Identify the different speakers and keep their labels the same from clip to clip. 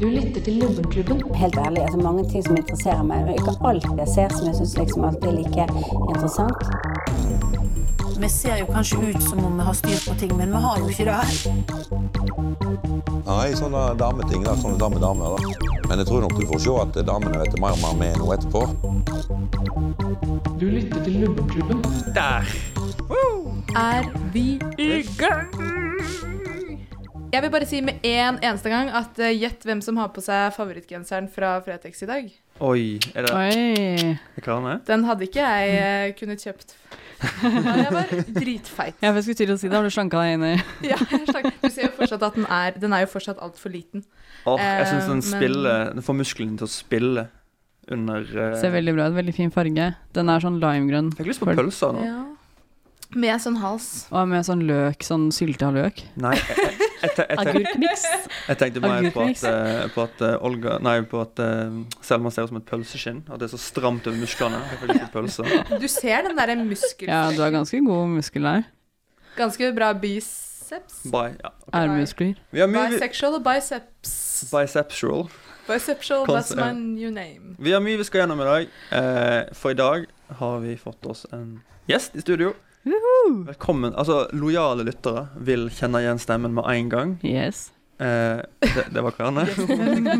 Speaker 1: Du lytter til Lubbenklubben.
Speaker 2: Helt ærlig, altså mange ting som interesserer meg. men Ikke alt jeg ser som jeg syns liksom alltid er like interessant.
Speaker 3: Vi ser jo kanskje ut som om vi har styr på ting, men vi har jo ikke det.
Speaker 4: Nei, sånne sånn, eh, dameting. da, Sånne damedamer. da. Men jeg tror nok du får se at damene vet mer om meg nå etterpå.
Speaker 1: Du lytter til Lubbenklubben.
Speaker 5: Der!
Speaker 6: er vi i gang! Jeg vil bare si med en eneste gang at eh, gjett hvem som har på seg favorittgenseren fra Fretex i dag.
Speaker 5: Oi, er det
Speaker 7: Oi.
Speaker 5: jeg klarer det?
Speaker 6: Den hadde ikke jeg eh, kunnet kjøpt. Men jeg var dritfeit.
Speaker 7: Jeg skulle til å si det, har du slanka deg inn i
Speaker 6: Ja, stakk. du ser jo fortsatt at den er Den er jo fortsatt altfor liten.
Speaker 5: Åh, jeg syns
Speaker 6: Eh, men-
Speaker 5: den spiller Den får musklene til å spille under eh,
Speaker 7: Ser veldig bra ut. Veldig fin farge. Den er sånn limegrønn
Speaker 5: Fikk lyst på pølser nå.
Speaker 6: Med sånn hals.
Speaker 7: og med sånn løk, sånn sylta løk.
Speaker 5: Nei, jeg, jeg, jeg, te- jeg, te-
Speaker 7: Agurkmiks.
Speaker 5: jeg tenkte mer på at,
Speaker 7: Agurkmiks.
Speaker 5: eh, på at eh, Olga Nei, på at eh, Selma ser ut som et pølseskinn. At det er så stramt over musklene. Jeg fikk lyst på pølser.
Speaker 6: Du ser den derre
Speaker 7: Ja, du
Speaker 6: muskelflekken.
Speaker 7: har ganske god muskel der.
Speaker 6: ganske bra biceps.
Speaker 5: Bi, ja.
Speaker 7: Armmuskler.
Speaker 5: Vi har mye
Speaker 6: Bisexual og biceps.
Speaker 5: Bicepsual.
Speaker 6: Bisexual,
Speaker 5: Kons-
Speaker 6: that's my new name.
Speaker 5: Vi har mye vi skal gjennom i dag, eh, for i dag har vi fått oss en gjest i studio. Velkommen. Altså, lojale lyttere vil kjenne igjen stemmen med en gang.
Speaker 7: Yes.
Speaker 5: Eh, det, det var Karianne.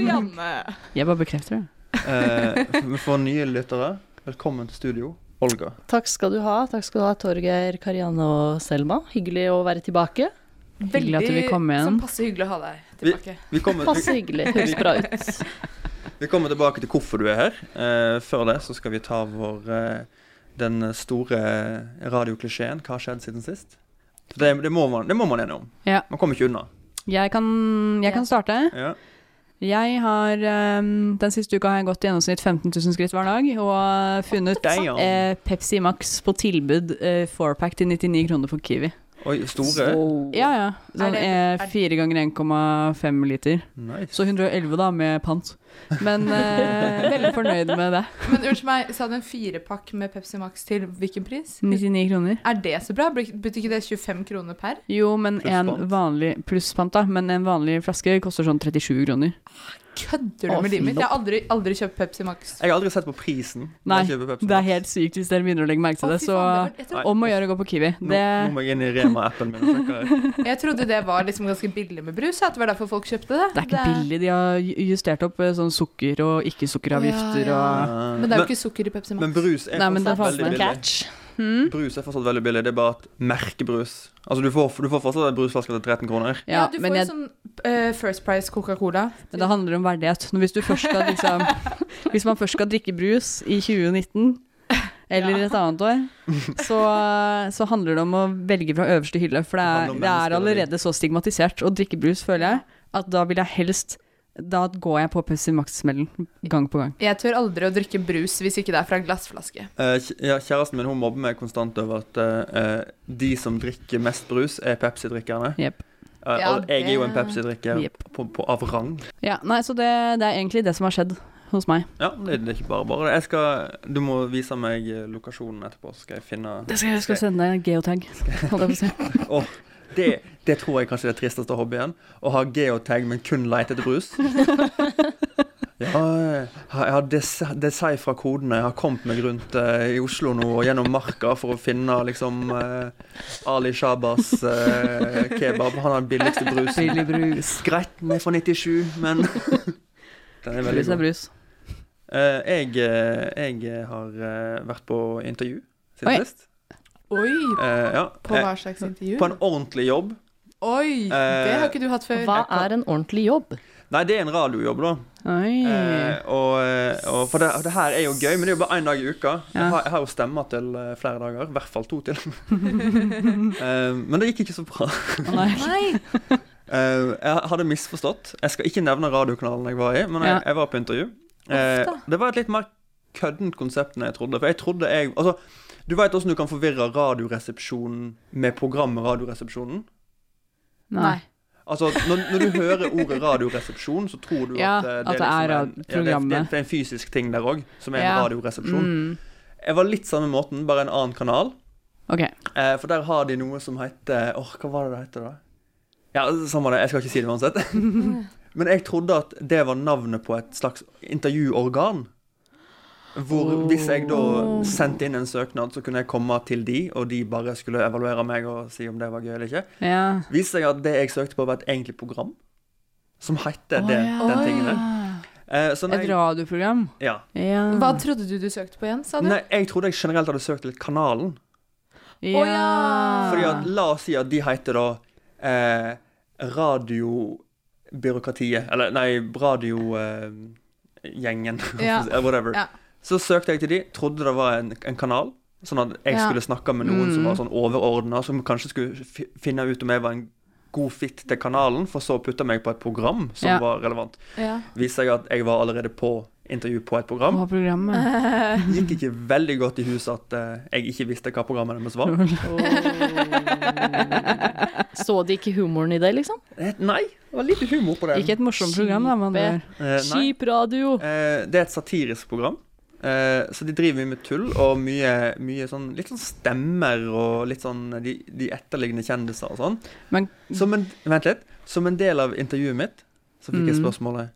Speaker 7: Jeg bare bekrefter det.
Speaker 5: Eh, vi får nye lyttere. Velkommen til studio, Olga.
Speaker 8: Takk skal du ha. Takk skal du ha, Torgeir, Karianne og Selma. Hyggelig å være tilbake.
Speaker 7: Hyggelig at du vil komme igjen.
Speaker 6: Sånn passe hyggelig å ha deg tilbake.
Speaker 5: Vi kommer,
Speaker 8: Passe
Speaker 5: vi,
Speaker 8: hyggelig. Høres bra ut.
Speaker 5: vi kommer tilbake til hvorfor du er her. Eh, før det så skal vi ta vår eh, den store radioklisjeen 'Hva har skjedd siden sist?' Det, det, må man, det må man gjennom.
Speaker 7: Ja.
Speaker 5: Man kommer ikke unna.
Speaker 7: Jeg kan, jeg kan starte.
Speaker 5: Ja.
Speaker 7: Jeg har ehm, Den siste uka har jeg gått i gjennomsnitt 15 000 skritt hver dag og funnet
Speaker 5: Damn.
Speaker 7: eh, Pepsi Max på tilbud eh, 4-pack til 99 kroner for Kiwi.
Speaker 5: Oi, store.
Speaker 7: Ja, ja. Sånn
Speaker 6: det-
Speaker 7: eh,
Speaker 6: er-
Speaker 7: 4 ganger 1,5 liter.
Speaker 5: Nice.
Speaker 7: Så 111 da, med pant. Men eh, veldig fornøyd med det.
Speaker 6: Men unnskyld meg, sa du en firepakk med Pepsi Max til hvilken pris?
Speaker 7: 99 kroner.
Speaker 6: Er det så bra? Betyr ikke det 25 kroner per?
Speaker 7: Jo, men
Speaker 5: Pluss
Speaker 7: en
Speaker 5: pant.
Speaker 7: vanlig plusspant, da. Men en vanlig flaske koster sånn 37 kroner.
Speaker 6: Kødder
Speaker 8: Å,
Speaker 6: du med livet mitt? Jeg har
Speaker 8: flopp.
Speaker 6: aldri, aldri kjøpt Pepsi Max.
Speaker 5: Jeg har aldri sett på prisen.
Speaker 7: Nei,
Speaker 5: Jeg kjøper Pepsi
Speaker 7: Det er
Speaker 5: Max.
Speaker 7: helt sykt hvis dere begynner å legge
Speaker 6: Å,
Speaker 7: merke til det,
Speaker 6: fy faen, det
Speaker 7: så
Speaker 6: var- jeg, trodde,
Speaker 7: om å gjøre å gå på Kiwi.
Speaker 5: Nå,
Speaker 7: Det
Speaker 5: nå må jeg inn i Rema-appen min og sjekke.
Speaker 6: jeg trodde det var liksom ganske billig med brus, ja, at det var derfor folk kjøpte det.
Speaker 7: det er ikke billig. De har ju- justert opp eh, sånn sukker- og
Speaker 6: Å,
Speaker 7: ikke-sukkeravgifter
Speaker 6: ja,
Speaker 7: og
Speaker 6: Men det er jo ikke sukker i Pepsi Max.
Speaker 5: men brus er
Speaker 7: Nei, men det er
Speaker 5: fortsatt
Speaker 7: fasen
Speaker 5: veldig billig.
Speaker 7: hmm?
Speaker 5: Brus er fortsatt veldig billig. Det er bare at merkebrus Altså, du får, du får fortsatt en brusflaske til 13 kroner.
Speaker 6: ja,
Speaker 7: Ja,
Speaker 6: du
Speaker 7: men
Speaker 6: får jo
Speaker 7: jeg,
Speaker 6: sånn eh, First Price Coca-Cola.
Speaker 7: men det handler om verdighet. Når hvis du først skal liksom Hvis man først skal drikke brus i 2019, eller et annet år, så, så handler det om å velge fra øverste hylle. For det
Speaker 5: Det handler om
Speaker 7: er, det er
Speaker 5: mennesker,
Speaker 7: allerede så stigmatisert å drikke brus, føler jeg, at da vil jeg helst Da går jeg på Pepsi Max-smellen gang på gang.
Speaker 6: Jeg tør aldri å drikke brus hvis ikke det er fra en glassflaske.
Speaker 5: Eh, kj- ja, kjæresten min hun mobber meg konstant over at eh, eh, de som drikker mest brus, er Pepsi-drikkerne.
Speaker 7: Jepp.
Speaker 5: Eh,
Speaker 6: Ja,
Speaker 5: og jeg er jo en
Speaker 6: det-
Speaker 5: Pepsi-drikker på, på, av rang.
Speaker 7: Ja, nei, så det, det er egentlig det som har skjedd hos meg.
Speaker 5: Ja, det, det er ikke bare bare. Jeg skal, du må vise meg eh, lokasjonen etterpå, så skal jeg finne
Speaker 7: Det skal jeg skal sende deg en geotag. Holdt jeg på å si.
Speaker 5: Åh, det, det tror jeg kanskje er det tristeste hobbyen. Å ha geotag, men kun lete etter brus. Ja, jeg har des- desifra kodene. Jeg har kommet meg rundt eh, i Oslo nå og gjennom marka for å finne liksom eh, Ali Shabas eh, kebab. Han har den billigste brusen.
Speaker 7: Billig brus.
Speaker 5: Greit, den er fra 97, men Den er veldig
Speaker 7: Brus er
Speaker 5: god.
Speaker 7: brus.
Speaker 5: Eh, jeg, eh, jeg har eh, vært på intervju
Speaker 7: Oi.
Speaker 5: siden sist.
Speaker 6: Oi!
Speaker 5: Eh, ja,
Speaker 6: På
Speaker 5: eh,
Speaker 6: hva slags intervju?
Speaker 5: på en Eh, ordentlig jobb.
Speaker 6: Oi! Det har ikke du hatt før.
Speaker 8: Hva er en ordentlig jobb?
Speaker 5: Nei, det er en radiojobb, da.
Speaker 7: Oi.
Speaker 5: Eh,
Speaker 7: Mm.
Speaker 5: og, og for det, og det her er jo gøy, men det er jo bare én dag i uka. Jeg,
Speaker 7: Ja.
Speaker 5: har, jeg har jo stemmer til eh, flere dager. I hvert fall to til. Eh, men det gikk ikke så bra.
Speaker 7: Å, Nei.
Speaker 6: Nei!
Speaker 5: Eh, jeg hadde misforstått. Jeg skal ikke nevne radiokanalen jeg var i, men jeg,
Speaker 7: Ja.
Speaker 5: jeg var på intervju. Eh, det var et litt mer køddent konsept enn jeg trodde. For jeg trodde jeg Altså, du veit åssen du kan forvirre Radioresepsjonen med programmet Radioresepsjonen?
Speaker 7: Nei.
Speaker 5: Altså, når, når du hører ordet radioresepsjon, så tror du
Speaker 7: Ja,
Speaker 5: at, eh,
Speaker 7: at det
Speaker 5: liksom
Speaker 7: er rad-
Speaker 5: en, ja, det, er, det, er,
Speaker 7: programmet.
Speaker 5: det er en fysisk ting der òg, som er en
Speaker 7: Ja.
Speaker 5: radioresepsjon.
Speaker 7: Mm.
Speaker 5: Jeg var litt samme måten, bare en annen kanal.
Speaker 7: Ok.
Speaker 5: Eh, for der har de noe som heter Åh, hva var det det heter da? Ja, samme det, jeg skal ikke si det uansett. Men jeg trodde at det var navnet på et slags intervjuorgan. Hvor hvis jeg da sendte inn en søknad, så kunne jeg komme til de, og de bare skulle evaluere meg og si om det var gøy eller ikke.
Speaker 7: Ja.
Speaker 5: Viste seg at det jeg søkte på, var et egentlig program som het det, den tingen der. Eh, så når jeg,
Speaker 7: Et radioprogram.
Speaker 5: ja.
Speaker 7: Ja.
Speaker 6: Hva trodde du du søkte på igjen, sa du?
Speaker 5: Nei, jeg trodde jeg generelt hadde søkt til kanalen.
Speaker 7: Ja.
Speaker 6: Å, ja.
Speaker 5: Fordi at, la oss si at de heter da eh, Radiobyråkratiet. Eller nei, Radiogjengen. Eh, gjengen,
Speaker 6: Ja.
Speaker 5: Whatever.
Speaker 6: Ja.
Speaker 5: Så søkte jeg til de, trodde det var en, en kanal. Sånn at jeg
Speaker 6: Ja. Mm.
Speaker 5: skulle snakke med noen som var sånn overordna, som kanskje skulle fi- finne ut om jeg var en god fit til kanalen, for så å putte meg på et program som
Speaker 7: Ja.
Speaker 5: var relevant.
Speaker 6: Ja.
Speaker 5: Viste seg at jeg var allerede på intervju på et program.
Speaker 7: Hva er programmet?
Speaker 5: Gikk ikke veldig godt i huset at eh, jeg ikke visste hva programmet deres var.
Speaker 8: Så de ikke humoren i det, liksom?
Speaker 5: Eh, Nei, det var lite humor på det.
Speaker 7: Ikke et morsomt program, da. Men det
Speaker 8: Kjipe.
Speaker 5: Eh, nei.
Speaker 8: Kjip radio!
Speaker 5: Eh, det er et satirisk program. Eh, så de driver mye med tull og mye, mye sånn, litt sånn stemmer og litt sånn de, de etterliggende kjendiser og sånn.
Speaker 7: Men-
Speaker 5: som en, vent litt. Som en del av intervjuet mitt så fikk
Speaker 7: Mm.
Speaker 5: jeg spørsmålet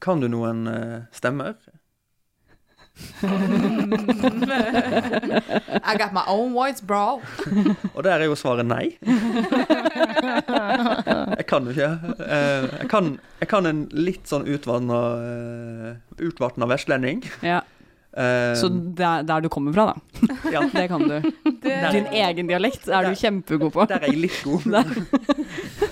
Speaker 5: Kan du noen eh, stemmer?
Speaker 6: I got my own voice, bro.
Speaker 5: Og der er jo svaret nei. Jeg kan jo ikke. Eh, jeg, kan, jeg kan en litt sånn utvanna uh, Utvatna vestlending.
Speaker 7: ja.
Speaker 5: Eh,
Speaker 7: Så der, der du kommer fra, da.
Speaker 5: ja,
Speaker 7: Det kan du. Din egen dialekt er du kjempegod på.
Speaker 5: Der er jeg litt god. Jeg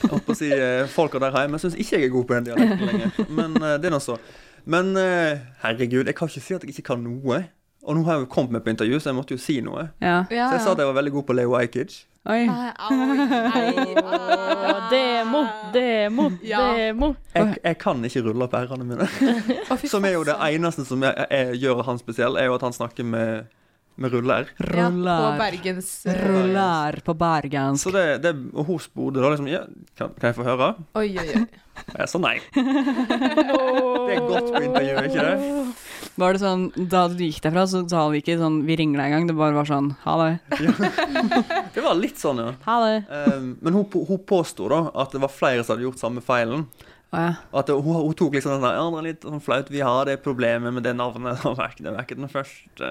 Speaker 5: holdt på å si eh, folka der hjemme syns ikke jeg er god på den dialekten lenger. Men eh, det er nå så. Men eh, herregud, jeg kan ikke si at jeg ikke kan noe. Og nå har jeg jo kommet meg på intervju, så jeg måtte jo si noe.
Speaker 7: Ja.
Speaker 6: Ja,
Speaker 5: Så jeg sa at jeg var veldig god på Leo Ajkic.
Speaker 7: Oi.
Speaker 8: Å, demo, demo,
Speaker 6: Ja.
Speaker 8: demo.
Speaker 5: Jeg, jeg kan ikke rulle opp r-ene mine. Som er jo det eneste som jeg, jeg gjør han spesiell, er jo at han snakker med, med ruller.
Speaker 6: Ja, på
Speaker 7: Rullar.
Speaker 6: Bergens
Speaker 7: Rullar på bergensk.
Speaker 5: Så det, det og hun spurte da liksom ja, kan, kan jeg få høre?
Speaker 6: Oi, oi, oi.
Speaker 5: Og jeg sa nei. Det er godt på intervju, er ikke det?
Speaker 7: Var det sånn, Da du gikk derfra, så sa vi ikke sånn 'vi ringer deg en gang'. Det bare var sånn 'ha det'.
Speaker 5: Det var litt sånn, ja.
Speaker 7: Ha det.
Speaker 5: Ehm, men hun, på- hun påsto da at det var flere som hadde gjort samme feilen.
Speaker 7: Å ja.
Speaker 5: Og At det, hun, hun tok liksom den der «Ja, det er litt sånn flaut, vi har det problemet med det navnet. Det var ikke- det var ikke den første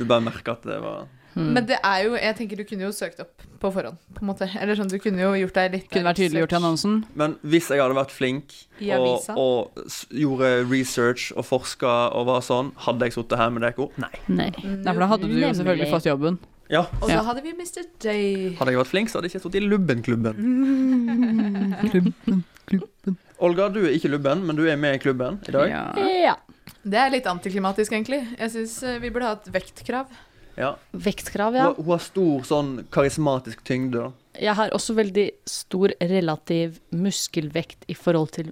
Speaker 5: Du bare merker at det var
Speaker 6: Mm. Men det er jo Jeg tenker du kunne jo søkt opp på forhånd, på en måte. Eller sånn, du kunne jo gjort deg litt
Speaker 7: Kunne vært tydeliggjort i annonsen.
Speaker 5: Men hvis jeg hadde vært flink
Speaker 6: I
Speaker 5: og,
Speaker 6: avisa.
Speaker 5: og s- gjorde research og forska og var sånn, hadde jeg sittet her med dere? Nei.
Speaker 8: Nei.
Speaker 7: Nei, for da hadde du jo selvfølgelig
Speaker 8: Nemlig.
Speaker 7: fått jobben.
Speaker 5: Ja.
Speaker 6: Mm. Og så hadde vi Mr. J.
Speaker 5: Hadde jeg vært flink, så hadde jeg ikke sittet i Lubbenklubben.
Speaker 7: Klubben, klubben.
Speaker 5: Olga, du er ikke lubben, men du er med i klubben i dag. Ja.
Speaker 7: Ja.
Speaker 8: Ja.
Speaker 6: Det er litt antiklimatisk, egentlig. Jeg syns vi burde ha et vektkrav.
Speaker 8: Vektkrav, ja.
Speaker 5: Hun, hun har stor sånn karismatisk tyngde. da.
Speaker 8: Jeg har også veldig stor relativ muskelvekt i forhold til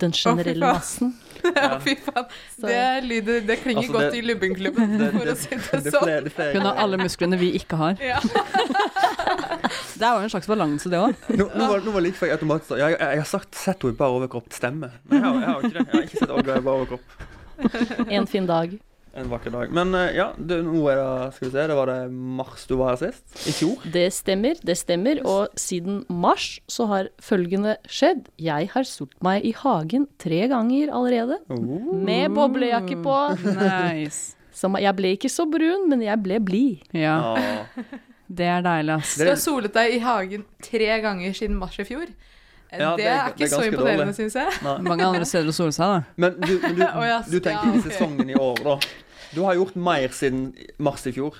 Speaker 8: den generelle
Speaker 6: faen.
Speaker 8: massen.
Speaker 6: Ja, fy faen. Det, lyder, det klinger
Speaker 5: Altså,
Speaker 6: godt i
Speaker 5: det-
Speaker 6: Lubbenklubben,
Speaker 5: det-
Speaker 6: for å
Speaker 5: det-
Speaker 6: si det
Speaker 5: Det er
Speaker 6: sånn.
Speaker 5: flere, det er flere.
Speaker 7: Kunne ha alle musklene vi ikke har.
Speaker 6: Ja.
Speaker 7: Det er jo en slags balanse, det òg.
Speaker 5: Nå, nå, var, nå var det like før jeg automatisk sa Jeg, jeg, jeg har sagt, sett henne i bar overkropp stemme. Men jeg har, jeg har ikke det. Jeg har ikke sett Olga i bar overkropp
Speaker 8: En fin dag.
Speaker 5: en vakker dag. Men eh, ja, det, nå er det Skal vi se, det var det mars du var her sist? I fjor?
Speaker 8: Det stemmer, det stemmer. Og siden mars så har følgende skjedd. Jeg har solt meg i hagen tre ganger allerede.
Speaker 5: Oh.
Speaker 8: Med
Speaker 7: Mm.
Speaker 8: boblejakke på.
Speaker 7: Nice.
Speaker 8: Som, jeg ble ikke så brun, men jeg ble blid.
Speaker 7: Ja,
Speaker 5: Ah.
Speaker 7: det er deilig, ass.
Speaker 6: Du har solet deg i hagen tre ganger siden mars i fjor.
Speaker 5: Ja,
Speaker 6: det,
Speaker 5: det er-
Speaker 6: er
Speaker 5: det
Speaker 6: ikke
Speaker 5: er
Speaker 6: så
Speaker 5: ganske
Speaker 6: imponerende,
Speaker 5: dårlig.
Speaker 6: syns jeg.
Speaker 7: Mange andre steder å sole seg, da.
Speaker 5: Men du, men du,
Speaker 6: Å, ja,
Speaker 5: du tenker
Speaker 6: ja,
Speaker 5: ikke
Speaker 6: ok.
Speaker 5: sesongen i år, da. Du har gjort mer siden mars i fjor.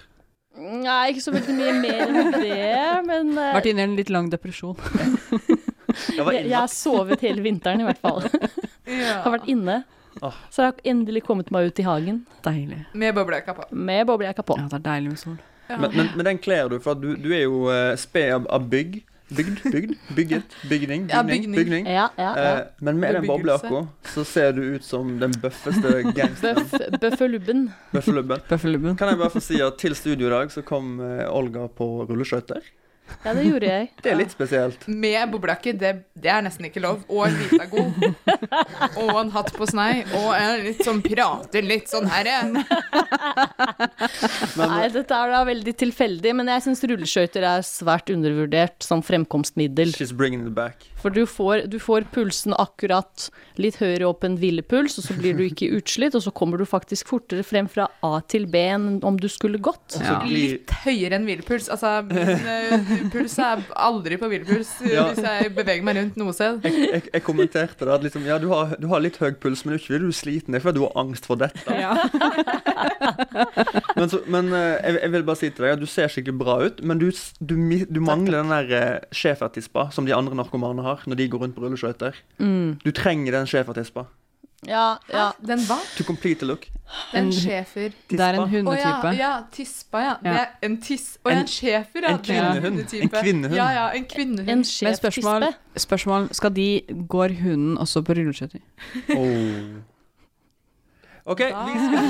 Speaker 8: Nei, ikke så veldig mye mer enn det, men eh,
Speaker 7: Vært inne i en litt lang depresjon.
Speaker 5: Jeg var
Speaker 8: jeg, jeg
Speaker 5: inne.
Speaker 8: har sovet hele vinteren i hvert fall. Har vært inne.
Speaker 5: Ah.
Speaker 8: Så jeg har endelig kommet meg ut i hagen
Speaker 7: Deilig.
Speaker 6: Med boblejakka på.
Speaker 8: med boblejakka på.
Speaker 7: Ja, det er deilig med sol.
Speaker 5: Men, men, men den kler du, for at du, du er jo eh, sped av, av bygg. Bygd? Bygd? Bygget? Bygning?
Speaker 6: Ja,
Speaker 5: Bygning?
Speaker 6: bygning.
Speaker 5: bygning.
Speaker 8: Ja, ja, ja.
Speaker 5: Eh, men med den
Speaker 6: Bebyggelse.
Speaker 5: boblejakka så ser du ut som den bøffeste gangsteren.
Speaker 8: Bøff, bøff og lubben.
Speaker 5: Bøffelubben.
Speaker 7: Bøffelubben.
Speaker 5: Kan jeg bare få si at til studio i dag så kom eh, Olga på rulleskøyter.
Speaker 8: Ja, det gjorde jeg.
Speaker 5: Det er litt spesielt.
Speaker 6: Med boblejakke, det, det er nesten ikke lov. Og en Vitago. og en hatt på snei. Og en litt sånn prater litt sånn herre.
Speaker 8: Nei, dette er da veldig tilfeldig, men jeg syns rulleskøyter er svært undervurdert som fremkomstmiddel.
Speaker 5: She's bringing it back.
Speaker 8: For du får, du får pulsen akkurat litt høyere opp enn hvilepuls, og så blir du ikke utslitt, og så kommer du faktisk fortere frem fra A til B enn om du skulle gått.
Speaker 5: Så glir-
Speaker 6: Litt høyere enn hvilepuls. Altså, min eh, puls er aldri på hvilepuls eh,
Speaker 5: Ja.
Speaker 6: hvis jeg beveger meg rundt noe sted.
Speaker 5: jeg, jeg, jeg kommenterte det at liksom, ja, du har, du har litt høy puls, men det er ikke fordi du er sliten, det er fordi du har angst for dette. Men, så, men eh, jeg, jeg vil bare si til deg at du ser skikkelig bra ut, men du, s- du, mi- du mangler den der eh, schæfertispa som de andre narkomane har når de går rundt på rulleskøyter. Du trenger den schæfertispa.
Speaker 8: Ja, ja.
Speaker 6: Den hva?
Speaker 5: To complete the look.
Speaker 6: Den schæfer.
Speaker 7: Det er
Speaker 6: Å
Speaker 5: Tispa.
Speaker 7: en
Speaker 6: ja,
Speaker 7: hundetype.
Speaker 6: ja, tispa, ja. Det
Speaker 7: Ja.
Speaker 6: er en tiss... Å ja,
Speaker 5: En-
Speaker 6: en schæfer, ja.
Speaker 5: en
Speaker 6: Det er
Speaker 5: kvinnehund. En
Speaker 6: hundetype.
Speaker 5: kvinnehund.
Speaker 6: Ja, ja, en kvinnehund.
Speaker 8: En
Speaker 7: Men
Speaker 8: skjev
Speaker 7: spørsmål,
Speaker 8: tispe.
Speaker 7: spørsmål Skal de Går hunden også på rulleskøyter?
Speaker 5: Oh. OK, vi skal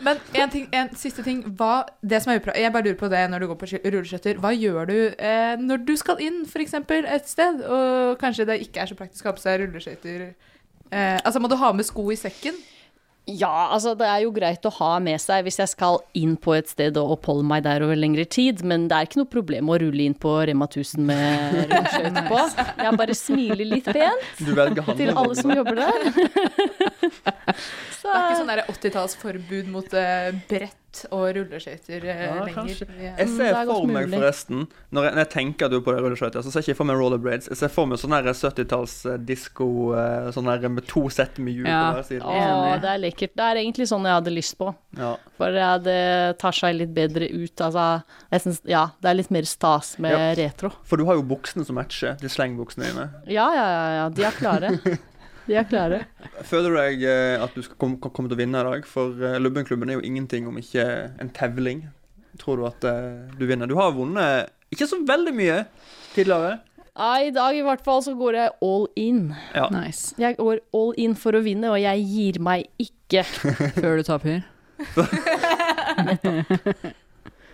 Speaker 6: Men en, ting, en siste ting. Hva, det som er upra jeg bare lurer på det når du går på ski- rulleskøyter. Hva gjør du eh, når du skal inn f.eks. et sted, og kanskje det ikke er så praktisk å ha på seg rulleskøyter? Eh, altså, må du ha med sko i sekken?
Speaker 8: Ja, altså det er jo greit å ha med seg hvis jeg skal inn på et sted og oppholde meg der over lengre tid, men det er ikke noe problem å rulle inn på Rema 1000 med rulleskøyter på. Jeg bare smiler litt pent
Speaker 5: Du velger han.
Speaker 8: til
Speaker 5: eller
Speaker 8: alle som
Speaker 5: hun.
Speaker 8: jobber der.
Speaker 6: Det er ikke sånn der 80-tallsforbud mot eh, brett og rulleskøyter eh,
Speaker 5: Ja,
Speaker 6: lenger.
Speaker 5: kanskje.
Speaker 6: Ja.
Speaker 5: Jeg
Speaker 8: Mm, det
Speaker 5: ser
Speaker 8: er godt
Speaker 5: for meg
Speaker 8: mulig.
Speaker 5: forresten Når jeg, når jeg tenker at du er på det rulleskøyter, så ser jeg ikke for meg rollerblades. Jeg ser for meg sånn her 70-talls eh, disko eh, sånn her med to sett med hjul
Speaker 7: Ja.
Speaker 5: på hver side.
Speaker 8: Å, det er lekkert. Det er egentlig sånn jeg hadde lyst på.
Speaker 5: Ja.
Speaker 8: For ja, det tar seg litt bedre ut. Altså, jeg synes, ja, det er litt mer stas med retro.
Speaker 5: For du har jo buksene som matcher, de slengbuksene dine.
Speaker 8: Ja, ja, ja, ja. De er klare. De er klare.
Speaker 5: Føler du deg eh, at du skal komme, komme til å vinne i dag? For eh, Lubbenklubben er jo ingenting om ikke en tevling. Tror du at eh, du vinner? Du har vunnet ikke så veldig mye tidligere.
Speaker 8: Ja, I dag i hvert fall så går jeg all in.
Speaker 5: Ja.
Speaker 7: Nice.
Speaker 8: Jeg går all in for å vinne, og jeg gir meg ikke.
Speaker 7: Før du taper?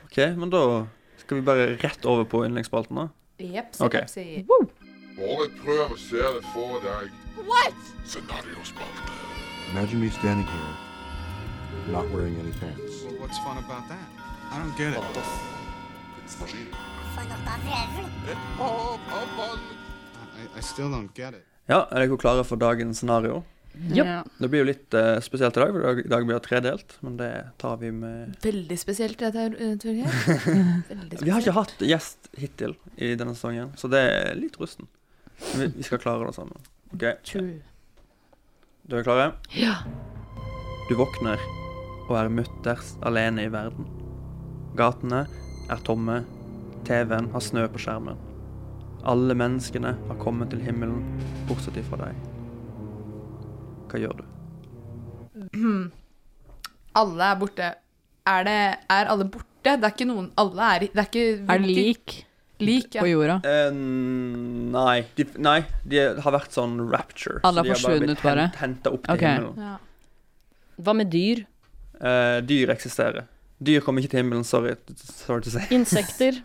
Speaker 5: OK, men da skal vi bare rett over på yndlingsspalten, da.
Speaker 6: Jep,
Speaker 5: Ok.
Speaker 6: sikkert, sier-
Speaker 9: Bare prøv å se det for deg. What? Scenariospalt.
Speaker 10: Imagine me standing here, not wearing any pants.
Speaker 11: What's fun about that? I don't get it.
Speaker 9: Hav av vann.
Speaker 11: I, I still don't get it.
Speaker 5: Ja, er dere klare for dagens scenario?
Speaker 7: Ja.
Speaker 5: Det blir jo litt eh, spesielt i dag, for i dag- i dag blir det tredelt. Men det tar vi med
Speaker 6: Veldig spesielt, dette, eh, Torgeir. Veldig
Speaker 5: Vi
Speaker 6: spesielt.
Speaker 5: har ikke hatt gjest hittil i denne sesongen, så det er litt rusten. Men vi, vi skal klare det sammen. OK,
Speaker 8: True.
Speaker 5: dere er klare?
Speaker 8: Ja.
Speaker 5: Du våkner og er mutters alene i verden. Gatene er tomme. TV-en har snø på skjermen. Alle menneskene har kommet til himmelen, bortsett ifra deg. Hva gjør du?
Speaker 6: Alle er borte. Er, det, er alle borte? Det er ikke noen Alle er i- Det er ikke
Speaker 7: Er det lik
Speaker 6: Lik, ja.
Speaker 7: på jorda?
Speaker 5: Eh, nei. De, nei, de har vært sånn rapture.
Speaker 7: Alle
Speaker 5: så
Speaker 7: har forsvunnet bare?
Speaker 5: De har bare blitt henta opp til
Speaker 7: Ok.
Speaker 5: himmelen.
Speaker 6: Ja.
Speaker 8: Hva med dyr?
Speaker 5: Eh, dyr eksisterer. Dyr kommer ikke til himmelen, sorry, sorry to say.
Speaker 8: Insekter?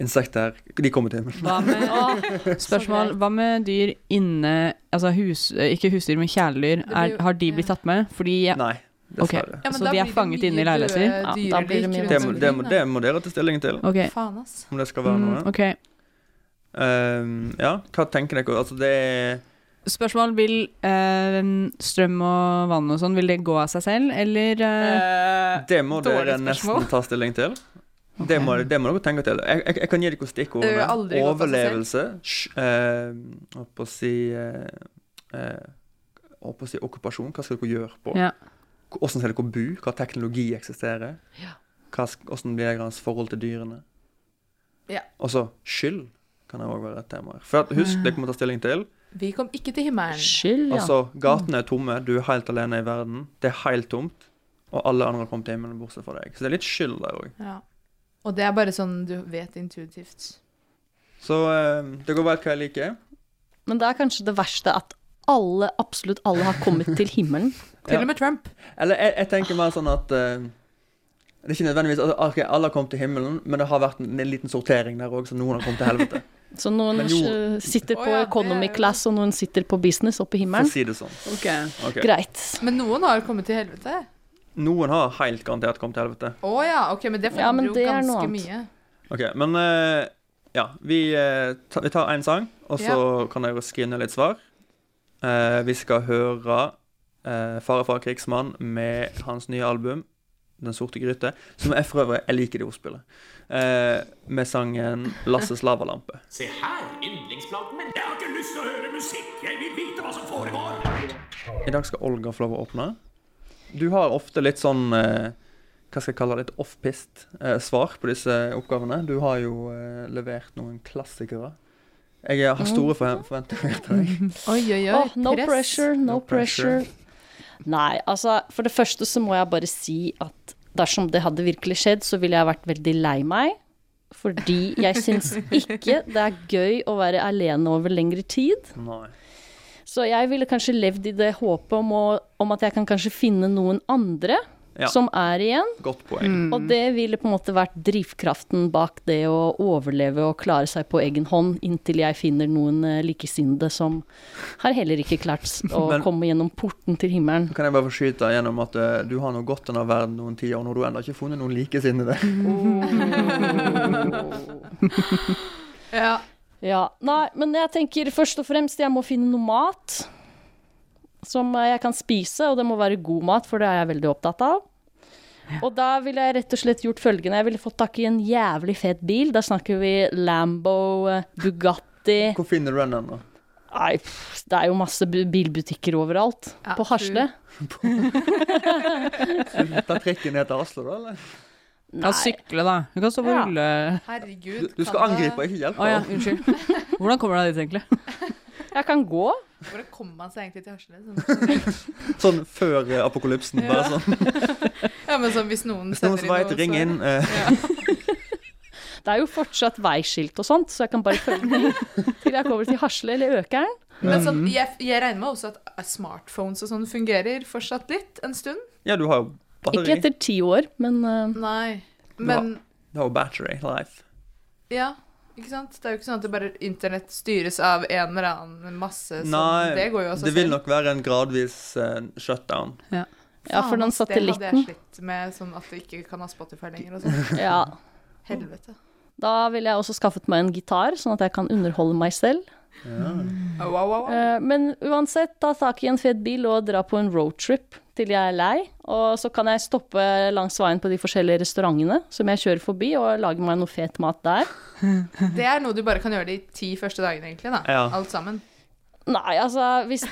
Speaker 5: Insekter, de kommer til himmelen.
Speaker 7: Hva med,
Speaker 8: Å,
Speaker 7: spørsmål,
Speaker 8: greit.
Speaker 7: hva med dyr inne Altså hus, ikke husdyr, men kjæledyr.
Speaker 6: blir
Speaker 7: Er,
Speaker 6: jo-
Speaker 7: har de
Speaker 6: ja.
Speaker 7: blitt tatt med? Fordi jeg,
Speaker 5: Nei, dessverre.
Speaker 6: men
Speaker 7: Så
Speaker 6: da
Speaker 7: de er
Speaker 6: blir det
Speaker 7: fanget
Speaker 6: mye
Speaker 7: inne i leiligheter?
Speaker 6: døde
Speaker 8: Ja, da
Speaker 6: dyrelek
Speaker 8: blir det mye
Speaker 6: rundt
Speaker 5: Det må, det, må,
Speaker 6: omkring,
Speaker 5: det må dere ta stilling til,
Speaker 7: OK.
Speaker 6: da. Faen, ass.
Speaker 5: om det skal være
Speaker 7: Mm,
Speaker 5: noe.
Speaker 7: ok.
Speaker 5: Eh, ja, hva tenker dere? Altså, det er
Speaker 7: Spørsmål vil eh, strøm og vann og sånn, vil det gå av seg selv, eller eh,
Speaker 5: Det må dere
Speaker 7: dårlig spørsmål.
Speaker 5: nesten ta stilling til. Det, må, det må dere tenke til. Jeg, jeg, jeg kan gi dere
Speaker 6: Det
Speaker 5: stikkordene.
Speaker 6: har aldri gått av seg
Speaker 5: Overlevelse. sj- eh, Holdt på å si eh, eh, Holdt på å si okkupasjon. Hva skal dere gjøre på?
Speaker 7: Ja.
Speaker 5: Hvordan skal dere bo? Hva teknologi eksisterer?
Speaker 8: Ja.
Speaker 5: Hva, sk- hvordan blir deres forhold til dyrene?
Speaker 6: Ja.
Speaker 5: Og så skyld kan òg være et tema. her. For at, husk, dere må ta stilling til.
Speaker 6: Vi kom ikke til himmelen.
Speaker 8: Skyld, ja.
Speaker 5: Altså, gatene er tomme, du er helt alene i verden. Det er helt tomt. Og alle andre har kommet til himmelen bortsett fra deg. Så det er litt skyld der òg.
Speaker 6: Ja. Og det er bare sånn du vet intuitivt.
Speaker 5: Så eh, det går vel hva jeg liker.
Speaker 8: Men det er kanskje det verste at alle, absolutt alle, har kommet til himmelen.
Speaker 6: Til
Speaker 5: Ja.
Speaker 6: og med Trump.
Speaker 5: Eller jeg, jeg tenker mer sånn at eh, Det er ikke nødvendigvis altså, ok, Alle har kommet til himmelen, men det har vært en, en liten sortering der òg, så noen har kommet til helvete.
Speaker 8: Så noen
Speaker 5: Men jo.
Speaker 8: eh, sitter på
Speaker 6: Å ja, det
Speaker 8: economy
Speaker 6: er jo-
Speaker 8: class, og noen sitter på business oppe
Speaker 5: For å
Speaker 8: i himmelen.
Speaker 5: si det sånn.
Speaker 6: Eh,
Speaker 5: Ok.
Speaker 8: Greit.
Speaker 6: Men noen har kommet til helvete.
Speaker 5: Noen har helt garantert kommet til helvete.
Speaker 6: Å ja, ok, men det
Speaker 8: Ja, men
Speaker 6: forandrer
Speaker 8: det
Speaker 6: jo
Speaker 8: er noe
Speaker 6: ganske
Speaker 8: annet.
Speaker 6: mye.
Speaker 5: Ok, men eh, ja, vi, eh, ta, vi tar én sang, og så kan jeg jo skrive ned litt svar. Eh, vi skal høre eh, Fare fra krigsmann med hans nye album, 'Den sorte gryte', som jeg for øvrig jeg liker det ordspillet, eh, med sangen 'Lasses lavalampe'.
Speaker 12: Se her, yndlingsplanten min. Jeg har ikke lyst til å høre musikk. Jeg vil vite hva som foregår.
Speaker 5: I dag skal Olga få lov å åpne. Du har ofte litt sånn eh, hva skal jeg kalle det, litt off-pist eh, svar på disse oppgavene. Du har jo eh, levert noen klassikere. Jeg har store forve- forventninger til deg.
Speaker 6: Oi, oi, oi.
Speaker 8: Åh, no
Speaker 6: press.
Speaker 8: pressure, no, pressure. Nei, altså for det første så må jeg bare si at dersom det hadde virkelig skjedd, så ville jeg vært veldig lei meg. Fordi jeg syns ikke det er gøy å være alene over lengre tid.
Speaker 5: Nei.
Speaker 8: Så jeg ville kanskje levd i det håpet om, å, om at jeg kan kanskje finne noen andre
Speaker 5: Ja.
Speaker 8: som er igjen.
Speaker 5: Godt
Speaker 6: Mm.
Speaker 5: poeng.
Speaker 8: Og det ville på en måte vært drivkraften bak det å overleve og klare seg på egen hånd inntil jeg finner noen eh, likesinnede som har heller ikke klart s- å
Speaker 5: Men-
Speaker 8: komme gjennom porten til himmelen.
Speaker 5: Så kan jeg bare få skyte gjennom at eh, du har nå gått denne verden noen tiår, når du ennå ikke har funnet noen likesinnede.
Speaker 6: Ja.
Speaker 8: Ja, nei, men jeg tenker først og fremst jeg må finne noe mat som eh, jeg kan spise, og det må være god mat, for det er jeg veldig opptatt av. Og da ville jeg rett og slett gjort følgende. Jeg ville fått tak i en jævlig fet bil. Da snakker vi Lambo, eh, Bugatti
Speaker 5: Hvor finner du den ennå?
Speaker 8: Nei, pff, det er jo masse bu- bilbutikker overalt.
Speaker 6: Ja,
Speaker 8: på Hasle.
Speaker 5: Ta trikken ned til Aslo, da? eller?
Speaker 7: Ja, sykle, da. Du kan stå på
Speaker 8: Ja.
Speaker 7: rulle...
Speaker 5: Du,
Speaker 6: Herregud.
Speaker 5: du skal
Speaker 6: kan det-
Speaker 5: angripe, ikke hjelpe.
Speaker 7: Å ja, unnskyld. Hvordan kommer du deg dit, egentlig?
Speaker 8: Jeg kan gå.
Speaker 6: Hvordan kommer man seg egentlig til Hasle? Sånn.
Speaker 5: Sånn før eh, apokalypsen. Bare
Speaker 6: Ja.
Speaker 5: sånn.
Speaker 6: Ja, men sånn hvis noen
Speaker 5: Hvis
Speaker 6: sender
Speaker 5: noen som vet,
Speaker 6: noe,
Speaker 5: ring
Speaker 6: så-
Speaker 5: inn. eh,
Speaker 8: Det er jo fortsatt veiskilt og sånt, så jeg kan bare følge med til jeg kommer til Hasle eller Økeren.
Speaker 6: Men sånn,
Speaker 5: Mm.
Speaker 6: jeg, jeg regner med også at smartphones og sånn fungerer fortsatt litt en stund.
Speaker 5: Ja, du har jo
Speaker 8: Ikke
Speaker 5: batteri.
Speaker 8: etter ti år, men eh,
Speaker 6: Nei. Men
Speaker 5: Du har jo battery life.
Speaker 6: Ja, ikke sant? Det er jo ikke sånn at det bare internett styres av en eller annen masse. Sånn.
Speaker 5: Nei,
Speaker 6: det går jo også
Speaker 5: det vil nok være en gradvis eh, shutdown.
Speaker 8: ja, for den
Speaker 6: Det hadde jeg
Speaker 8: satellitten.
Speaker 6: slitt med, sånn at du ikke kan ha Spotify lenger og sånn.
Speaker 8: Ja.
Speaker 6: Helvete.
Speaker 8: Da ville jeg også skaffet meg en gitar, sånn at jeg kan underholde meg selv.
Speaker 6: Au, au, au, au.
Speaker 8: Eh, Men uansett, ta tak i en fet bil og dra på en roadtrip til jeg er lei. Og så kan jeg stoppe langs veien på de forskjellige restaurantene som jeg kjører forbi, og lage meg noe fet mat der.
Speaker 6: Det er noe du bare kan gjøre de ti første dagene, egentlig. da.
Speaker 5: Ja.
Speaker 6: Alt sammen.
Speaker 8: Nei, altså hvis...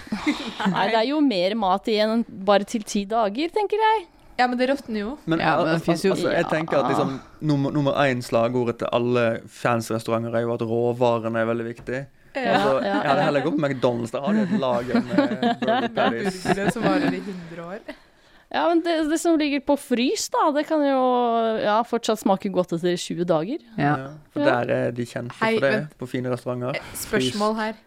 Speaker 8: Nei, det er jo mer mat igjen enn bare til ti dager, tenker jeg.
Speaker 6: Ja, men det råtner jo.
Speaker 5: Men,
Speaker 7: Ja, men det
Speaker 5: al-
Speaker 7: finnes jo-
Speaker 5: altså, jeg tenker at liksom, nummer, nummer én slagordet til alle fansrestauranter er jo at råvarene er veldig viktig. altså,
Speaker 8: ja,
Speaker 5: Jeg hadde heller gått på McDonald's. Der har de et lager med burger patties.
Speaker 6: Burgere som varer i 100 år.
Speaker 8: Ja, men det, det som ligger på frys, da, det kan jo ja, fortsatt smake godt etter 20 dager.
Speaker 7: Ja.
Speaker 5: Ja, for der er de kjente
Speaker 6: Hei,
Speaker 5: for det,
Speaker 6: vent.
Speaker 5: på fine restauranter.
Speaker 6: Eh, Spørsmål her.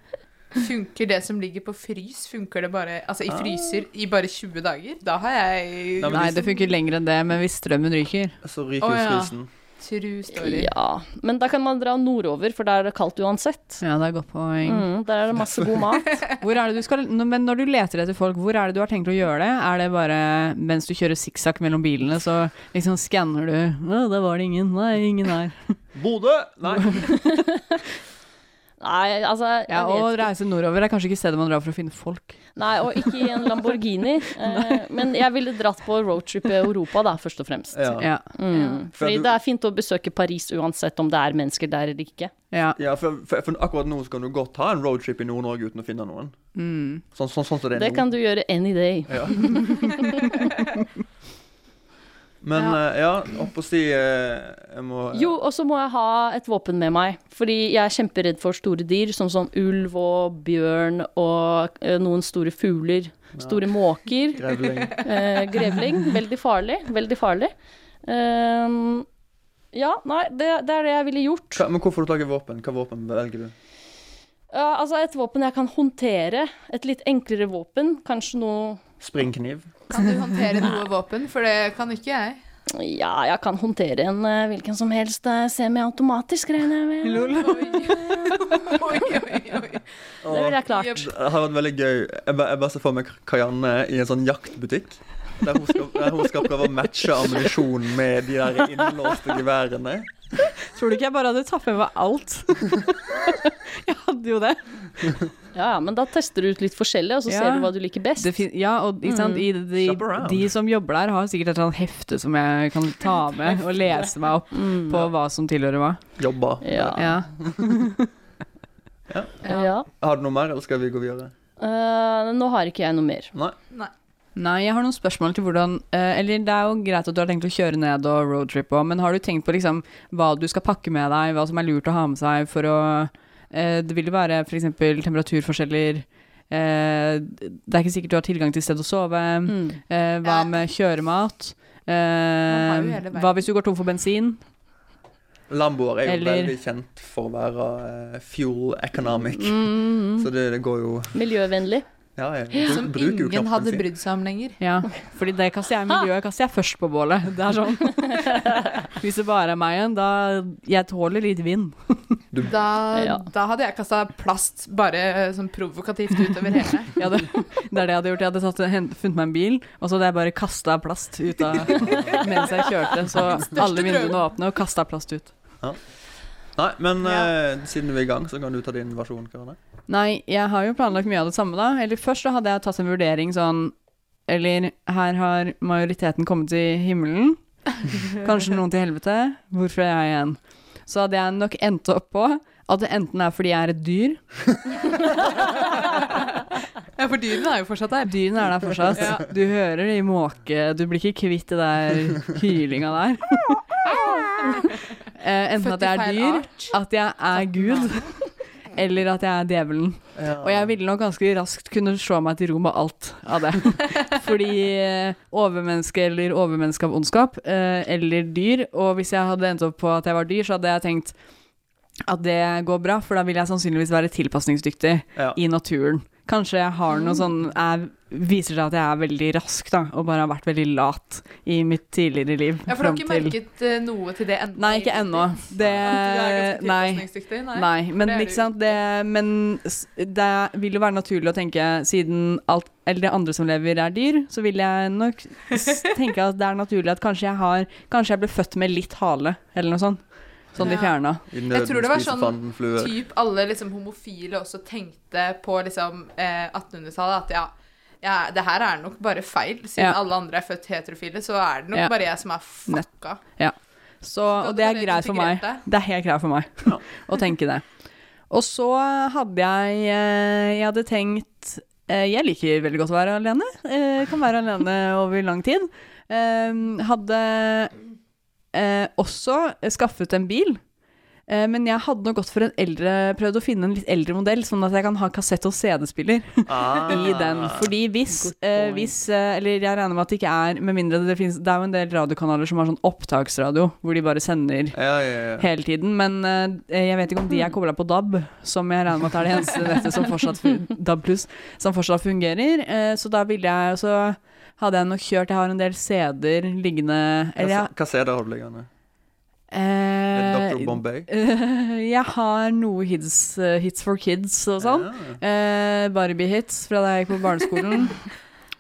Speaker 6: Funker det som ligger på frys, funker det bare altså i fryser i bare 20 dager? Da har jeg
Speaker 5: Ah. Nei, men
Speaker 7: Nei,
Speaker 5: de-
Speaker 7: det funker lenger enn det, men hvis strømmen ryker
Speaker 5: Så ryker
Speaker 6: Å,
Speaker 5: jo
Speaker 6: ja.
Speaker 5: frusen.
Speaker 6: true story.
Speaker 8: Ja, men da kan man dra nordover, for da er det kaldt uansett.
Speaker 7: Ja, det er et godt poeng.
Speaker 8: Mm, der er det masse god mat.
Speaker 7: Hvor er det du skal, nå- men når du leter etter folk, hvor er det du har tenkt å gjøre det? Er det bare mens du kjører sikksakk mellom bilene, så liksom skanner du Å, der var det ingen. Nei, ingen her.
Speaker 5: Bodø! Nei.
Speaker 8: Nei, altså jeg
Speaker 7: Ja,
Speaker 8: vet
Speaker 7: Å
Speaker 8: ikke.
Speaker 7: reise nordover er kanskje ikke stedet man drar for å finne folk.
Speaker 8: Nei, og ikke i en Lamborghini. eh, men jeg ville dratt på roadtrip i Europa, da, først og fremst.
Speaker 5: Ja.
Speaker 7: Ja.
Speaker 8: Mm,
Speaker 5: For
Speaker 8: fordi
Speaker 5: du-
Speaker 8: det er fint å besøke Paris uansett om det er mennesker der eller ikke.
Speaker 7: ja.
Speaker 5: Ja, for, for, for akkurat nå så kan du godt ha en roadtrip i Nord-Norge uten å finne noen. Sånn sånn- sånn som det er
Speaker 8: Det
Speaker 5: nå.
Speaker 8: kan du gjøre any day.
Speaker 5: Ja. Men eh, ja, opp og si eh, Jeg må eh,
Speaker 8: Jo, og så må jeg ha et våpen med meg. Fordi jeg er kjemperedd for store dyr, som sånn ulv og bjørn og eh, noen store fugler. Store måker.
Speaker 5: grevling.
Speaker 8: Eh, grevling. Veldig farlig. Veldig farlig. Ehm, ja, nei, det, det er det jeg ville gjort.
Speaker 5: Hva, men hvor får du tak i våpen? Hva våpen velger du?
Speaker 8: Ja, altså et våpen jeg kan håndtere. Et litt enklere våpen. Kanskje noe
Speaker 5: Springkniv?
Speaker 6: Kan du håndtere noe våpen? For det kan ikke jeg.
Speaker 8: Ja, jeg kan håndtere en eh, hvilken som helst eh, semiautomatisk, regner jeg med. Det ville jeg klart.
Speaker 5: Det har vært veldig gøy. Jeg bare, jeg bare ser for meg Kajanne i en sånn jaktbutikk. Der hun skal, der hun skal prøve å matche ammunisjon med de der innlåste geværene.
Speaker 7: Tror du ikke jeg bare hadde tatt med meg alt? jeg hadde jo det.
Speaker 8: Ja, ja, men da tester du ut litt forskjellig, og så ser du hva du liker best.
Speaker 7: ja, og ikke
Speaker 8: Mm.
Speaker 7: sant, i de,
Speaker 8: Shop around.
Speaker 7: de som jobber der, har sikkert et eller annet hefte som jeg kan ta med og lese meg opp
Speaker 8: Mm.
Speaker 7: på hva som tilhører hva.
Speaker 5: Jobba.
Speaker 8: Ja.
Speaker 7: Ja.
Speaker 8: Ja.
Speaker 5: Har du noe mer, eller skal vi gå videre?
Speaker 8: Eh, nå har ikke jeg noe mer.
Speaker 5: Nei.
Speaker 7: Nei, jeg har noen spørsmål til hvordan eh, Eller det er jo greit at du har tenkt å kjøre ned og roadtrip og, men har du tenkt på liksom hva du skal pakke med deg, hva som er lurt å ha med seg for å eh, Det vil jo være f.eks. temperaturforskjeller eh, Det er ikke sikkert du har tilgang til sted å sove.
Speaker 6: Mm.
Speaker 7: eh, hva med
Speaker 6: har
Speaker 7: kjøremat?
Speaker 6: jo
Speaker 7: Eh,
Speaker 6: hele verden.
Speaker 7: hva hvis du går tom for bensin?
Speaker 5: Lamboer er jo
Speaker 7: Eller-
Speaker 5: veldig kjent for å være eh, fuel economic. Så det, det går jo
Speaker 8: Miljøvennlig.
Speaker 5: Ja, jeg bru-
Speaker 6: Mm. Som
Speaker 5: bruker jo
Speaker 6: ingen
Speaker 5: knappen
Speaker 6: hadde
Speaker 5: sin.
Speaker 6: brydd seg om lenger.
Speaker 7: Ja, fordi det kaster jeg miljøet kaster jeg først på bålet. Det er sånn. Hvis det bare er meg igjen, da Jeg tåler litt vind.
Speaker 6: Da,
Speaker 7: Ja.
Speaker 6: da hadde jeg kasta plast bare eh, sånn provokativt utover hele.
Speaker 7: Ja, det, det er det jeg hadde gjort. Jeg hadde tatt, hent, funnet meg en bil, og så hadde jeg bare kasta plast ut av mens jeg kjørte. Så alle vinduene åpne og kasta plast ut.
Speaker 5: Ja. Nei, men eh, siden vi er i gang, så kan du ta din versjon, Karane.
Speaker 7: Nei, jeg har jo planlagt mye av det samme, da. Eller først så hadde jeg tatt en vurdering sånn Eller her har majoriteten kommet til himmelen. Kanskje noen til helvete. Hvorfor er jeg igjen? Så hadde jeg nok endt opp på at det enten er fordi jeg er et dyr,
Speaker 6: Ja, for dyrene er jo fortsatt der.
Speaker 7: Dyrene er der fortsatt.
Speaker 6: Ja.
Speaker 7: Du hører det i måke, du blir ikke kvitt det der hylinga der. Eh, Enten
Speaker 6: Født
Speaker 7: at
Speaker 6: i
Speaker 7: jeg er
Speaker 6: feil
Speaker 7: dyr, at jeg er Gud, eller at jeg er djevelen.
Speaker 5: Ja.
Speaker 7: Og jeg ville nok ganske raskt kunne slå meg til ro med alt av det. Fordi eh, overmenneske eller overmenneske av ondskap, eh, eller dyr, og hvis jeg hadde endt opp på at jeg var dyr, så hadde jeg tenkt at det går bra, for da vil jeg sannsynligvis være tilpasningsdyktig
Speaker 5: Ja.
Speaker 7: i naturen. Kanskje jeg har noe sånn jeg Viser seg at jeg er veldig rask, da, og bare har vært veldig lat i mitt tidligere liv.
Speaker 6: Ja, for du har
Speaker 7: frem
Speaker 6: ikke
Speaker 7: til-
Speaker 6: merket eh, noe til det ennå?
Speaker 7: Nei, ikke ennå. Det
Speaker 6: ganske
Speaker 7: Nei.
Speaker 6: tilpasningsdyktig, liksom. nei.
Speaker 7: Nei, men
Speaker 6: Det er du
Speaker 7: ikke sant det, Men s- det vil jo være naturlig å tenke Siden alt, eller det andre som lever er dyr Så vil jeg nok s- tenke at det er naturlig at kanskje jeg har Kanskje jeg ble født med litt hale Eller noe sånn Sånn de
Speaker 6: Ja.
Speaker 7: fjerna
Speaker 5: I
Speaker 6: Jeg tror det var
Speaker 5: spiser
Speaker 6: sånn
Speaker 5: fanden fluer.
Speaker 6: typ alle liksom homofile også tenkte på liksom eh, 1800-tallet at ja, ja, det her er nok bare feil. Siden
Speaker 7: Ja.
Speaker 6: alle andre er født heterofile, så er det nok
Speaker 7: Ja.
Speaker 6: bare jeg som er fucka.
Speaker 7: Ja. Så, og
Speaker 6: Da
Speaker 7: det er
Speaker 6: hadde du
Speaker 7: greit for meg.
Speaker 6: integrert
Speaker 7: Det er helt greit for meg å tenke det. Og så hadde jeg eh, Jeg hadde tenkt eh, Jeg liker veldig godt å være alene. Eh, Kan være alene over lang tid. Eh, Hadde eh, også skaffet en bil. Eh, Men jeg hadde nok gått for en eldre, prøvd å finne en litt eldre modell, sånn at jeg kan ha kassett- og CD-spiller
Speaker 5: Ah.
Speaker 7: i den. Fordi hvis, eh, hvis eh, Eller jeg regner med at det ikke er Med mindre det finnes Det er jo en del radiokanaler som har sånn opptaksradio, hvor de bare sender
Speaker 5: Ja, ja, ja.
Speaker 7: hele tiden. Men eh, jeg vet ikke om de er kobla på DAB, som jeg regner med at er det eneste nettet som fortsatt, fun- DAB pluss, som fortsatt fungerer. Eh, så da ville jeg Så hadde jeg nok kjørt Jeg har en del CD-er liggende Eller jeg,
Speaker 5: Hva- Hva ser dere har du liggende?
Speaker 7: Eh,
Speaker 5: Dr. Bombay?
Speaker 7: eh, jeg har noe hits, eh, hits for kids og sånn. Eh, Barbie-hits fra da jeg gikk på barneskolen.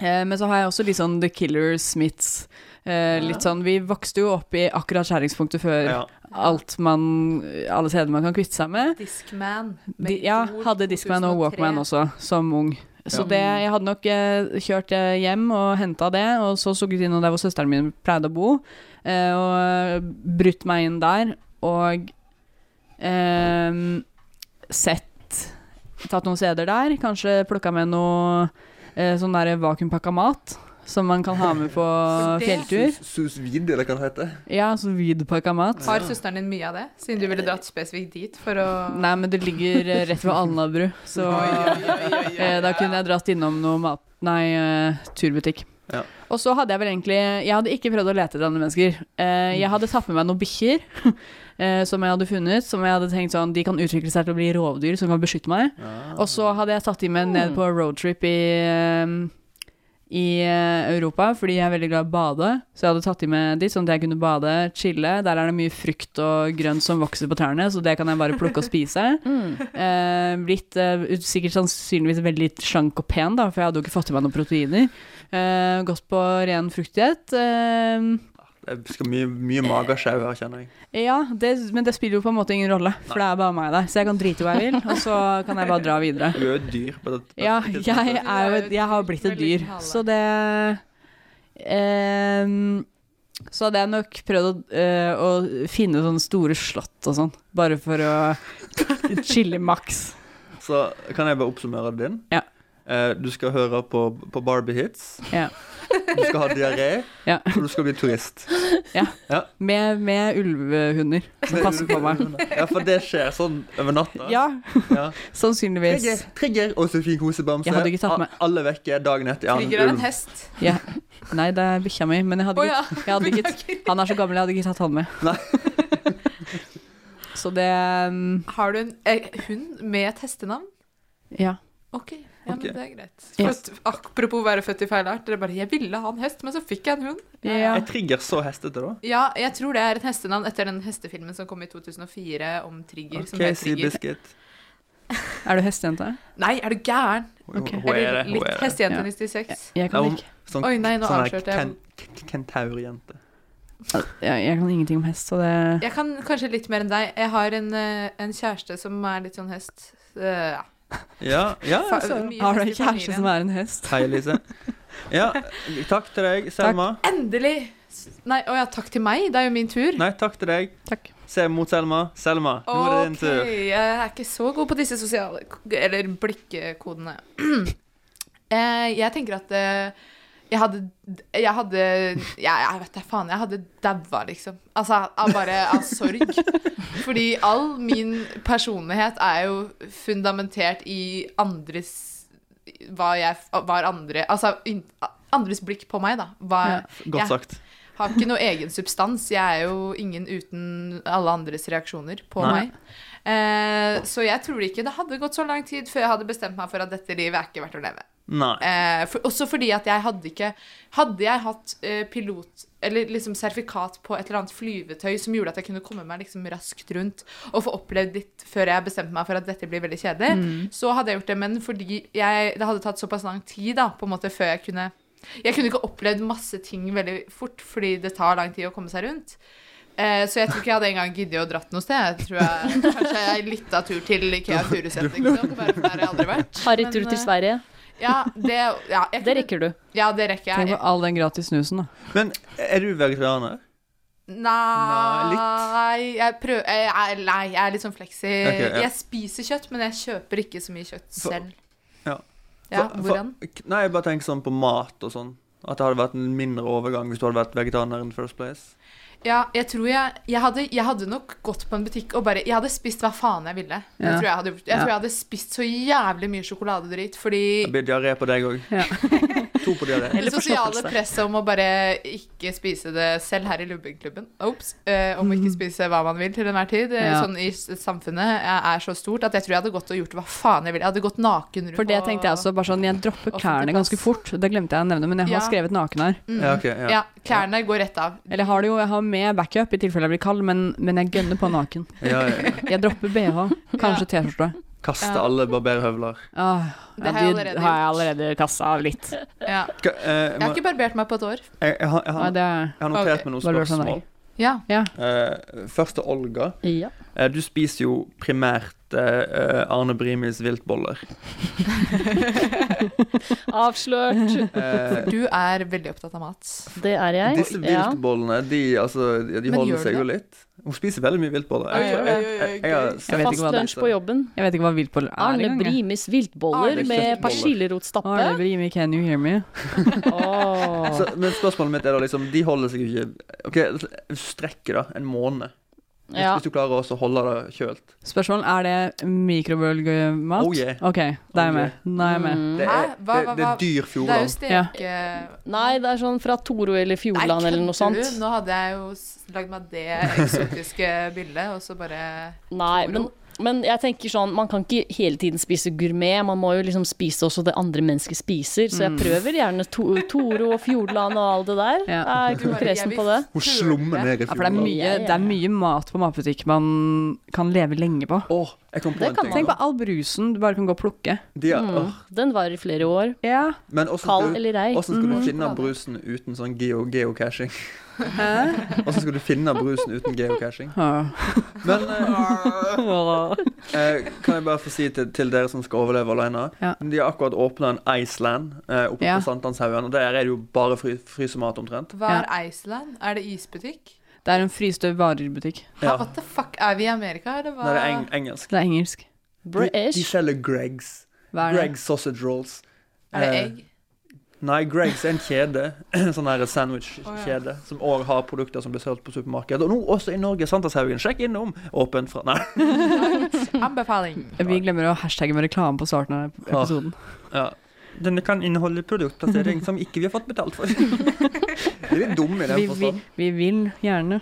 Speaker 7: Eh, men så har jeg også litt sånn The Killer Smiths. Eh, litt sånn, Vi vokste jo opp i akkurat skjæringspunktet før
Speaker 6: Ja.
Speaker 7: alt man, alle steder man kan kvitte seg med.
Speaker 6: Discman.
Speaker 7: De, ja, hadde Discman og Walkman også, som ung. Så
Speaker 6: Ja.
Speaker 7: det, jeg hadde nok eh, kjørt eh, hjem og henta det, og så sugget inn der hvor søsteren min pleide å bo, eh, og brutt meg inn der, og eh, sett Tatt noen CD-er der, kanskje plukka med noe eh, sånn der vakuumpakka mat, som man kan ha med på fjelltur.
Speaker 5: Sus- Susvid, eller hva det heter.
Speaker 7: Ja, så vidpakka mat.
Speaker 6: Har søsteren din mye av det? Siden du ville dratt spesifikt dit for å
Speaker 7: Eh, Nei, men det ligger eh, rett ved Alnabru, så eh, da kunne jeg dratt innom noe mat... Nei, eh, turbutikk.
Speaker 5: Ja.
Speaker 7: Og så hadde jeg vel egentlig Jeg hadde ikke prøvd å lete etter andre mennesker. Eh, jeg hadde tatt med meg noen bikkjer eh, som jeg hadde funnet, som jeg hadde tenkt sånn De kan utvikle seg til å bli rovdyr som kan beskytte meg. Og så hadde jeg tatt de med ned på roadtrip i eh, i eh, Europa, fordi jeg er veldig glad i å bade. Så jeg hadde tatt de med dit, sånn at jeg kunne bade, chille. Der er det mye frukt og grønt som vokser på trærne, så det kan jeg bare plukke og spise. Eh, blitt eh, ut- sikkert sannsynligvis veldig slank og pen, da, for jeg hadde jo ikke fått i meg noen proteiner. Eh, gått på ren fruktdiett. Eh,
Speaker 5: Det skal mye, mye magesjau her, kjenner jeg.
Speaker 7: ja, det, men det spiller jo på en måte ingen rolle, for det er bare meg der. Så jeg kan drite i hva jeg vil, og så kan jeg bare dra videre.
Speaker 5: Du er jo et dyr på det.
Speaker 7: Ja, jeg, er sånn. jo, et- jeg har blitt et dyr, så det ehm, Så hadde jeg nok prøvd å, eh, å finne sånne store slott og sånn, bare for å chille maks.
Speaker 5: Så kan jeg bare oppsummere din?
Speaker 7: Ja.
Speaker 5: Eh, du skal høre på, på Barbie hits.
Speaker 7: Ja.
Speaker 5: Du skal ha diaré,
Speaker 7: Ja.
Speaker 5: og du skal bli turist.
Speaker 7: ja.
Speaker 5: Ja.
Speaker 7: Med, med ulvehunder som passer på meg.
Speaker 5: Ja, for det skjer sånn over natta.
Speaker 7: Ja,
Speaker 5: Ja. Trigger,
Speaker 7: sannsynligvis.
Speaker 5: trigger og Sofie Kosebamse.
Speaker 7: Jeg hadde ikke tatt med-
Speaker 5: A- Alle vekke dagen etter. ja,
Speaker 6: Trigger er
Speaker 5: ulv.
Speaker 6: en hest.
Speaker 7: Ja. Nei, det er bikkja mi, men jeg hadde
Speaker 6: Å ja.
Speaker 7: ikke, jeg hadde ikke Han er så gammel, jeg hadde ikke tatt han med.
Speaker 5: Nei.
Speaker 7: så det um,
Speaker 6: Har du en eh, hund med et hestenavn?
Speaker 7: Ja.
Speaker 6: Ok, ja,
Speaker 5: Ok.
Speaker 6: men det er greit.
Speaker 7: Ja.
Speaker 6: Først, apropos være født i feil art. Dere bare 'Jeg ville ha en hest, men så fikk jeg en hund'.
Speaker 7: ja.
Speaker 5: Er trigger så hestete, da?
Speaker 6: Ja, jeg tror det er et hestenavn etter den hestefilmen som kom i 2004 om Trigger. som
Speaker 5: OK,
Speaker 6: het
Speaker 5: si
Speaker 6: Trigger.
Speaker 5: biscuit.
Speaker 7: Er du hestejente?
Speaker 6: Nei, er du gæren?
Speaker 5: Hun
Speaker 7: Ok.
Speaker 5: hun er
Speaker 6: Eller
Speaker 5: det. Hun
Speaker 6: litt
Speaker 5: er det.
Speaker 6: hestejente
Speaker 7: Ja.
Speaker 6: 96.
Speaker 7: Jeg
Speaker 5: Nei,
Speaker 7: kan,
Speaker 5: hun-
Speaker 7: ikke,
Speaker 5: sånn,
Speaker 6: Oi, nei, nå
Speaker 5: sånn
Speaker 6: avslørte jeg.
Speaker 5: ken, ken, Kentaurjente.
Speaker 7: jeg, jeg kan ingenting om hest, så det
Speaker 6: Jeg kan kanskje litt mer enn deg. Jeg har en, eh, en kjæreste som er litt sånn hest. Eh, ja.
Speaker 5: Ja, ja
Speaker 6: Fa-
Speaker 5: altså.
Speaker 6: mye
Speaker 7: Har du en
Speaker 6: hest i
Speaker 7: kjæreste
Speaker 6: familien.
Speaker 7: som er en hest?
Speaker 5: Hei, Elise. Ja, takk til deg, Selma.
Speaker 6: Endelig! Nei, å ja, takk til meg. Det er jo min tur.
Speaker 5: Nei, takk til deg.
Speaker 7: Takk.
Speaker 5: Se mot Selma. Selma, nå er det din
Speaker 6: Ok,
Speaker 5: tur.
Speaker 6: jeg er ikke så god på disse sosiale Eller blikkodene. Eh, jeg tenker at eh, jeg hadde Jeg hadde ja, Jeg vet da faen. Jeg hadde daua, liksom. Altså av bare av sorg. Fordi all min personlighet er jo fundamentert i andres Hva jeg var andre Altså in, andres blikk på meg, da. Hva,
Speaker 5: Godt
Speaker 6: jeg-
Speaker 5: sagt.
Speaker 6: har ikke noe egen substans. Jeg er jo ingen uten alle andres reaksjoner på
Speaker 5: Nei.
Speaker 6: meg. Eh, så jeg tror ikke det hadde gått så lang tid før jeg hadde bestemt meg for at dette livet er ikke verdt å leve.
Speaker 5: Nei.
Speaker 6: Eh, for, også fordi at jeg hadde ikke Hadde jeg hatt eh, pilot Eller liksom sertifikat på et eller annet flyvetøy som gjorde at jeg kunne komme meg liksom raskt rundt og få opplevd litt før jeg bestemte meg for at dette blir veldig kjedelig, så hadde jeg gjort det. Men fordi jeg, det hadde tatt såpass lang tid da, på en måte før jeg kunne Jeg kunne ikke opplevd masse ting veldig fort fordi det tar lang tid å komme seg rundt. Eh, så jeg tror ikke jeg hadde engang giddet å dratt noe sted. Jeg tror jeg, Kanskje jeg litt av tur til Ikea Furuset, liksom. Bare for der har jeg aldri vært.
Speaker 8: Harrytur
Speaker 6: Men,
Speaker 8: til
Speaker 6: eh,
Speaker 8: Sverige,
Speaker 6: ja, det, ja, jeg
Speaker 8: det
Speaker 6: kunne-
Speaker 8: rekker du.
Speaker 6: Ja, det rekker
Speaker 7: Tenk
Speaker 6: jeg.
Speaker 7: på all den gratis snusen, da.
Speaker 5: Men er du vegetarianer? Nei,
Speaker 6: Nei, jeg prøver jeg, er- Nei, jeg er litt sånn fleksi.
Speaker 5: Ok, ja.
Speaker 6: Jeg spiser kjøtt, men jeg kjøper ikke så mye kjøtt
Speaker 5: For-
Speaker 6: selv.
Speaker 5: ja.
Speaker 6: Ja,
Speaker 5: For- for-
Speaker 6: hvordan?
Speaker 5: Nei, jeg bare tenker sånn på mat og sånn. At det hadde vært en mindre overgang hvis du hadde vært vegetarianer in the first place.
Speaker 6: Ja, jeg tror jeg jeg hadde, jeg hadde nok gått på en butikk og bare Jeg hadde spist hva faen jeg ville. Det
Speaker 7: Ja.
Speaker 6: tror jeg, hadde, gjort. jeg
Speaker 7: Ja.
Speaker 6: tror jeg hadde spist så jævlig mye sjokoladedritt fordi
Speaker 5: Det blir diaré på deg òg.
Speaker 7: Ja.
Speaker 5: To på diaré.
Speaker 6: det sosiale presset om å bare ikke spise det selv her i Lubbenklubben Ops, eh, Om å ikke spise hva man vil til enhver tid eh,
Speaker 7: Mhm. Ja.
Speaker 6: Sånn i s- samfunnet eh, er- er så stort At jeg tror jeg hadde gått og gjort hva faen jeg ville Jeg hadde gått naken rundt
Speaker 7: For det
Speaker 6: og-
Speaker 7: tenkte jeg også, bare sånn, jeg dropper
Speaker 6: Offentlig
Speaker 7: klærne ganske
Speaker 6: plass.
Speaker 7: fort. Det glemte jeg å nevne, men jeg har
Speaker 6: Ja. Mm.
Speaker 7: skrevet naken her.
Speaker 5: Ja, ok, ja.
Speaker 6: Ja, klærne går rett av
Speaker 7: Eller jeg har det jo, jeg har med backup i tilfelle jeg blir kald, men, men jeg gønner på naken.
Speaker 5: Ja, ja, ja.
Speaker 7: Jeg dropper bh, kanskje T-skjorte.
Speaker 5: Kaste
Speaker 6: Ja.
Speaker 5: alle barberhøvler.
Speaker 7: Ah,
Speaker 6: Det
Speaker 7: ja,
Speaker 6: har jeg
Speaker 7: de
Speaker 6: allerede
Speaker 7: har jeg allerede kassa av litt.
Speaker 6: ja.
Speaker 5: Skal- eh,
Speaker 6: Jeg har ikke barbert meg på et år
Speaker 5: Jeg, jeg, har- jeg,
Speaker 7: Nei,
Speaker 5: har-
Speaker 7: det er
Speaker 5: jeg har notert
Speaker 6: Ok.
Speaker 5: meg noen
Speaker 7: Bare lurt av
Speaker 5: spørsmål.
Speaker 7: deg.
Speaker 6: Ja,
Speaker 5: Eh, først til Olga.
Speaker 8: Ja.
Speaker 5: Eh, du spiser jo primært eh, eh, Arne Brimis viltboller.
Speaker 8: Avslørt.
Speaker 5: Eh,
Speaker 6: du er veldig opptatt av mat
Speaker 8: Det er jeg.
Speaker 5: disse
Speaker 8: Ja.
Speaker 5: viltbollene, de, altså, de- de
Speaker 6: Men
Speaker 5: holder
Speaker 6: gjør
Speaker 5: seg
Speaker 6: det?
Speaker 5: jo litt. Hun spiser veldig mye viltboller.
Speaker 6: Oi,
Speaker 5: Jeg, jeg,
Speaker 6: oi, oi,
Speaker 5: jeg, jeg, har-
Speaker 7: Jeg vet ikke
Speaker 8: Fast
Speaker 7: hva det
Speaker 8: lunsj på jobben.
Speaker 7: Jeg vet ikke hva viltboller er
Speaker 8: Arne
Speaker 7: engang. jeg.
Speaker 8: Brimis
Speaker 5: Arne
Speaker 8: viltboller med
Speaker 5: Kjøttboller.
Speaker 7: Arne
Speaker 8: persillerotstappe.
Speaker 7: Brimi, can you hear me?
Speaker 8: Åh.
Speaker 5: så, men spørsmålet mitt er da liksom De holder seg jo ikke Ok, strekket, da. En måned. Hvis,
Speaker 8: Ja.
Speaker 5: hvis du klarer også å holde det kjølt.
Speaker 7: Spørsmål, er det mikrobølgemat?
Speaker 5: Oh, yeah.
Speaker 7: Ok, da er jeg med. Da er jeg
Speaker 6: Mm.
Speaker 7: med.
Speaker 5: Det er,
Speaker 6: Hæ? Hva-
Speaker 5: Eh, det, det
Speaker 6: hva-
Speaker 5: er dyr
Speaker 6: Det er jo
Speaker 5: fjordland.
Speaker 6: steke
Speaker 8: Nei, det er sånn fra Toro eller
Speaker 6: Nei,
Speaker 8: Fjordland eller noe
Speaker 6: kødder du?
Speaker 8: sånt.
Speaker 6: Nå hadde jeg jo s- lagd meg det eksotiske bildet Og så bare
Speaker 8: Nei, men Men jeg tenker sånn, man kan ikke hele tiden spise gourmet. Man må jo liksom spise også det andre mennesker spiser. Så jeg
Speaker 7: Mm.
Speaker 8: prøver gjerne to Toro og Fjordland og alt det der. Jeg er ikke noe kresen på det.
Speaker 5: Hun slummer ned i
Speaker 7: Ja, for det er,
Speaker 5: fjorden.
Speaker 7: mye, det er mye mat på matbutikk man kan leve lenge på.
Speaker 5: Jeg kom på en ting.
Speaker 7: Tenk på all brusen du bare kan gå og plukke.
Speaker 5: De er- Mm. åh.
Speaker 8: Den varer i flere år.
Speaker 7: Ja.
Speaker 5: Men hvordan
Speaker 8: Kald
Speaker 5: skal,
Speaker 8: eller ei.
Speaker 5: du- hvordan skal
Speaker 8: Mhm.
Speaker 5: du finne brusen uten sånn geo geocaching?
Speaker 7: Hæ?
Speaker 5: Hvordan skal du finne brusen uten geocaching?
Speaker 7: Ja.
Speaker 5: Men eh, eh, kan jeg bare få si til, til dere som skal overleve alene
Speaker 7: Ja.
Speaker 5: De har akkurat åpna en Iceland eh, oppe
Speaker 7: Ja.
Speaker 5: på Sankthanshaugen. Og der er det jo bare fry, frysemat omtrent.
Speaker 6: Hva er Iceland? Er det isbutikk?
Speaker 7: Det er en fryste varerbutikk.
Speaker 5: Ja.
Speaker 6: What the fuck, er vi i Amerika, eller hva?
Speaker 5: Nei, det er eng engelsk.
Speaker 7: Det er engelsk.
Speaker 5: De, de selger Gregs.
Speaker 7: Hva er det?
Speaker 5: Gregs sausage rolls.
Speaker 6: Er det
Speaker 5: Eh,
Speaker 6: egg?
Speaker 5: Nei, Gregs er en kjede, sånn her sandwich-kjede, som òg har produkter som blir solgt på supermarked. Og nå også i Norge, Sankthanshaugen. Sjekk innom! Åpen fra Nei.
Speaker 6: Anbefaling.
Speaker 7: Vi glemmer å hashtagge med reklame på starten av episoden.
Speaker 5: Ja. Denne kan inneholde produktplassering som ikke vi har fått betalt for. det er litt dum i den
Speaker 7: Vi, vi,
Speaker 5: forstand.
Speaker 7: vi vil gjerne.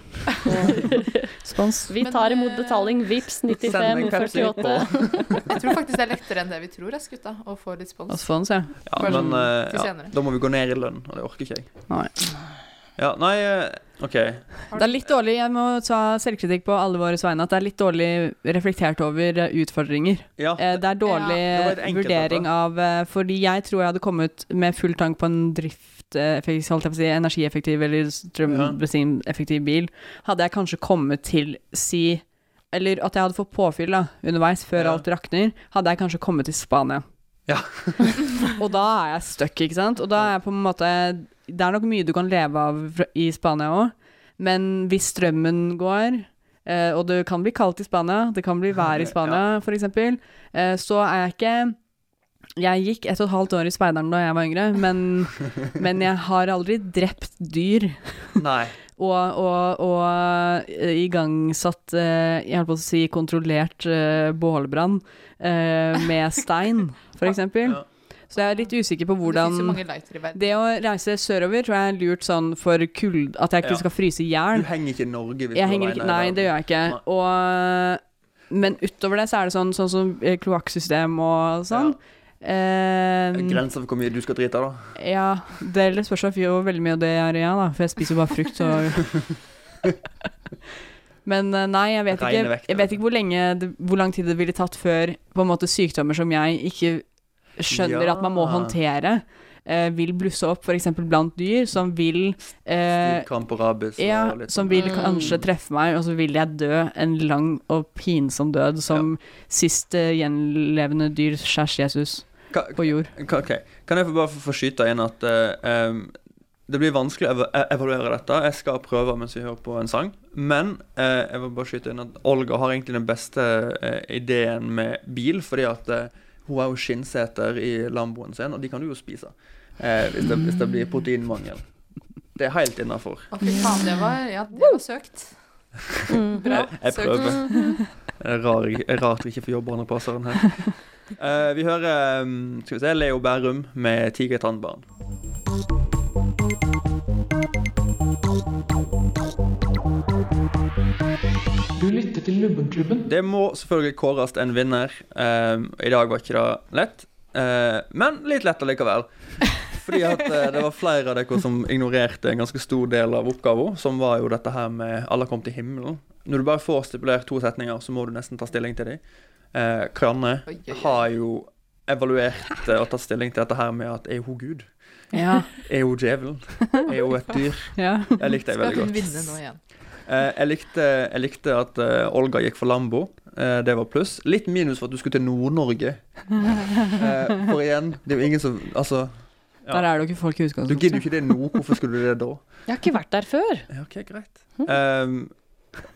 Speaker 7: Spons.
Speaker 8: Vi tar imot betaling. Vips
Speaker 5: eh, Send meg
Speaker 8: 95
Speaker 5: Pepsi
Speaker 8: 48.
Speaker 6: Jeg tror faktisk det er lettere enn det vi tror, ass, gutta, å få litt spons.
Speaker 7: Spons, ja.
Speaker 5: Ja,
Speaker 6: Bare
Speaker 5: men
Speaker 6: sånn
Speaker 5: eh,
Speaker 6: til
Speaker 5: ja,
Speaker 6: senere.
Speaker 5: da må vi gå ned i lønn, og det orker ikke jeg.
Speaker 7: Nei.
Speaker 5: Ja, nei, eh, OK.
Speaker 7: Det er litt dårlig, jeg må ta selvkritikk på alle våre vegne, at det er litt dårlig reflektert over eh, utfordringer.
Speaker 5: Ja.
Speaker 7: Eh, Det er dårlig
Speaker 5: Ja. Det var et enkelt
Speaker 7: vurdering av eh, Fordi jeg tror jeg hadde kommet med full tank på en drift eh, effektiv- holdt jeg på å si, energieffektiv eller strømbensineffektiv bil, hadde jeg kanskje kommet til si Eller at jeg hadde fått påfyll da, underveis, før alt rakner, hadde jeg kanskje kommet til Spania.
Speaker 5: Ja.
Speaker 7: og da er jeg stuck, ikke sant? Og da er jeg på en måte Det er nok mye du kan leve av fra- i Spania òg, men hvis strømmen går eh, og det kan bli kaldt i Spania, det kan bli vær i Spania for f.eks., så er jeg ikke Jeg gikk ett og et halvt år i speideren da jeg var yngre, men, men jeg har aldri drept dyr
Speaker 5: Nei.
Speaker 7: og, og, og eh, igangsatt eh, Jeg holdt på å si kontrollert eh, bålbrann eh, med stein, f.eks. Så jeg er litt usikker på
Speaker 6: Det finnes jo
Speaker 7: hvordan
Speaker 6: mange lighter i verden.
Speaker 7: Det å reise sørover tror jeg er lurt sånn for kuld... At jeg ikke
Speaker 5: Ja.
Speaker 7: skal fryse i hjel.
Speaker 5: Du henger ikke i Norge hvis
Speaker 7: Jeg
Speaker 5: du
Speaker 7: henger ikke Nei, det gjør jeg ikke. Og, men utover det så er det sånn, sånn som eh, kloakksystem og sånn. Eh,
Speaker 5: Grenser for hvor mye du skal drite, da.
Speaker 7: ja, det eller spørs jo hvor veldig mye av det jeg er, ja, da, for jeg spiser jo bare frukt og Men eh, nei, jeg vet
Speaker 5: Reine
Speaker 7: ikke,
Speaker 5: vekter. altså.
Speaker 7: jeg vet ikke hvor, lenge, det- hvor lang tid det ville tatt før på en måte sykdommer som jeg ikke skjønner
Speaker 5: Ja.
Speaker 7: at man må håndtere, eh, vil blusse opp f.eks. blant dyr, som vil eh,
Speaker 5: Utkamp og rabies
Speaker 7: ja,
Speaker 5: og litt
Speaker 7: som
Speaker 5: sånn.
Speaker 7: vil
Speaker 8: Mm.
Speaker 7: kanskje treffe meg, og så vil jeg dø en lang og pinsom død som sist eh, gjenlevende dyr, skjærs Jesus,
Speaker 5: Ka-
Speaker 7: på jord.
Speaker 5: Ka- Ok, Kan jeg få bare få- få skyte inn at eh, em, det blir vanskelig å eva- e- evaluere dette. Jeg skal prøve mens vi hører på en sang. Men eh, jeg vil bare skyte inn at Olga har egentlig den beste eh, ideen med bil, fordi at eh, hun har jo skinnseter i Lamboen sin, og de kan du jo spise eh, hvis, det, hvis det blir proteinmangel. Det er helt innafor.
Speaker 6: Å, fy faen, det var, ja, det var søkt. Bra.
Speaker 5: Jeg, jeg prøver. Det er rar, det er rart vi ikke får jobbe andre plasser enn her. Eh, vi hører em, skal vi se, Leo Bærum med 'Tigertannbarn'.
Speaker 1: Du lytter til Lubbenklubben.
Speaker 5: Det må selvfølgelig kåres en vinner. Ehm, I dag var ikke det lett, Eh, men litt lett allikevel. Fordi at eh, det var flere av dere som ignorerte en ganske stor del av oppgaven, som var jo dette her med 'alle kom til himmelen'. Når du bare får stipulert to setninger, så må du nesten ta stilling til dem. Uh, Kranne har jo evaluert eh, og tatt stilling til dette her med at er hun Gud?
Speaker 7: Ja.
Speaker 5: Er hun djevelen? Er hun et dyr?
Speaker 7: Ja.
Speaker 5: Jeg likte det
Speaker 6: Skal
Speaker 5: veldig
Speaker 6: hun
Speaker 5: godt.
Speaker 6: vinne nå igjen?
Speaker 5: Eh, jeg, likte, jeg likte at eh, Olga gikk for Lambo. Eh, det var pluss. Litt minus for at du skulle til Nord-Norge. Eh, for igjen, det er jo ingen som Altså,
Speaker 7: Der er det jo ikke folk i
Speaker 5: du
Speaker 7: utgangspunktet.
Speaker 5: gidder jo ikke det nå. Hvorfor skulle du det da?
Speaker 8: Jeg har ikke vært der før.
Speaker 5: Ja, ok, greit.
Speaker 7: Hm?
Speaker 5: Ehm,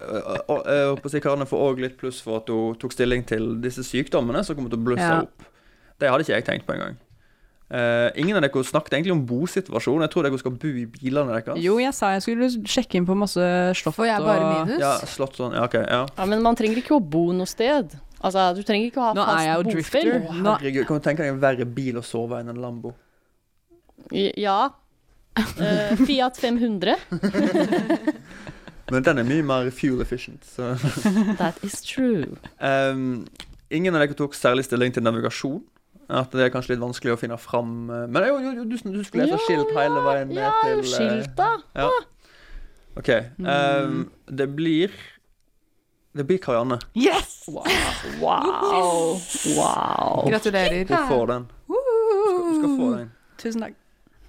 Speaker 5: og- og- jeg håper å si Karne får òg litt pluss for at hun tok stilling til disse sykdommene som kommer til å blusse
Speaker 7: Ja.
Speaker 5: opp. Det hadde ikke jeg tenkt på engang. Uh, ingen av dere snakket egentlig om bosituasjonen. Jeg tror dere skal bo i bilene deres.
Speaker 7: Jo, jeg sa jeg skulle sjekke inn på masse slott
Speaker 8: Får jeg bare
Speaker 7: og-
Speaker 8: minus?
Speaker 5: Ja, slått sånn. Ja, OK. Ja.
Speaker 8: Ja, men man trenger ikke å bo noe sted. Altså, du trenger ikke å ha
Speaker 7: Nå er jeg jo
Speaker 8: fast bofell.
Speaker 7: drifter.
Speaker 5: Å, herregud, kan du tenke deg en verre bil å sove i enn en Lambo?
Speaker 8: Ja. Eh, Fiat 500.
Speaker 5: Men den er mye mer fuel efficient. Så.
Speaker 8: That is true.
Speaker 5: Ehm, ingen av dere tok særlig stilling til navigasjon. At det er kanskje litt vanskelig å finne fram eh, Men jo, jo, jo du, du skulle lese skilt hele veien ned til eh,
Speaker 8: skilt, da.
Speaker 5: Ja. OK. ehm, det blir Det blir Karianne.
Speaker 7: Yes!
Speaker 8: Wow. wow. wow.
Speaker 6: Gratulerer.
Speaker 5: Hun får den. Du skal få den.
Speaker 7: Tusen takk.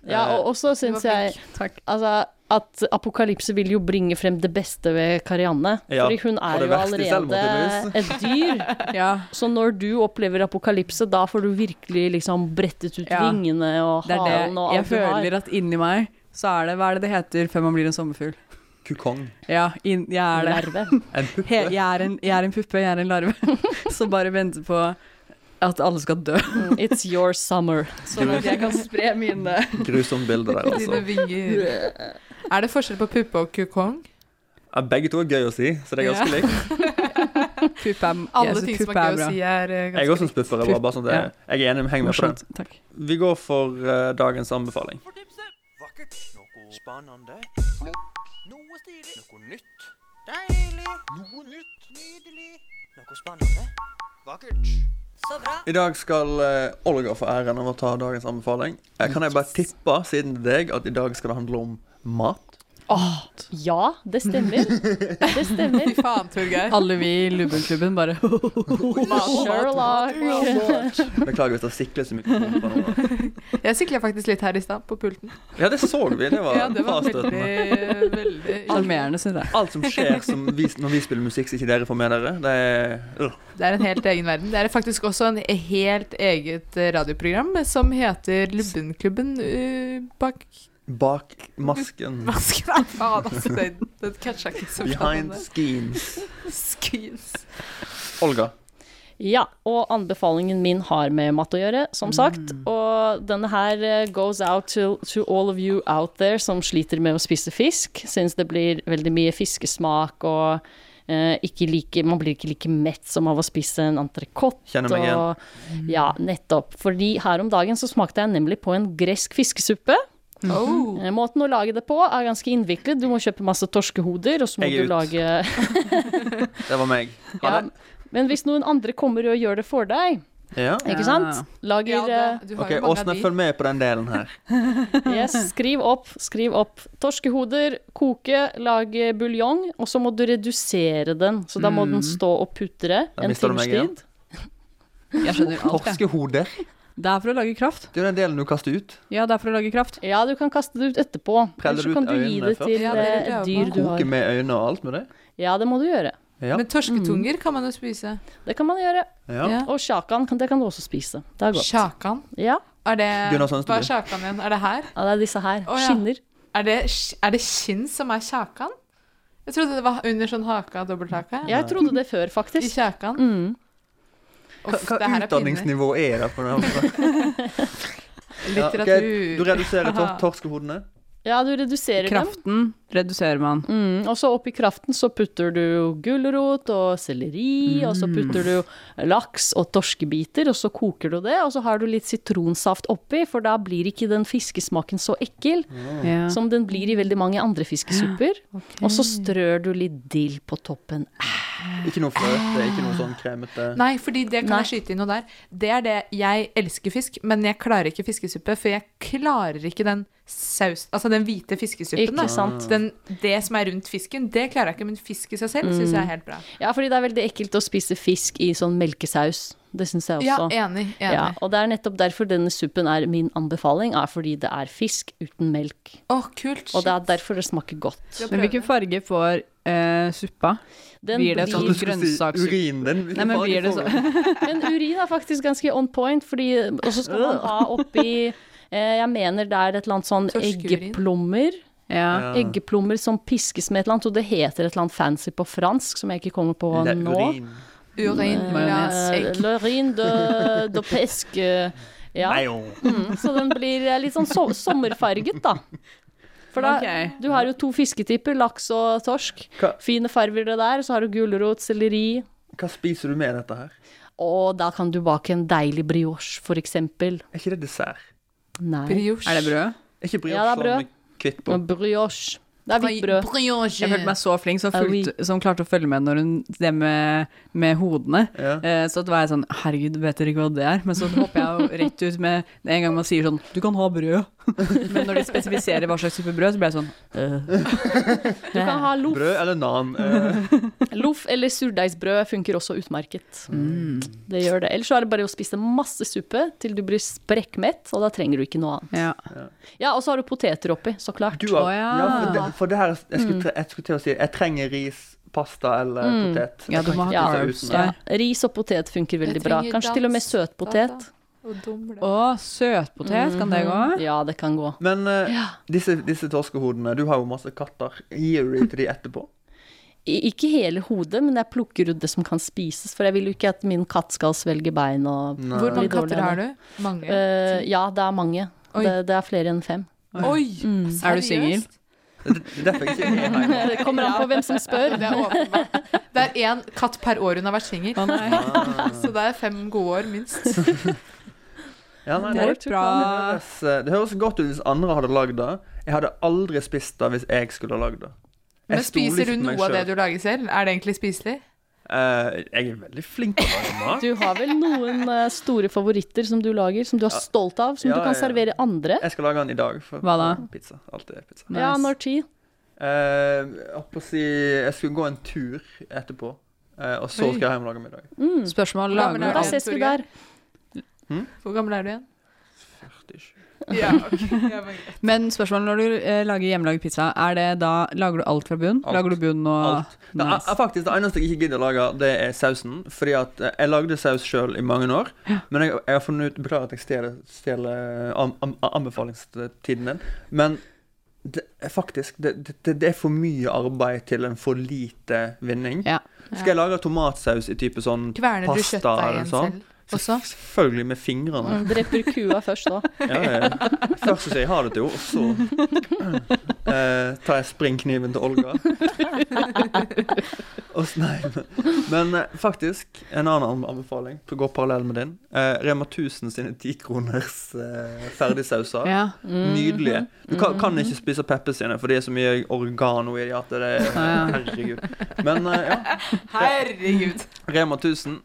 Speaker 8: Ja, og også
Speaker 7: Du var
Speaker 8: syns jeg
Speaker 7: Takk.
Speaker 8: altså, at apokalypse vil jo bringe frem det beste ved Karianne.
Speaker 5: Ja,
Speaker 8: fordi hun
Speaker 5: og
Speaker 8: er
Speaker 5: det
Speaker 8: jo
Speaker 5: verste i
Speaker 8: allerede
Speaker 5: selvmord,
Speaker 8: et dyr.
Speaker 7: Ja,
Speaker 8: Så når du opplever apokalypse, da får du virkelig liksom brettet ut
Speaker 7: Ja.
Speaker 8: vingene og
Speaker 7: det er
Speaker 8: halen
Speaker 7: det.
Speaker 8: og
Speaker 7: Jeg
Speaker 8: alt du har.
Speaker 7: føler at inni meg så er det Hva er det det heter før man blir en sommerfugl?
Speaker 5: Kukong.
Speaker 7: Ja, inn- jeg er det.
Speaker 8: Nerve.
Speaker 5: En pupp.
Speaker 7: He, jeg, er en, jeg er en puppe, jeg er en larve, som bare venter på at alle skal dø.
Speaker 8: Mm, It's your summer.
Speaker 7: Sånn at jeg kan spre mine
Speaker 5: Grusomt bilde der, altså.
Speaker 6: Dine vinger. Er det forskjell på puppe og kukong?
Speaker 5: Ja, begge to er gøy å si, så det er ganske likt.
Speaker 7: Puppe er,
Speaker 6: Alle
Speaker 7: jeg synes
Speaker 6: ting som er
Speaker 7: puppe
Speaker 6: gøy å si, er eh,
Speaker 5: Jeg
Speaker 6: ganske
Speaker 5: også syns pupper er bra. Bare sånn at det, jeg er enig med heng med på den.
Speaker 7: Morsomt. Takk.
Speaker 5: Vi går for eh, dagens anbefaling. I dag skal eh, Olga få æren av å ta dagens anbefaling. Eh, kan jeg bare tippe, siden det er deg, at i dag skal det handle om mat?
Speaker 8: Ja, det stemmer. Det stemmer.
Speaker 6: Fy faen, Torgeir.
Speaker 7: Alle vi i Lubbenklubben bare
Speaker 8: Sherlock.
Speaker 5: Beklager hvis det sikler så mye. på rumpa nå.
Speaker 6: Jeg sikla faktisk litt her i stad, på pulten.
Speaker 5: Ja, det så vi. Det var,
Speaker 6: Ja, det var
Speaker 5: avstøtende.
Speaker 6: veldig, veldig
Speaker 7: Sjarmerende, syns jeg.
Speaker 5: Alt som skjer som vi, når vi spiller musikk som ikke dere får med dere, det er øh.
Speaker 6: Det er en helt egen verden. Det er faktisk også en helt eget eh, radioprogram som heter Lubbenklubben eh, bak
Speaker 5: bak masken.
Speaker 6: masken. Nei, faen, altså, den, den catcha ikke så bra. den
Speaker 5: Behind
Speaker 6: der.
Speaker 5: schemes.
Speaker 6: Skins.
Speaker 5: Olga.
Speaker 8: Ja, og anbefalingen min har med mat å gjøre, som sagt.
Speaker 5: Mm.
Speaker 8: Og denne her eh, goes out to, to all of you out there som sliter med å spise fisk. Syns det blir veldig mye fiskesmak og eh, ikke like, man blir ikke like mett som av å spise en entrecôte.
Speaker 5: Kjenner meg igjen.
Speaker 8: og- Ja, nettopp. Fordi her om dagen så smakte jeg nemlig på en gresk fiskesuppe.
Speaker 6: Oh.
Speaker 8: Eh, Måten å lage det på er ganske innviklet. Du må kjøpe masse torskehoder, og så må
Speaker 5: Jeg er
Speaker 8: du
Speaker 5: ut.
Speaker 8: lage
Speaker 5: Det var meg. Ha
Speaker 8: ja.
Speaker 5: det.
Speaker 8: Men hvis noen andre kommer og gjør det for deg,
Speaker 5: Ja.
Speaker 8: ikke
Speaker 7: Ja.
Speaker 8: sant? Lager
Speaker 6: Ja, da, du har
Speaker 5: OK,
Speaker 6: jo mange av
Speaker 5: Åsne,
Speaker 6: de.
Speaker 5: følg med på den delen her.
Speaker 8: eh, Yes, skriv opp, skriv opp. Torskehoder, koke, lage buljong, og så må du redusere den. Så da må den stå og putre
Speaker 5: Mm. Da
Speaker 8: en
Speaker 5: mister du
Speaker 8: times
Speaker 5: meg igjen.
Speaker 8: tid.
Speaker 7: Jeg skjønner alt. jeg.
Speaker 5: Torskehoder.
Speaker 7: Det er for å lage kraft.
Speaker 5: Det er jo den delen du kaster ut.
Speaker 7: Ja, det er for å lage kraft.
Speaker 8: Ja, du kan kaste det ut etterpå.
Speaker 5: Preller
Speaker 8: Eller så
Speaker 5: ut
Speaker 8: kan du gi
Speaker 5: øynene
Speaker 8: det
Speaker 5: først.
Speaker 8: til
Speaker 6: Ja, det
Speaker 8: eh,
Speaker 6: lurer jeg
Speaker 8: et
Speaker 6: på.
Speaker 8: dyr du
Speaker 5: Koke
Speaker 8: har.
Speaker 5: med øynene og alt med det.
Speaker 8: Ja, det må du gjøre.
Speaker 5: Ja.
Speaker 6: Men
Speaker 8: Mm.
Speaker 6: torsketunger kan man jo spise.
Speaker 8: Det kan man gjøre.
Speaker 5: ja.
Speaker 6: Ja.
Speaker 8: Og sjakan, kan- det kan du også spise. Det er godt.
Speaker 6: Sjakan.
Speaker 8: Ja,
Speaker 6: Er det,
Speaker 5: Gunnar Sandstø.
Speaker 6: hva er sjakan igjen? Er det her?
Speaker 8: ja, det er disse her.
Speaker 6: Å, ja.
Speaker 8: Skinner.
Speaker 6: Er det, sk- er det skinn som er sjakan? Jeg trodde det var under sånn haka, dobbelthaka.
Speaker 8: Jeg trodde det før,
Speaker 6: I
Speaker 8: faktisk.
Speaker 6: kjakan.
Speaker 8: Mm.
Speaker 5: Hva,
Speaker 6: Uff, det
Speaker 5: hva
Speaker 6: her er pinlig.
Speaker 5: utdanningsnivå er det på den? andre? Ja, ok, Du
Speaker 6: Litteratur.
Speaker 5: reduserer tor torskehodene.
Speaker 8: Ja, du reduserer dem.
Speaker 7: Kraften reduserer man.
Speaker 8: Mm, og så oppi kraften så putter du gulrot og selleri, og så putter du laks og torskebiter, og så koker du det, og så har du litt sitronsaft oppi, for da blir ikke den fiskesmaken så ekkel
Speaker 7: Ja.
Speaker 8: som den blir i veldig mange andre fiskesupper. Og så strør du litt dill på toppen.
Speaker 5: Ikke noe fløte, ikke noe sånn kremete.
Speaker 6: Nei, fordi det kan
Speaker 8: Nei.
Speaker 6: jeg skyte inn noe der. Det er det jeg elsker fisk, men jeg klarer ikke fiskesuppe, for jeg klarer ikke den saus, altså den hvite fiskesuppen.
Speaker 8: Ikke
Speaker 6: da.
Speaker 8: sant?
Speaker 6: Den, det som er rundt fisken, det klarer jeg ikke, men fisk i seg selv syns jeg
Speaker 8: Mm.
Speaker 6: er helt bra.
Speaker 8: Ja, fordi det er veldig ekkelt å spise fisk i sånn melkesaus. Det syns jeg også.
Speaker 6: Ja, enig. enig.
Speaker 8: Ja, og det er nettopp derfor denne suppen er min anbefaling, er fordi det er fisk uten melk.
Speaker 6: Å, kult.
Speaker 8: Og det er derfor det smaker godt.
Speaker 6: Skal
Speaker 7: Men
Speaker 6: prøve.
Speaker 7: hvilken farge får eh, suppa?
Speaker 8: Den
Speaker 7: Blir det sånn-
Speaker 5: Du skulle si
Speaker 7: Grønnsaks-
Speaker 5: urinen din.
Speaker 7: Nei, men blir det sånn?
Speaker 8: Men urin er faktisk ganske on point, fordi Og så skal man ha oppi eh, Jeg mener det er et eller annet sånn
Speaker 6: Torskeurin.
Speaker 8: eggeplommer.
Speaker 5: Ja.
Speaker 7: Ja.
Speaker 8: Eggeplommer som piskes med et eller annet, og det heter et eller annet fancy på fransk som jeg ikke kommer på
Speaker 5: Det er
Speaker 8: nå.
Speaker 5: urin.
Speaker 6: Urin, las,
Speaker 8: Eh,
Speaker 6: egg.
Speaker 8: L'urin de, de pesque. eh, Ja.
Speaker 5: Nei, jo.
Speaker 8: Mm, så den blir eh, litt sånn so sommerfarget, da. For da,
Speaker 7: Ok.
Speaker 8: du har jo to fisketyper, laks og torsk.
Speaker 5: Hva-
Speaker 8: Fine farger det der. Så har du gulrot, selleri.
Speaker 5: Hva spiser du med dette her?
Speaker 8: Og da kan du bake en deilig brioche, for eksempel.
Speaker 5: Er ikke det dessert?
Speaker 8: Nei.
Speaker 6: Brioche.
Speaker 7: Er det brød?
Speaker 5: Er ikke
Speaker 8: Ja, det
Speaker 5: brioche
Speaker 8: er brød.
Speaker 5: sånn kvitt på?
Speaker 8: Og brioche. Det er hvitt brød.
Speaker 7: Jeg følte meg så flink som, fulgte, som klarte å følge med når hun det med, med hodene.
Speaker 5: Ja.
Speaker 7: Eh, Så da var jeg sånn Herregud, vet dere ikke hva det er? Men så hopper jeg jo rett ut med det en gang man sier sånn Du kan ha brød. Men når de spesifiserer hva slags type brød, så blir jeg sånn
Speaker 8: Du kan ha loff.
Speaker 5: Brød eller nan? Eh,
Speaker 8: Loff eller surdeigsbrød funker også utmerket. Det gjør det. Ellers så er det bare å spise masse suppe til du blir sprekkmett, og da trenger du ikke noe annet.
Speaker 7: Ja,
Speaker 8: og så har du poteter oppi, så klart.
Speaker 5: du har, ja, for, det, for det her jeg skulle, tre- jeg skulle til å si Jeg trenger ris, pasta eller
Speaker 8: Mm.
Speaker 5: potet.
Speaker 7: Ja, du må ha
Speaker 5: Jeg kan ikke
Speaker 7: carbs
Speaker 5: uten det.
Speaker 8: Ja, ris og potet funker veldig bra.
Speaker 6: trenger
Speaker 8: Kanskje til og med
Speaker 6: dans,
Speaker 8: søtpotet.
Speaker 6: Og dumle.
Speaker 7: Å, søtpotet, kan det gå?
Speaker 8: Ja, det kan gå.
Speaker 5: Men eh, disse, disse torskehodene, du har jo masse katter. Gir du dem til de etterpå?
Speaker 8: I, ikke hele hodet, men jeg plukker ut det som kan spises, for jeg vil jo ikke at min katt skal svelge bein og
Speaker 5: Nei.
Speaker 6: Hvor mange
Speaker 8: Litt dårlig
Speaker 6: katter
Speaker 8: av
Speaker 6: har du?
Speaker 8: det.
Speaker 6: Mange?
Speaker 8: Eh, Ja, det er mange.
Speaker 6: Oi.
Speaker 8: Det, det er flere enn fem.
Speaker 6: Oi!
Speaker 8: mm.
Speaker 7: Er du singel?
Speaker 5: Det det er derfor jeg ikke er hjemme.
Speaker 8: Det kommer an på hvem som spør.
Speaker 6: Det er åpenbart. Det er én katt per år hun har vært singel. Så det er fem gode år, minst.
Speaker 5: Ja, nei,
Speaker 7: Det er et bra
Speaker 5: det, høres, det høres godt ut hvis andre hadde lagd det. Jeg hadde aldri spist det hvis jeg skulle ha lagd det. Jeg
Speaker 6: Men
Speaker 5: stoler ikke
Speaker 6: spiser du
Speaker 5: på meg
Speaker 6: noe av det
Speaker 5: selv.
Speaker 6: du lager selv? Er det egentlig spiselig?
Speaker 5: Eh, jeg er veldig flink til å lage mat.
Speaker 8: Du har vel noen eh, store favoritter som du lager, som du er stolt av, som
Speaker 5: Ja,
Speaker 8: du kan
Speaker 5: ja, ja.
Speaker 8: servere andre?
Speaker 5: Jeg skal lage den i dag. For
Speaker 7: Hva da?
Speaker 5: Pizza. Alltid pizza.
Speaker 8: Ja, når tid?
Speaker 5: Eh, jeg holdt på å si Jeg skulle gå en tur etterpå, eh, og så
Speaker 6: Oi.
Speaker 5: skal jeg hjem og lage middag.
Speaker 8: Mm.
Speaker 7: Spørsmål
Speaker 6: Ja, men
Speaker 7: lager du
Speaker 8: Da
Speaker 6: det er-
Speaker 8: ses vi der.
Speaker 6: Hvor gammel er du igjen?
Speaker 5: 47.
Speaker 6: Ja, ok. Ja, men-
Speaker 7: Men spørsmålet når du eh, lager hjemmelaget pizza, er det da Lager du alt fra bunn?
Speaker 5: Alt.
Speaker 7: Lager du bunn og
Speaker 5: Alt. Det, er,
Speaker 7: Nice.
Speaker 5: er faktisk, det eneste jeg ikke gidder å lage, det er sausen. Fordi at eh, jeg lagde saus sjøl i mange år. Men jeg, jeg har funnet ut Beklager at jeg stjeler, stjeler eh, an- an- anbefalingstiden din. Men det, er faktisk det, det, det er for mye arbeid til en for lite vinning.
Speaker 7: Ja.
Speaker 5: Skal jeg lage tomatsaus i type sånn
Speaker 6: Kverner du
Speaker 5: pasta eller
Speaker 6: kjøttdeigen
Speaker 5: sånn?
Speaker 6: selv også?
Speaker 5: Selvfølgelig med fingrene.
Speaker 8: Mm, Dreper kua først da.
Speaker 5: Ja, ja. ja. Først så sier jeg ha det til henne, og så eh, tar jeg springkniven til Olga. Og s- nei, men, men eh, faktisk, en annen anbefaling som går parallell med din. Eh, Rema 1000 sine 10 kroners eh, ferdigsauser.
Speaker 7: Ja.
Speaker 8: Mm.
Speaker 5: Nydelige.
Speaker 6: Mm-hmm.
Speaker 5: Du kan, kan ikke spise Peppe sine, for det er så mye oregano i de at det er
Speaker 7: Ja, ja.
Speaker 5: Herregud. Men eh, ja,
Speaker 6: Herregud.
Speaker 5: Rema 1000.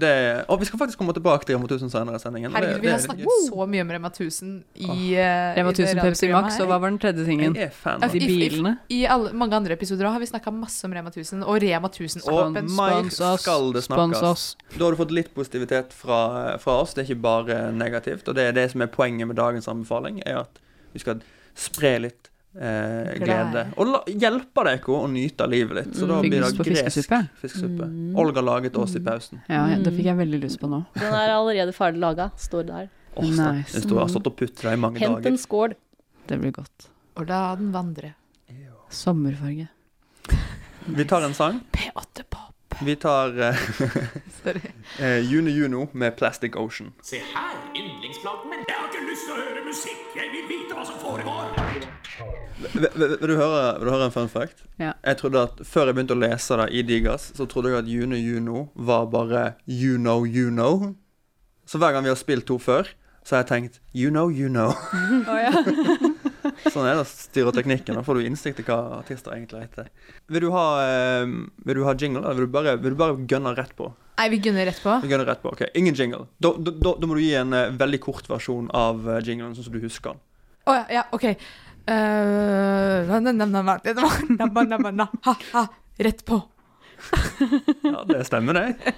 Speaker 5: Det er, og vi skal faktisk komme tilbake til Rema 1000 senere i sendingen. og det-
Speaker 6: Herregud, vi
Speaker 5: det
Speaker 6: har
Speaker 5: er litt
Speaker 6: snakket
Speaker 5: gøy.
Speaker 6: så mye om Rema 1000 i eh,
Speaker 7: Rema
Speaker 6: i det
Speaker 7: 1000 Pepsi Max,
Speaker 6: radioprogrammet
Speaker 7: og
Speaker 6: her.
Speaker 7: hva var den tredje tingen?
Speaker 5: Jeg er fan av
Speaker 7: De
Speaker 6: If- if-
Speaker 7: bilene?
Speaker 6: I alle, mange andre episoder også har vi snakka masse om Rema 1000, og Rema 1000
Speaker 5: Og
Speaker 6: åpen
Speaker 5: mer
Speaker 7: Spons oss.
Speaker 5: skal det
Speaker 7: Spons
Speaker 5: snakkes.
Speaker 7: oss.
Speaker 5: Da har du fått litt positivitet fra, fra oss. Det er ikke bare negativt. Og det er det som er poenget med dagens anbefaling, er at vi skal spre litt eh, glede. Og la, hjelpe deg å nyte livet litt. Så da
Speaker 7: Mm. Fikk
Speaker 5: blir
Speaker 7: lyst på
Speaker 5: det gresk
Speaker 7: fiskesuppe. Mm.
Speaker 5: fiskesuppe. Olga laget oss i pausen.
Speaker 7: Ja, ja, det fikk jeg veldig lyst på nå.
Speaker 8: Den er allerede ferdig laga, står der.
Speaker 5: Åh,
Speaker 7: Nice.
Speaker 5: Jeg sto- jeg har stått og putret i mange
Speaker 8: Hent en
Speaker 5: dager.
Speaker 8: skål.
Speaker 7: Det blir godt.
Speaker 6: Og la den vandre.
Speaker 7: Sommerfarge.
Speaker 5: Vi tar en sang.
Speaker 6: P8 Pop.
Speaker 5: Vi tar eh,
Speaker 6: Sorry.
Speaker 5: eh, Juni Juno med Plastic Ocean.
Speaker 12: Se her, yndlingsplanten min. Jeg har ikke lyst til å høre musikk. Jeg vil vite hva som foregår.
Speaker 5: Vil, vil, vil, du høre, vil du høre en fun fact?
Speaker 7: Ja.
Speaker 5: Jeg trodde at Før jeg begynte å lese det i Digas, så trodde jeg at June Juno var bare You know, you know. Så hver gang vi har spilt to før, så har jeg tenkt You know, you know. sånn er det å styre teknikken. Da får du innsikt i hva artister egentlig heter. Vil du ha, eh, vil du ha jingle, eller vil du bare, vil du bare gønne rett på?
Speaker 6: Nei, vi gunner rett på.
Speaker 5: Vi gønner rett på, ok. Ingen jingle. Da, da, da, da må du gi en eh, veldig kort versjon av eh, jinglen, sånn som du husker den.
Speaker 6: Å ja, ja, OK. Eh, na, na, na, na, na, na, na, na, na, na, ha, ha, rett på.
Speaker 5: Ja, det stemmer, det.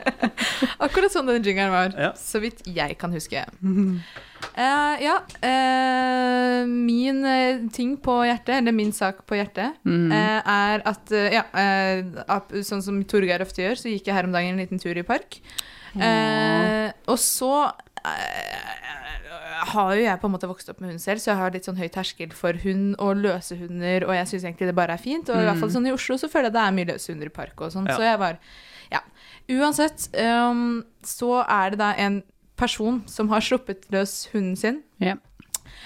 Speaker 6: Akkurat sånn den jingeren var.
Speaker 5: Ja.
Speaker 6: Så vidt jeg kan huske. Eh, ja. eh, min eh, ting på hjertet, eller min sak på hjertet, eh, er at eh, Ja, eh, ap- sånn som Torgeir ofte gjør, så gikk jeg her om dagen en liten tur i park. Eh, og så eh, har jo jeg på en måte vokst opp med hund selv, så jeg har litt sånn høy terskel for hund og løse hunder, og jeg syns egentlig det bare er fint. Og i hvert fall sånn i Oslo så føler jeg det er mye løse hunder i park og sånn,
Speaker 5: Ja.
Speaker 6: så jeg var Ja. Uansett, ehm, så er det da en person som har sluppet løs hunden sin.
Speaker 7: Ja.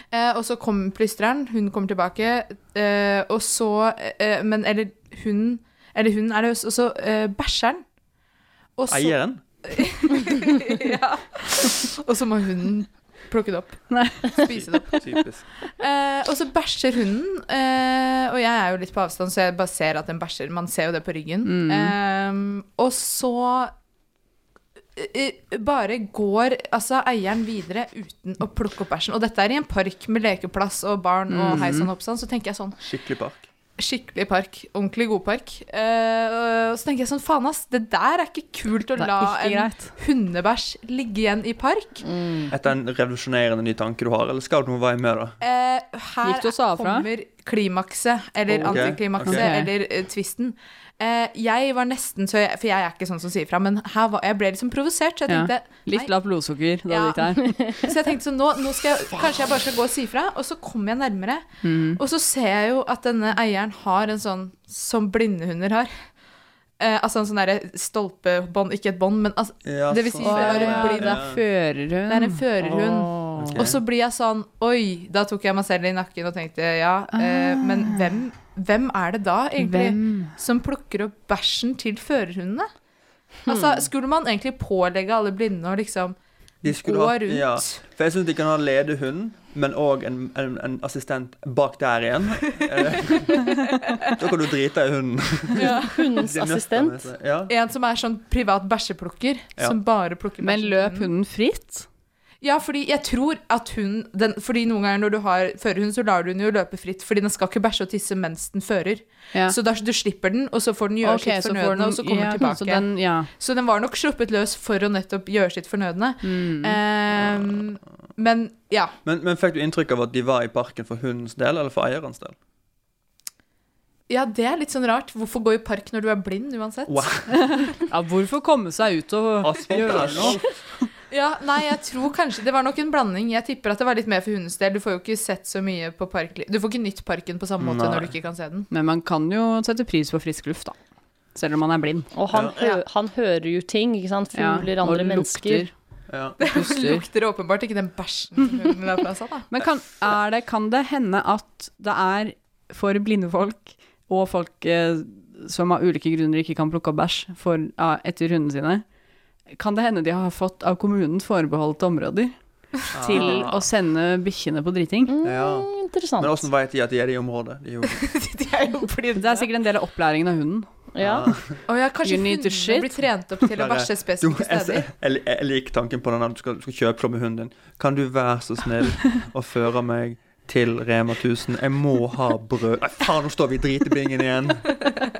Speaker 6: Eh, og så kommer plystreren, hun kommer tilbake, eh, og så eh, Men eller hun Eller hun er løs, og så eh, bæsjer den. Og så-
Speaker 5: Eieren.
Speaker 6: ja. Og så må hunden Plukke det opp.
Speaker 7: Nei.
Speaker 6: Spise det opp.
Speaker 5: Typisk.
Speaker 6: Eh, og så bæsjer hunden, eh, og jeg er jo litt på avstand, så jeg bare ser at den bæsjer. Man ser jo det på ryggen.
Speaker 7: Mm.
Speaker 6: Eh, og så eh, bare går altså eieren videre uten å plukke opp bæsjen. Og dette er i en park med lekeplass og barn og
Speaker 7: Mm.
Speaker 5: Mhm.
Speaker 6: hei sann hoppsann, så tenker jeg sånn
Speaker 5: Skikkelig park.
Speaker 6: Skikkelig park. Ordentlig god park. Eh, og så tenker jeg sånn, faen ass, det der er ikke kult å
Speaker 7: Det er
Speaker 6: la
Speaker 7: ikke
Speaker 6: en hundebæsj ligge igjen i park.
Speaker 5: Etter en revolusjonerende ny tanke du har, eller skal du noen vei med det?
Speaker 6: Eh,
Speaker 7: Gikk det
Speaker 6: her
Speaker 7: også av fra?
Speaker 6: kommer klimakset, eller
Speaker 5: Ok,
Speaker 6: antiklimakset,
Speaker 5: ok.
Speaker 6: eller eh, tvisten. Eh, jeg var nesten så jeg, For jeg er ikke sånn som sier fra, men her var, jeg ble liksom provosert, så jeg
Speaker 7: Ja.
Speaker 6: tenkte
Speaker 7: Litt lavt blodsukker da
Speaker 6: Ja.
Speaker 7: du gikk der.
Speaker 6: Så jeg tenkte sånn, nå, nå skal jeg, kanskje jeg bare skal gå og si fra, og så kommer jeg nærmere.
Speaker 7: Mm.
Speaker 6: Og så ser jeg jo at denne eieren har en sånn som blindehunder har. Eh, altså en sånn derre stolpebånd, ikke et bånd, men altså,
Speaker 5: Ja,
Speaker 6: det vil si
Speaker 5: sånn.
Speaker 6: det er en
Speaker 5: Ja,
Speaker 6: blind,
Speaker 5: ja.
Speaker 7: Førerhund.
Speaker 6: det er en førerhund.
Speaker 5: Ok.
Speaker 6: Og så blir jeg sånn Oi, da tok jeg meg selv i nakken og tenkte ja, eh, men hvem, hvem er det da egentlig
Speaker 7: Ah. Hvem?
Speaker 6: som plukker opp bæsjen til førerhundene? Altså,
Speaker 5: Hmm.
Speaker 6: skulle man egentlig pålegge alle blinde å liksom
Speaker 5: De skulle
Speaker 6: gå
Speaker 5: hatt-
Speaker 6: rundt?
Speaker 5: Ja, for jeg syns de kan ha ledehund, men òg en, en, en assistent bak der igjen. Eh, da kan du drite i hunden.
Speaker 8: Hundens
Speaker 5: Det er nødt
Speaker 8: assistent.
Speaker 5: til å være- Ja.
Speaker 6: En som er sånn privat bæsjeplukker,
Speaker 5: Ja.
Speaker 6: som bare plukker
Speaker 7: Men
Speaker 6: bæsjen til
Speaker 7: løp
Speaker 6: hunden.
Speaker 7: hunden fritt?
Speaker 6: Ja, fordi jeg tror at hun den, Fordi noen ganger når du har førerhund, så lar du den jo løpe fritt, fordi den skal ikke bæsje og tisse mens den fører.
Speaker 7: Ja.
Speaker 6: Så da, du slipper den, og så får den gjøre
Speaker 7: Ok,
Speaker 6: sitt
Speaker 7: så får
Speaker 6: fornødne,
Speaker 7: den-
Speaker 6: og så kommer
Speaker 7: ja,
Speaker 6: den tilbake.
Speaker 7: Så den, ja.
Speaker 6: var nok sluppet løs for å nettopp gjøre sitt fornødne.
Speaker 7: Mm.
Speaker 6: Ehm, men ja.
Speaker 5: Men, men fikk du inntrykk av at de var i parken for hundens del, eller for eierens del?
Speaker 6: ja, det er litt sånn rart. Hvorfor gå i park når du er blind uansett?
Speaker 5: Wow.
Speaker 7: ja, hvorfor komme seg ut og
Speaker 5: Asfalt
Speaker 7: gjøre
Speaker 5: er
Speaker 7: noe?
Speaker 5: sånn.
Speaker 6: Ja, nei, jeg tror kanskje Det var nok en blanding. Jeg tipper at det var litt mer for hundens del. Du får jo ikke sett så mye på park... Du får ikke nytt parken på samme måte
Speaker 5: Nei.
Speaker 6: når du ikke kan se den.
Speaker 7: Men man kan jo sette pris på frisk luft, da. Selv om man er blind.
Speaker 8: Og han,
Speaker 6: Ja.
Speaker 8: hø han hører jo ting, ikke sant.
Speaker 7: Ja,
Speaker 8: Fugler,
Speaker 7: og
Speaker 8: andre mennesker.
Speaker 7: lukter,
Speaker 5: Ja.
Speaker 7: puster.
Speaker 6: lukter åpenbart ikke den bæsjen som hunden la fra seg, da.
Speaker 7: Men kan, er det, kan det hende at det er for blinde folk og folk eh, som av ulike grunner ikke kan plukke opp bæsj for, ja, etter hundene sine, kan det hende de har fått av kommunen forbeholdte områder til å sende bikkjene på driting?
Speaker 5: Ja.
Speaker 8: Mm, Interessant.
Speaker 5: Men altså, åssen vet de at de er i området? De er jo-
Speaker 6: De er jo blinde.
Speaker 7: Det er sikkert en del av opplæringen av hunden.
Speaker 8: Ja.
Speaker 6: Å ja, kanskje
Speaker 7: You need to
Speaker 6: hundene
Speaker 7: shit.
Speaker 6: blir trent opp til å
Speaker 5: Bare-
Speaker 6: bæsje
Speaker 5: Du,
Speaker 6: spesifikke
Speaker 5: jeg,
Speaker 6: steder.
Speaker 5: jeg, jeg liker tanken på den at du skal, skal kjøpe noe med hunden din. Kan du være så snill å føre meg til Rema 1000? Jeg må ha brød. Nei, faen, nå står vi i dritebingen igjen.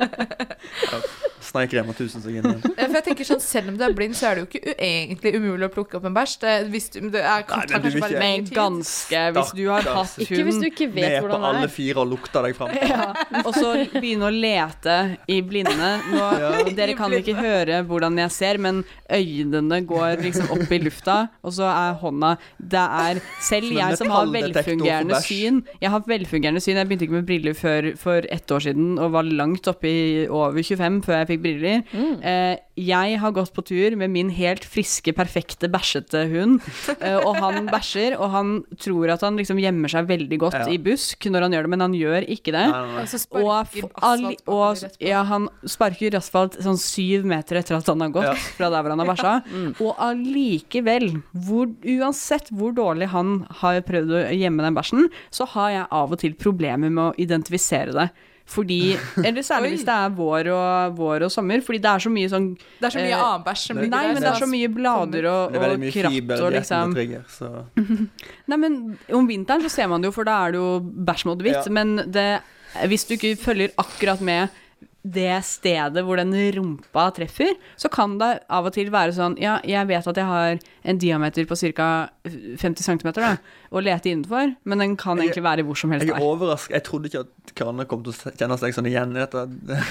Speaker 5: Ja, Sneik Rema 1000 seg inn igjen.
Speaker 6: Ja, For jeg tenker sånn, Selv om du er blind, så er det jo ikke u- egentlig umulig å plukke opp en bæsj. Det, hvis du, det er,
Speaker 5: Nei, men
Speaker 6: tar
Speaker 5: du
Speaker 6: kanskje
Speaker 5: vil
Speaker 6: bare
Speaker 5: ikke-
Speaker 6: lengre
Speaker 7: Men
Speaker 6: tid.
Speaker 7: ganske, hvis du har hatt
Speaker 8: Ikke hvis
Speaker 7: hund
Speaker 8: du ikke vet
Speaker 5: Ned på
Speaker 8: hvordan det
Speaker 5: alle
Speaker 8: er.
Speaker 5: fire og lukter deg fram.
Speaker 7: ja. og så begynne å lete i blinde. Nå, Dere kan ikke høre hvordan jeg ser, men øynene går liksom opp i lufta, og så er hånda Det er selv
Speaker 5: Som en
Speaker 7: jeg som har
Speaker 5: metalldetektor for
Speaker 7: velfungerende
Speaker 5: bæsj.
Speaker 7: syn. Jeg har velfungerende syn. Jeg begynte ikke med briller før for ett år siden og var langt oppe i over 25 før jeg fikk briller. Eh, jeg har gått på tur med min helt friske, perfekte, bæsjete hund, eh, og han bæsjer, og han tror at han liksom gjemmer seg veldig godt
Speaker 5: Ja.
Speaker 7: i busk når han gjør det, men han gjør ikke det.
Speaker 5: Nei, nei, nei.
Speaker 6: Og så sparker
Speaker 7: Og, f- all,
Speaker 6: asfalt på
Speaker 7: og
Speaker 6: den rett på.
Speaker 7: ja, han sparker asfalt sånn syv meter etter at han har gått
Speaker 5: Ja.
Speaker 7: fra der hvor han har bæsja.
Speaker 6: Mm.
Speaker 7: Og allikevel, hvor, uansett hvor dårlig han har prøvd å gjemme den bæsjen, så har jeg av og til problemer med å identifisere det. Fordi, eller særlig hvis det er vår og, vår og sommer, fordi det er så mye sånn
Speaker 6: Det er så mye
Speaker 7: eh,
Speaker 6: annen bæsj som
Speaker 7: Nei,
Speaker 6: ligger der.
Speaker 7: men det er så mye blader og,
Speaker 5: Det er veldig
Speaker 7: og
Speaker 5: mye
Speaker 7: kratt
Speaker 5: fiber
Speaker 7: og
Speaker 5: i
Speaker 7: liksom
Speaker 5: liksom. trigger, så
Speaker 7: Nei, men om vinteren så ser man det jo, for da er det jo bæsj mot hvitt.
Speaker 5: Ja.
Speaker 7: Men det, hvis du ikke følger akkurat med det stedet hvor den rumpa treffer, så kan det av og til være sånn Ja, jeg vet at jeg har en diameter på ca. 50 cm da, å lete innenfor, men den kan
Speaker 5: Jeg-
Speaker 7: egentlig være hvor som helst
Speaker 5: Jeg er
Speaker 7: der.
Speaker 5: overrasket. Jeg trodde ikke at Karne kom til å kjenne seg sånn igjen. i dette.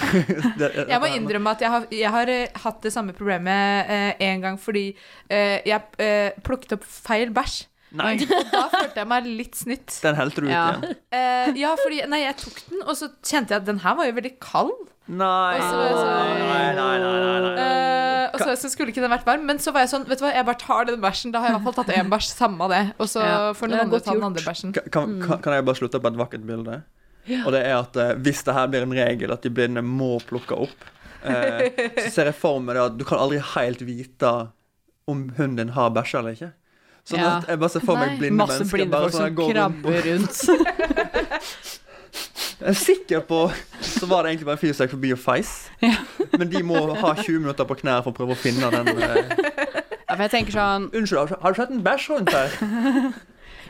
Speaker 5: det,
Speaker 6: Jeg må innrømme at jeg har, jeg har eh, hatt det samme problemet eh, en gang fordi eh, jeg eh, plukket opp feil bæsj.
Speaker 5: Nei,
Speaker 6: Og da følte jeg meg litt snytt.
Speaker 5: den helte du ut
Speaker 7: Ja.
Speaker 5: igjen.
Speaker 6: Eh, ja, fordi Nei, jeg tok den, og så kjente jeg at den her var jo veldig kald.
Speaker 5: Nei.
Speaker 6: Og så var jeg sånn-
Speaker 5: nei, nei, nei, nei, nei.
Speaker 6: Eh, og så, så skulle ikke den vært varm, men så var jeg sånn Vet du hva, jeg bare tar den bæsjen. Da har jeg i hvert fall tatt én bæsj, samme av det. Og så
Speaker 7: Ja,
Speaker 6: får
Speaker 7: det
Speaker 6: noen
Speaker 7: er
Speaker 6: andre
Speaker 7: godt
Speaker 6: ta den
Speaker 7: gjort.
Speaker 6: andre bæsjen.
Speaker 5: Ka- Kan,
Speaker 7: Mm.
Speaker 5: kan, kan jeg bare slutte på et vakkert bilde? Og det er at eh, hvis det her blir en regel at de blinde må plukke opp, eh, så ser jeg for meg det at du kan aldri helt vite om hunden din har bæsja eller ikke. Sånn
Speaker 7: Ja.
Speaker 5: at jeg bare ser for meg
Speaker 7: Nei.
Speaker 5: blinde
Speaker 7: Masse
Speaker 5: mennesker
Speaker 7: blinde
Speaker 5: bare
Speaker 7: folk
Speaker 5: sånn
Speaker 7: som
Speaker 5: går rundt
Speaker 7: krabber rundt.
Speaker 5: Jeg er sikker på Så var det egentlig bare en fyr som gikk forbi og feis. Men de må ha 20 minutter på knær for å prøve å finne den eh,
Speaker 7: Ja, for jeg tenker sånn
Speaker 5: Unnskyld, har- har du sett en bæsj rundt her?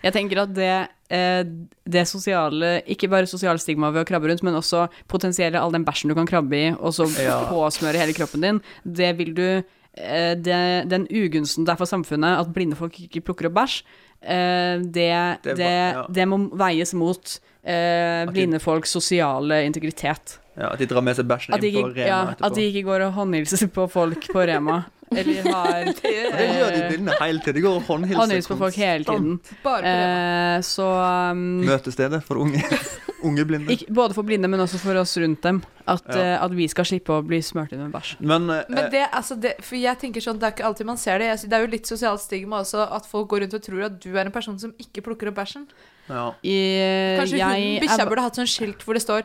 Speaker 7: Jeg tenker at det, eh, det sosiale Ikke bare sosiale stigma ved å krabbe rundt, men også potensielt all den bæsjen du kan krabbe i, og så
Speaker 5: Ja.
Speaker 7: påsmøre hele kroppen din, det vil du eh, det, Den ugunsten det er for samfunnet at blinde folk ikke plukker opp bæsj, eh, det,
Speaker 5: Det
Speaker 7: det,
Speaker 5: er ba- ja.
Speaker 7: det må veies mot eh, blinde folks sosiale integritet.
Speaker 5: Ja, At de drar med seg bæsjen
Speaker 7: At de,
Speaker 5: inn på
Speaker 7: ikke,
Speaker 5: Rema
Speaker 7: ja,
Speaker 5: etterpå.
Speaker 7: at de ikke går og håndhilser på folk på Rema. Eller har
Speaker 5: Og det gjør de
Speaker 7: eh,
Speaker 5: blinde hele tiden. De går og håndhilser.
Speaker 7: håndhilser på folk hele tiden. Eh, så um,
Speaker 5: Møtestedet for unge, unge blinde.
Speaker 7: Ikke, både for blinde, men også for oss rundt dem. At,
Speaker 5: Ja.
Speaker 7: eh, at vi skal slippe å bli smurt inn med bæsj.
Speaker 5: Men, eh,
Speaker 6: Men det, altså det, for jeg tenker sånn, det er ikke alltid man ser det. Jeg sy- det er jo litt sosialt stigma også at folk går rundt og tror at du er en person som ikke plukker opp bæsjen.
Speaker 5: ja.
Speaker 7: I,
Speaker 6: Kanskje
Speaker 7: Eh, jeg
Speaker 6: hunden, bikkja
Speaker 7: er-
Speaker 6: burde hatt sånn skilt hvor det står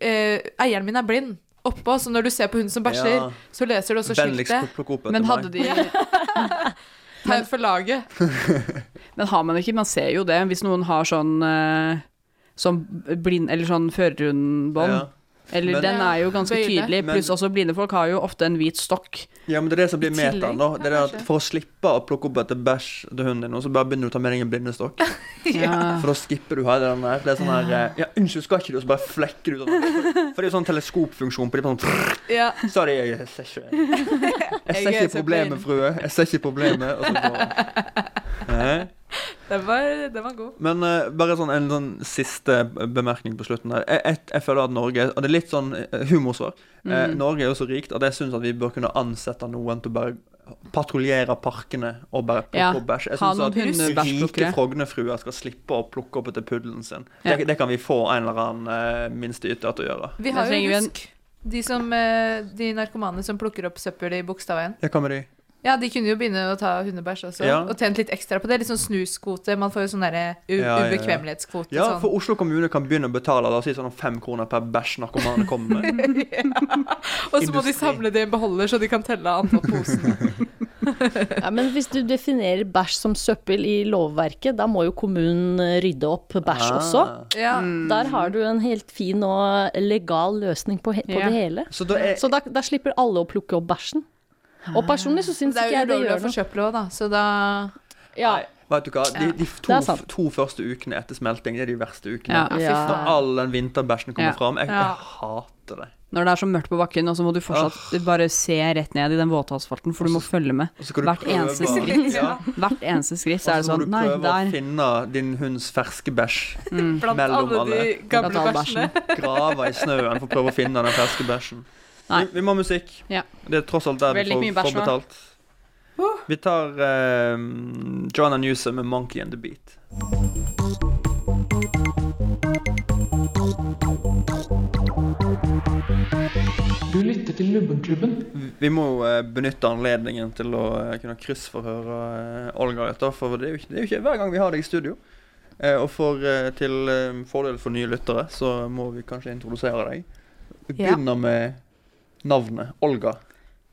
Speaker 6: eh, 'Eieren min er blind' oppå, så når du ser på hunden som bæsjer,
Speaker 5: Ja.
Speaker 6: så leser du også
Speaker 5: Vennligst
Speaker 6: skiltet.
Speaker 5: plukk opp etter
Speaker 7: Men hadde de
Speaker 5: meg.
Speaker 6: Her for laget.
Speaker 7: Men har man ikke, man ser jo det. Hvis noen har sånn eh, Sånn blind Eller sånn førerhundbånd.
Speaker 5: Ja.
Speaker 7: Eller
Speaker 5: Men-
Speaker 7: den er jo ganske
Speaker 5: Bøyle.
Speaker 7: tydelig. Pluss
Speaker 5: Men-
Speaker 7: også blinde folk har jo ofte en hvit stokk.
Speaker 5: Ja, men det er det som blir
Speaker 7: I tillegg,
Speaker 5: metaen, da. Det er det
Speaker 7: kanskje.
Speaker 5: at for å slippe å plukke opp etter bæsj til hunden din, og så bare begynner du å ta med deg en blindestokk.
Speaker 7: Ja.
Speaker 5: For da skipper du her den der. Det er sånn her eh, Ja, unnskyld, skal ikke du? Og så bare flekker du ut av det. For det er jo sånn teleskopfunksjon på de sånn
Speaker 6: Ja.
Speaker 5: Sorry, jeg ser ikke Jeg ser
Speaker 6: Jeg er
Speaker 5: ikke
Speaker 6: så
Speaker 5: problemet, frue. Jeg ser ikke problemet. Og så går Eh? Hæ?
Speaker 6: Den var, den var god.
Speaker 5: Men eh, bare sånn en sånn siste bemerkning på slutten der. Jeg, jeg, jeg føler at Norge Og det er litt sånn eh, humorsvar. Eh,
Speaker 7: Mm.
Speaker 5: Norge er jo så rikt at jeg syns at vi bør kunne ansette noen til å bare patruljere parkene og bare plukke
Speaker 7: Ja,
Speaker 5: opp bæsj. Jeg
Speaker 7: ha
Speaker 5: syns
Speaker 7: noen
Speaker 5: at rike
Speaker 7: hundebæsjplukkere.
Speaker 5: Frognerfruer skal slippe å plukke opp etter puddelen sin.
Speaker 7: Ja.
Speaker 5: Det, det kan vi få en eller annen eh, minsteyter til å gjøre.
Speaker 6: Vi har jo
Speaker 7: Da trenger vi en-
Speaker 6: rusk. De, som, eh, de narkomane som plukker opp søppel i Bogstadveien.
Speaker 5: Ja, hva med de?
Speaker 6: Ja, de kunne jo begynne å ta hundebæsj også,
Speaker 5: Ja.
Speaker 6: og tjent litt ekstra på det. Litt sånn snuskvote. Man får jo sånn derre u-
Speaker 5: Ja, ja, ja.
Speaker 6: ubekvemmelighetskvote.
Speaker 5: Ja,
Speaker 6: sånn.
Speaker 5: for Oslo kommune kan begynne å betale da, si sånn fem kroner per bæsj narkomane kommer med.
Speaker 6: Og så må de samle det i en beholder, så de kan telle antall
Speaker 5: Mm.
Speaker 6: poser.
Speaker 8: Ja, men hvis du definerer bæsj som søppel i lovverket, da må jo kommunen eh, rydde opp bæsj
Speaker 5: Ah.
Speaker 8: også.
Speaker 6: Ja.
Speaker 8: Der har du en helt fin og legal løsning på, he på
Speaker 7: Ja.
Speaker 8: det hele.
Speaker 5: Så da, er-
Speaker 8: da, slipper alle å plukke opp bæsjen. Og personlig så syns
Speaker 6: Det er
Speaker 8: ikke
Speaker 6: jo
Speaker 8: jeg det
Speaker 6: ulovlig å
Speaker 8: gjør
Speaker 6: få
Speaker 8: noe.
Speaker 6: søppel òg, da, så da
Speaker 8: Ja,
Speaker 5: Vet du hva, de, de
Speaker 8: Det er
Speaker 5: to,
Speaker 8: sant.
Speaker 5: to første ukene etter smelting det er de verste ukene.
Speaker 7: Ja, fy
Speaker 8: Ja.
Speaker 5: Når all den vinterbæsjen kommer
Speaker 7: Ja.
Speaker 5: fram. Jeg,
Speaker 7: Ja.
Speaker 5: jeg hater det.
Speaker 7: Når det er så mørkt på bakken, og så må du fortsatt bare se rett ned i den våte asfalten, for du
Speaker 5: Altså-
Speaker 7: må følge med.
Speaker 5: så skal du
Speaker 7: Hvert
Speaker 5: prøve
Speaker 7: eneste
Speaker 5: å-
Speaker 7: skritt.
Speaker 5: Ja.
Speaker 7: Hvert eneste skritt så er
Speaker 5: Og
Speaker 7: det
Speaker 5: så Altså, må
Speaker 7: sånn
Speaker 5: du
Speaker 7: Nei,
Speaker 5: prøve å
Speaker 7: der.
Speaker 5: finne din hunds ferske bæsj
Speaker 6: Blant
Speaker 5: mellom
Speaker 6: Mm. alle
Speaker 5: alle.
Speaker 6: de gamle
Speaker 7: Blant all
Speaker 6: bæsjene.
Speaker 5: Grave i snøen for å prøve å finne den ferske bæsjen.
Speaker 7: Nei.
Speaker 5: Vi, vi må ha musikk.
Speaker 7: Ja.
Speaker 5: Det er tross alt der
Speaker 7: Veldig
Speaker 5: vi
Speaker 7: mye
Speaker 5: får,
Speaker 7: bæsj
Speaker 5: får
Speaker 7: nå.
Speaker 5: betalt. Vi tar uh, Joanna Newsom med 'Monkey and the Beat'.
Speaker 1: Du lytter til Lubbenklubben.
Speaker 5: Vi må jo eh, benytte anledningen til å eh, kunne kryssforhøre eh, Olga litt, da, for det er, jo ikke, det er jo ikke hver gang vi har deg i studio. Eh, Og for, eh, til eh, fordel for nye lyttere, så må vi kanskje introdusere deg. Vi
Speaker 8: Ja.
Speaker 5: begynner med navnet Olga.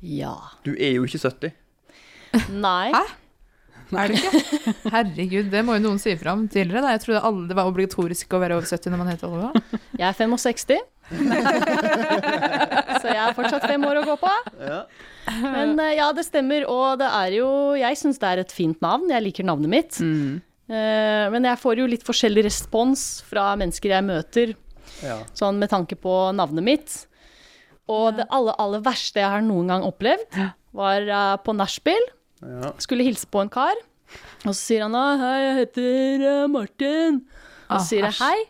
Speaker 8: ja.
Speaker 5: Du er jo ikke 70.
Speaker 8: Nei.
Speaker 6: Er det ikke? Herregud, det må jo noen si fra om tidligere. Da. Jeg trodde alle, det var obligatorisk å være over 70 når man het Olga.
Speaker 8: Jeg er 65. Så jeg har fortsatt fem år å gå på.
Speaker 5: Ja.
Speaker 8: Men eh, ja, det stemmer. Og det er jo Jeg syns det er et fint navn. Jeg liker navnet mitt. Eh, Men jeg får jo litt forskjellig respons fra mennesker jeg møter, sånn med tanke på navnet mitt. Og det aller, aller verste jeg har noen gang opplevd, var eh, på nachspiel.
Speaker 5: Ja.
Speaker 8: Skulle hilse på en kar, og så sier han 'Å, hei, jeg heter eh, Martin'. Og
Speaker 6: Ah,
Speaker 8: så sier jeg
Speaker 6: æsj.
Speaker 8: 'hei'.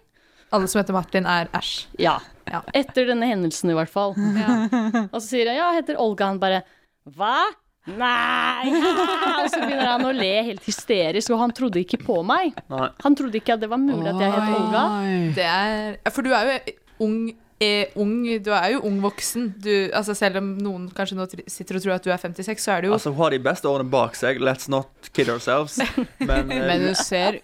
Speaker 6: Alle som heter Martin, er æsj.
Speaker 8: Ja.
Speaker 6: Ja.
Speaker 8: Etter denne hendelsen, i hvert fall. Og så sier jeg ja, jeg heter Olga. Han bare hva? Nei! Ja! Og så begynner han å le helt hysterisk, og han trodde ikke på meg.
Speaker 5: Nei.
Speaker 8: Han trodde ikke at det var mulig at jeg het Olga.
Speaker 6: Det er ja, For du er jo ung. Er ung, du er jo ung voksen. Du, altså selv om noen kanskje nå tr- sitter og tror at du er 56, så er du jo
Speaker 5: Altså, hun har de beste årene bak seg. Let's not kid ourselves. Men, eh,
Speaker 7: Men du ser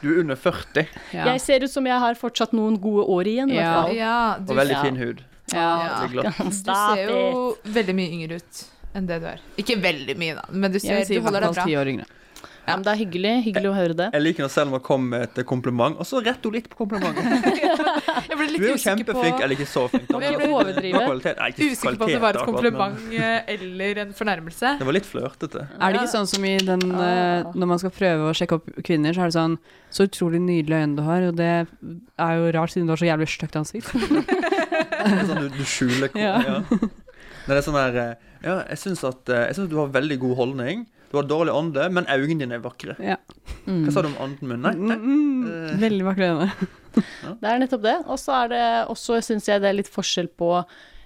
Speaker 5: du er under 40
Speaker 7: Ja.
Speaker 8: Jeg ser ut som jeg har fortsatt noen gode år igjen, i
Speaker 7: Ja.
Speaker 8: hvert fall.
Speaker 6: Ja, du,
Speaker 5: og veldig
Speaker 8: Ja.
Speaker 5: fin hud.
Speaker 7: Ja.
Speaker 5: Veldig glatt.
Speaker 6: du ser jo veldig mye yngre ut enn det du er. Ikke veldig mye, da, men du,
Speaker 7: Jeg
Speaker 6: ser,
Speaker 7: vil si i
Speaker 6: du
Speaker 7: hvert
Speaker 6: holder
Speaker 7: fall
Speaker 6: deg bra.
Speaker 7: ti år yngre.
Speaker 8: Ja, men det er hyggelig. Hyggelig å høre det.
Speaker 5: Jeg liker når Selma kommer med et kompliment, og så retter hun litt på komplimentet.
Speaker 6: Jeg ble
Speaker 5: Du
Speaker 6: litt
Speaker 5: er jo
Speaker 6: usikker på-
Speaker 5: kjempeflink, eller ikke så flink. da.
Speaker 6: Jeg ble
Speaker 5: Det var kvalitet. Nei, ikke
Speaker 6: Usikker på om det
Speaker 5: kvalitet
Speaker 6: var et
Speaker 5: akkurat,
Speaker 6: kompliment
Speaker 5: men
Speaker 6: eh, eller en fornærmelse.
Speaker 5: Det var litt flørtete.
Speaker 7: Er det ikke sånn som i den eh, Når man skal prøve å sjekke opp kvinner, så er det sånn Så utrolig nydelige øyne du har, og det er jo rart siden du har så jævlig stygt ansikt.
Speaker 5: Det er sånn du, du skjuler hvor-
Speaker 7: Ja.
Speaker 5: ja. Nei, det er sånn der eh, Ja, jeg syns at eh, Jeg synes du har veldig god holdning. Du har dårlig ånde, men øynene dine er vakre.
Speaker 7: Ja.
Speaker 8: Mm.
Speaker 5: Hva sa du om ånden min? Nei, nei.
Speaker 7: Mm, veldig vakre øyne.
Speaker 8: Det er nettopp det. Og så er det også, syns jeg, det er litt forskjell på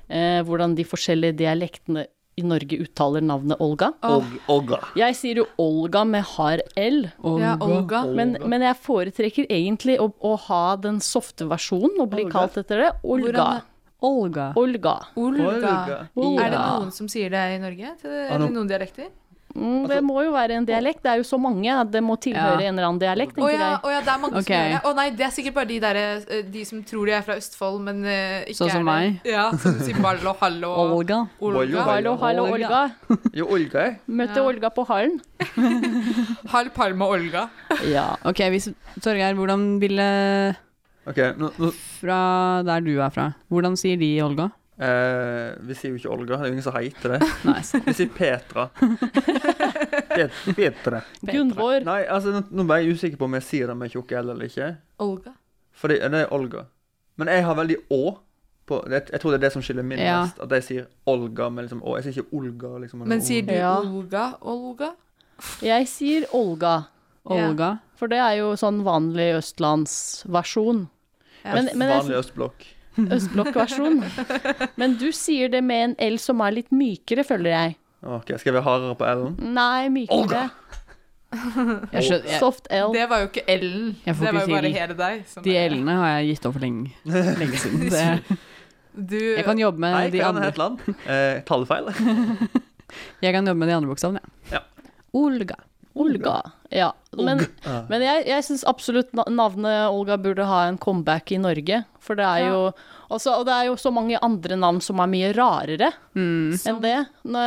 Speaker 8: eh, hvordan de forskjellige dialektene i Norge uttaler navnet Olga.
Speaker 5: Og, Olga.
Speaker 8: Jeg sier jo Olga med hard L.
Speaker 6: Ja, Olga.
Speaker 8: Men, men jeg foretrekker egentlig å, å ha den softe versjonen og bli kalt etter det. Olga.
Speaker 6: Hvordan-
Speaker 7: Olga.
Speaker 8: Olga.
Speaker 6: Olga.
Speaker 8: Olga.
Speaker 6: Er det noen som sier det i Norge? Til- Eller
Speaker 5: nå-
Speaker 6: noen dialekter?
Speaker 8: Mm, det må jo være en dialekt. Det er jo så mange at det må tilhøre
Speaker 7: Ja.
Speaker 8: en eller annen dialekt,
Speaker 6: Å
Speaker 8: tenker
Speaker 6: ja, å ja, det er mange
Speaker 7: Ok.
Speaker 6: som gjør det. Å nei, det er sikkert bare de, der, eh, de som tror de er fra Østfold, men eh, ikke
Speaker 7: Sånn som
Speaker 6: er
Speaker 7: meg.
Speaker 6: det. Ja, som sier ballo, hallo,
Speaker 7: Olga.
Speaker 5: Bollo,
Speaker 6: Olga.
Speaker 8: jeg. Hallo, hallo, Olga.
Speaker 5: Jo, Olga, jeg.
Speaker 8: Møtte Olga på hallen.
Speaker 6: Hall Palma Olga.
Speaker 8: Ja.
Speaker 7: Ok, hvis Torgeir, hvordan ville
Speaker 5: OK, nå, nå
Speaker 7: Fra der du er fra, hvordan sier de Olga?
Speaker 5: eh, Vi sier jo ikke Olga. Det er jo ingen som heter det.
Speaker 7: Nice.
Speaker 5: Vi sier Petra. Pet, Petra.
Speaker 8: Gunvor.
Speaker 5: Nei, altså, nå, nå ble jeg usikker på om jeg sier det med tjukke L eller ikke.
Speaker 6: Olga.
Speaker 5: Fordi det er Olga. Men jeg har veldig Å. På, jeg, jeg tror det er det som skiller min
Speaker 7: Ja.
Speaker 5: mest. At jeg sier Olga med liksom Å. Jeg sier ikke Olga. liksom. eller
Speaker 6: Men sier du
Speaker 8: Ja.
Speaker 6: Olga, Olga?
Speaker 8: Jeg sier Olga.
Speaker 7: Olga.
Speaker 8: For det er jo sånn vanlig østlandsversjon.
Speaker 5: Å.
Speaker 8: Men, men
Speaker 5: Vanlig
Speaker 8: jeg-
Speaker 5: østblokk.
Speaker 8: østblokkversjon. Men du sier det med en L som er litt mykere, føler jeg.
Speaker 5: Ok, Skal jeg være hardere på L-en?
Speaker 8: Nei, mykere.
Speaker 7: Jeg skjønner, jeg,
Speaker 8: Soft L.
Speaker 6: Det var jo ikke Ellen.
Speaker 7: Jeg
Speaker 6: Det
Speaker 7: får
Speaker 6: var jo
Speaker 7: ikke
Speaker 6: bare
Speaker 7: til.
Speaker 6: hele deg. som
Speaker 7: de
Speaker 6: er-
Speaker 7: L-ene har jeg gitt opp for lenge, lenge siden. Det,
Speaker 6: Du,
Speaker 7: jeg kan jobbe med
Speaker 5: Nei,
Speaker 7: de
Speaker 5: hva er det
Speaker 7: andre
Speaker 5: het land? Eh, tallfeil?
Speaker 7: Jeg kan jobbe med de andre bokstavene, jeg. Olga.
Speaker 8: Olga. Ja. Men, men jeg, jeg syns absolutt na- navnet Olga burde ha en comeback i Norge. For det er jo også, Og det er jo så mange andre navn som er mye rarere
Speaker 7: Mm.
Speaker 8: enn det. Nå,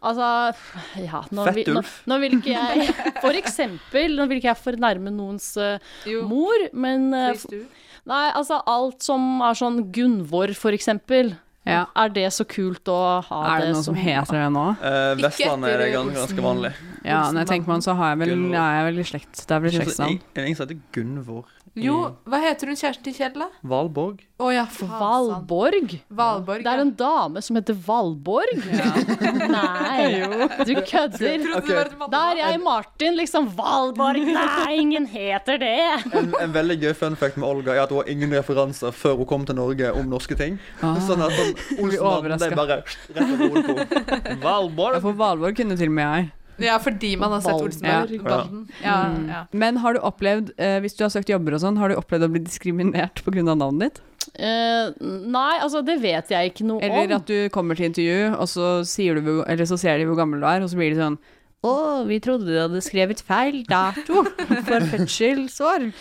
Speaker 8: altså Ja, nå, vil- nå,
Speaker 5: Fettulf.
Speaker 8: nå vil ikke jeg For eksempel, nå vil ikke jeg fornærme noens eh,
Speaker 6: jo,
Speaker 8: mor, men eh,
Speaker 6: hvis du.
Speaker 8: Nei, altså alt som er sånn Gunvor, for eksempel.
Speaker 7: Ja.
Speaker 8: Er det så kult å ha
Speaker 7: Er det
Speaker 8: det
Speaker 7: noen som heter det nå?
Speaker 5: Eh,
Speaker 6: Ikke
Speaker 5: Vestlandet er det
Speaker 6: etter
Speaker 5: ganske, ganske vanlig.
Speaker 7: Ja, når jeg tenker meg om, så har jeg vel,
Speaker 5: Gunvor.
Speaker 7: er jeg vel i slekt. Det er vel i
Speaker 5: Det er
Speaker 7: slektsnavn.
Speaker 5: ingen som heter Gunvor. i
Speaker 6: Jo, hva heter hun kjæresten til Kjell, da?
Speaker 5: Valborg?
Speaker 6: Å ja, faen. sant.
Speaker 8: Valborg?
Speaker 6: Valborg.
Speaker 8: Det er en dame som heter Valborg? Nei, du kødder.
Speaker 6: Trodde det var et mann-
Speaker 8: Da er jeg Martin, liksom. Valborg, nei, ingen heter det.
Speaker 5: En, en veldig gøy fun fact med Olga er at hun har ingen referanser før hun kom til Norge om norske ting. Sånn at sånn, Olsmannen det
Speaker 7: overrasket.
Speaker 5: er bare rett over hodet på henne.
Speaker 7: Ja,
Speaker 5: Valborg!
Speaker 7: for Valborg kunne til og med jeg.
Speaker 6: Ja, fordi man har sett
Speaker 8: Valborg.
Speaker 6: Olsenborg.
Speaker 5: Ja.
Speaker 6: Valden. Ja, ja.
Speaker 7: Men har du opplevd, eh, hvis du har søkt jobber og sånn, har du opplevd å bli diskriminert pga. navnet ditt?
Speaker 8: Eh, nei, altså, det vet jeg ikke noe
Speaker 7: Eller
Speaker 8: om.
Speaker 7: at du kommer til intervju, og så, sier du, hvor- eller så ser de hvor gammel du er, og så blir de sånn å, vi trodde du hadde skrevet feil dato for fødselsår.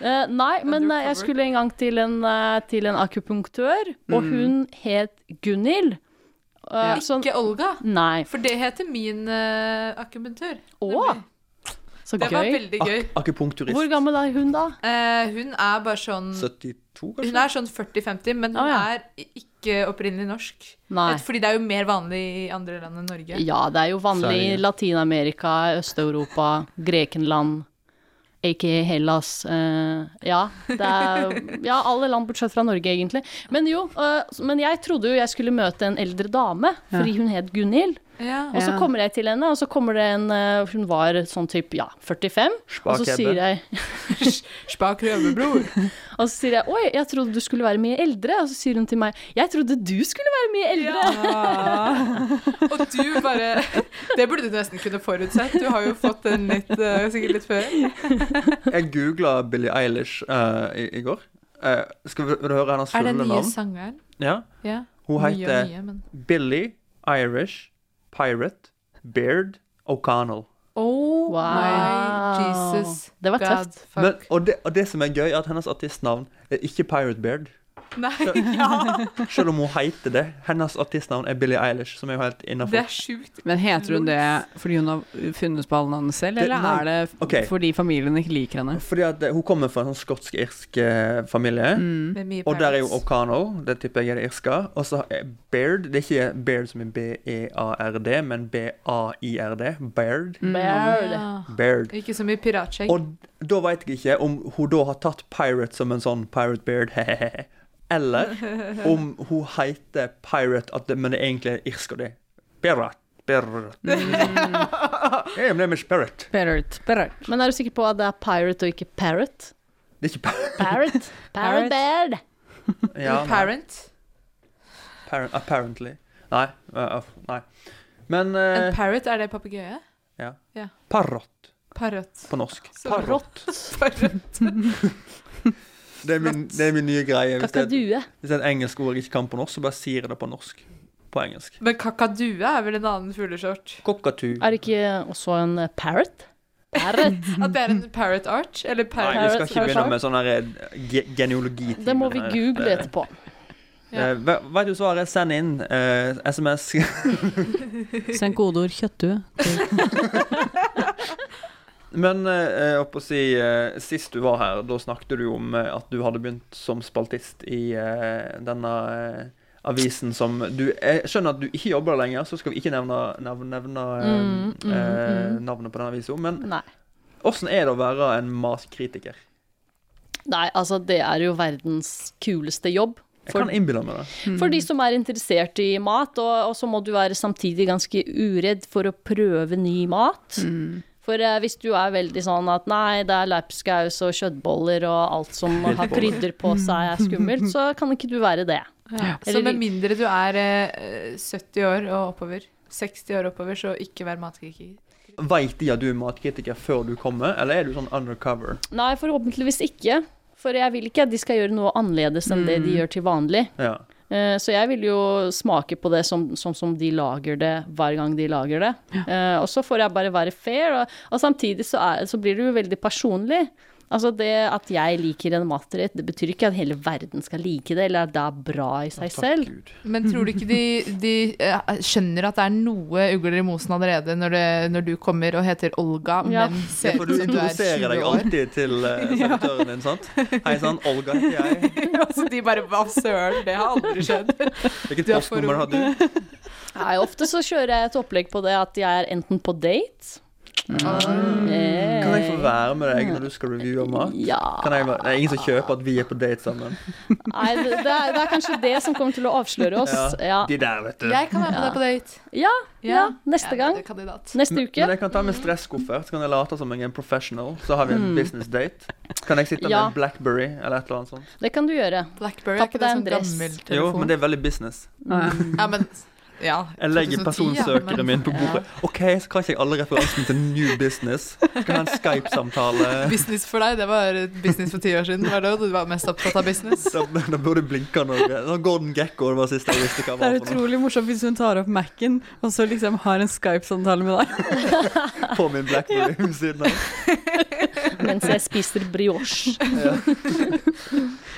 Speaker 8: Eh, nei, men eh, jeg skulle en gang til en, eh, til en akupunktør, og
Speaker 7: Mm.
Speaker 8: hun het Gunhild. Eh, sånn-
Speaker 6: Ikke Olga.
Speaker 8: Nei.
Speaker 6: For det heter min uh, akupunktør.
Speaker 8: Å! Så
Speaker 6: Det var
Speaker 8: gøy.
Speaker 6: veldig gøy.
Speaker 5: Akupunkturist.
Speaker 8: Hvor gammel er hun, da?
Speaker 6: Eh, hun er bare sånn
Speaker 5: 72, kanskje?
Speaker 6: Hun er sånn 40-50, men hun
Speaker 8: Å, ja.
Speaker 6: er i- ikke opprinnelig norsk.
Speaker 8: Nei.
Speaker 6: Fordi det er jo mer vanlig i andre land enn Norge.
Speaker 8: Ja, det er jo vanlig i
Speaker 5: Sverige.
Speaker 8: Latin-Amerika, Øst-Europa, Grekenland, aka Hellas. eh, ja, det er ja, alle land bortsett fra Norge, egentlig. Men jo, eh, men jeg trodde jo jeg skulle møte en eldre dame, fordi hun het Gunhild.
Speaker 6: Ja.
Speaker 8: Og så
Speaker 7: Ja.
Speaker 8: kommer jeg til henne, og så kommer det en eh, Hun var sånn type, ja, 45. Og så
Speaker 5: Spakebbe.
Speaker 8: sier jeg
Speaker 6: Spak røverbror.
Speaker 8: Og så sier jeg 'oi, jeg trodde du skulle være mye eldre'. Og så sier hun til meg 'jeg trodde du skulle være mye eldre'.
Speaker 6: Og du bare Det burde du nesten kunne forutsett. Du har jo fått den litt, eh, sikkert litt før.
Speaker 5: Jeg googla Billie Eilish eh, i, i går. Eh, skal vi, vil du høre hennes
Speaker 6: Er
Speaker 5: fulle
Speaker 6: det nye
Speaker 5: navn?
Speaker 6: sangeren?
Speaker 5: Ja.
Speaker 6: Ja.
Speaker 5: Hun
Speaker 6: Nye,
Speaker 5: heter
Speaker 6: nye, men
Speaker 5: Billie Irish Pirate Beard O'Connell.
Speaker 6: Oh
Speaker 8: Wow.
Speaker 6: my Jesus.
Speaker 8: Det var
Speaker 6: God,
Speaker 8: tøft.
Speaker 6: fuck.
Speaker 5: Men, og, det, og det som er gøy, er at hennes artistnavn er ikke Pirate Beard.
Speaker 6: Nei, ja.
Speaker 5: Selv om hun heter det. Hennes artistnavn er Billie Eilish, som er jo helt innafor.
Speaker 6: sjukt.
Speaker 7: Men heter hun det fordi hun har funnet på alle navnene selv,
Speaker 5: Det-
Speaker 7: eller
Speaker 5: nei.
Speaker 7: er det f-
Speaker 5: Ok.
Speaker 7: fordi familien ikke liker henne?
Speaker 5: Fordi at eh, hun kommer fra en sånn skotsk-irsk eh, familie.
Speaker 7: Mm.
Speaker 6: Med mye
Speaker 5: Og der er jo
Speaker 6: parents.
Speaker 5: O'Connell, det tipper jeg er det irske. Og så er Baird. Det er E ikke Baird som i B-E-A-R-D, men B-A-I-R-D. Baird.
Speaker 8: Mm.
Speaker 6: Ja.
Speaker 5: Baird.
Speaker 6: Ikke så mye piratskjegg.
Speaker 5: Og da veit jeg ikke om hun da har tatt Pirate som en sånn Pirate Beard, hehehe, eller om hun heter Pirate, at det, men det egentlig er irsk og det. Pirate, pirate.
Speaker 6: Mm.
Speaker 5: Hey, my name is Pirate.
Speaker 7: Parrot, parrot.
Speaker 8: Men er du sikker på at det er pirate og ikke parrot?
Speaker 5: Det er ikke Pirate.
Speaker 8: Parrot. Parrot bird.
Speaker 5: Ja, nei.
Speaker 6: Parent.
Speaker 5: Parent- apparently. Nei. eh, nei. Men
Speaker 6: En
Speaker 5: eh,
Speaker 6: parrot, er det papegøye?
Speaker 5: ja.
Speaker 6: Ja.
Speaker 5: Parrot
Speaker 6: Parrot.
Speaker 5: på norsk.
Speaker 6: Så-
Speaker 5: Parrot.
Speaker 6: Parrot.
Speaker 5: Det er min, det er min nye greie. Hvis det, er,
Speaker 8: Kakadue.
Speaker 5: hvis det er et engelsk ord jeg ikke kan på norsk, så bare sier jeg det på norsk. På engelsk.
Speaker 6: Men kakadue er vel en annen fuglesort?
Speaker 5: Cockatoo.
Speaker 8: Er det ikke også en eh, parrot? Parrot.
Speaker 6: At det er en parrot arch? Eller
Speaker 5: Nei,
Speaker 6: parrot
Speaker 5: vi skal
Speaker 8: Parrot-
Speaker 5: ikke begynne med sånn her eh, ge genealogi.
Speaker 8: Det må vi google etterpå.
Speaker 5: Eh, Vet du svaret? Send inn eh, SMS.
Speaker 7: Send kodeord 'kjøttdue'.
Speaker 5: Men eh, jeg holdt på å si, eh, sist du var her, da snakket du jo om eh, at du hadde begynt som spaltist i eh, denne eh, avisen som du Jeg skjønner at du ikke jobber der lenger, så skal vi ikke nevne, nevne, nevne eh,
Speaker 8: Mm, mm,
Speaker 5: eh,
Speaker 8: mm.
Speaker 5: navnet på den avisa, men
Speaker 8: Nei.
Speaker 5: åssen er det å være en matkritiker?
Speaker 8: Nei, altså, det er jo verdens kuleste jobb.
Speaker 5: Jeg
Speaker 8: For
Speaker 5: kan innbille meg det.
Speaker 8: For de som er interessert i mat, og, og så må du være samtidig ganske uredd for å prøve ny mat. For eh, hvis du er veldig sånn at nei, det er lapskaus og kjøttboller og alt som har krydder på seg er skummelt, så kan ikke du være det.
Speaker 6: Ja. Så
Speaker 8: Eller-
Speaker 6: med mindre du er eh, 70 år og oppover, 60 år oppover, så ikke vær matkritiker.
Speaker 5: Veit de at du er matkritiker før du kommer, eller er du sånn undercover?
Speaker 8: Nei, forhåpentligvis ikke. For jeg vil ikke at de skal gjøre noe annerledes enn det de gjør til vanlig.
Speaker 5: Ja.
Speaker 8: Eh, Så jeg vil jo smake på det som, som, som de lager det hver gang de lager det. Eh, Og så får jeg bare være fair, og, og samtidig så, er, så blir det jo veldig personlig. Altså det at jeg liker en matrett, det betyr ikke at hele verden skal like det, eller at det er bra i seg selv.
Speaker 5: Gud.
Speaker 6: Men tror du ikke de, de eh, skjønner at det er noe ugler i mosen allerede når, det, når du kommer og heter Olga,
Speaker 8: Ja.
Speaker 6: men
Speaker 5: Ja,
Speaker 6: ser
Speaker 5: for
Speaker 6: ut
Speaker 5: du
Speaker 6: som du er
Speaker 5: introduserer
Speaker 6: 20
Speaker 5: deg
Speaker 6: år?
Speaker 5: alltid til eh, servitøren din, sant? Hei sann, Olga heter jeg.
Speaker 6: altså, de bare Hva søren, det har aldri skjedd.
Speaker 5: Hvilket
Speaker 6: Du er for
Speaker 5: postnummer
Speaker 6: ung.
Speaker 5: hadde du?
Speaker 8: Nei, ofte så kjører jeg et opplegg på det at jeg er enten på date
Speaker 5: Mm.
Speaker 8: Eh,
Speaker 5: Kan jeg få være med deg når du skal reviewe mat?
Speaker 8: Ja.
Speaker 5: Kan jeg, være- det er ingen som kjøper at vi er på date sammen.
Speaker 8: Nei, det, det, er, det er kanskje det som kommer til å avsløre oss. Ja,
Speaker 5: De der, vet du.
Speaker 6: Jeg kan være med deg på date.
Speaker 8: ja, ja
Speaker 6: Ja.
Speaker 8: neste
Speaker 6: Jeg er
Speaker 8: gang.
Speaker 6: kandidat.
Speaker 8: Neste
Speaker 5: Men
Speaker 8: uke.
Speaker 5: men jeg kan ta med stresskoffert, så kan jeg late som jeg er en professional. Så har vi
Speaker 6: Mm.
Speaker 5: en business date. Kan jeg sitte med
Speaker 8: Ja.
Speaker 5: en Blackberry eller et eller annet sånt?
Speaker 8: Det kan du gjøre.
Speaker 6: Blackberry,
Speaker 8: Ta
Speaker 6: er ikke
Speaker 8: på
Speaker 6: det
Speaker 8: deg en
Speaker 6: sånn
Speaker 8: dress.
Speaker 6: gammel
Speaker 5: Jo,
Speaker 6: telefon?
Speaker 5: men det er veldig business.
Speaker 6: Ja, men ja,
Speaker 5: Jeg legger
Speaker 6: 2010, ja,
Speaker 5: personsøkeren
Speaker 6: men-
Speaker 5: min på bordet. OK, så kan ikke jeg alle referansene til New Business. Skal ha en Skype-samtale.
Speaker 6: Business for deg, det var business for ti år siden. Var det da du var mest opptatt av business?
Speaker 5: Da, da burde blinka noe. Da Gordon Gekko det var siste jeg visste hva
Speaker 7: Det
Speaker 5: var
Speaker 7: er
Speaker 5: for noe.
Speaker 7: utrolig morsomt hvis hun tar opp Mac-en og så liksom har en Skype-samtale med deg.
Speaker 5: På min Blackberry ved siden av.
Speaker 8: mens jeg spiser brioche.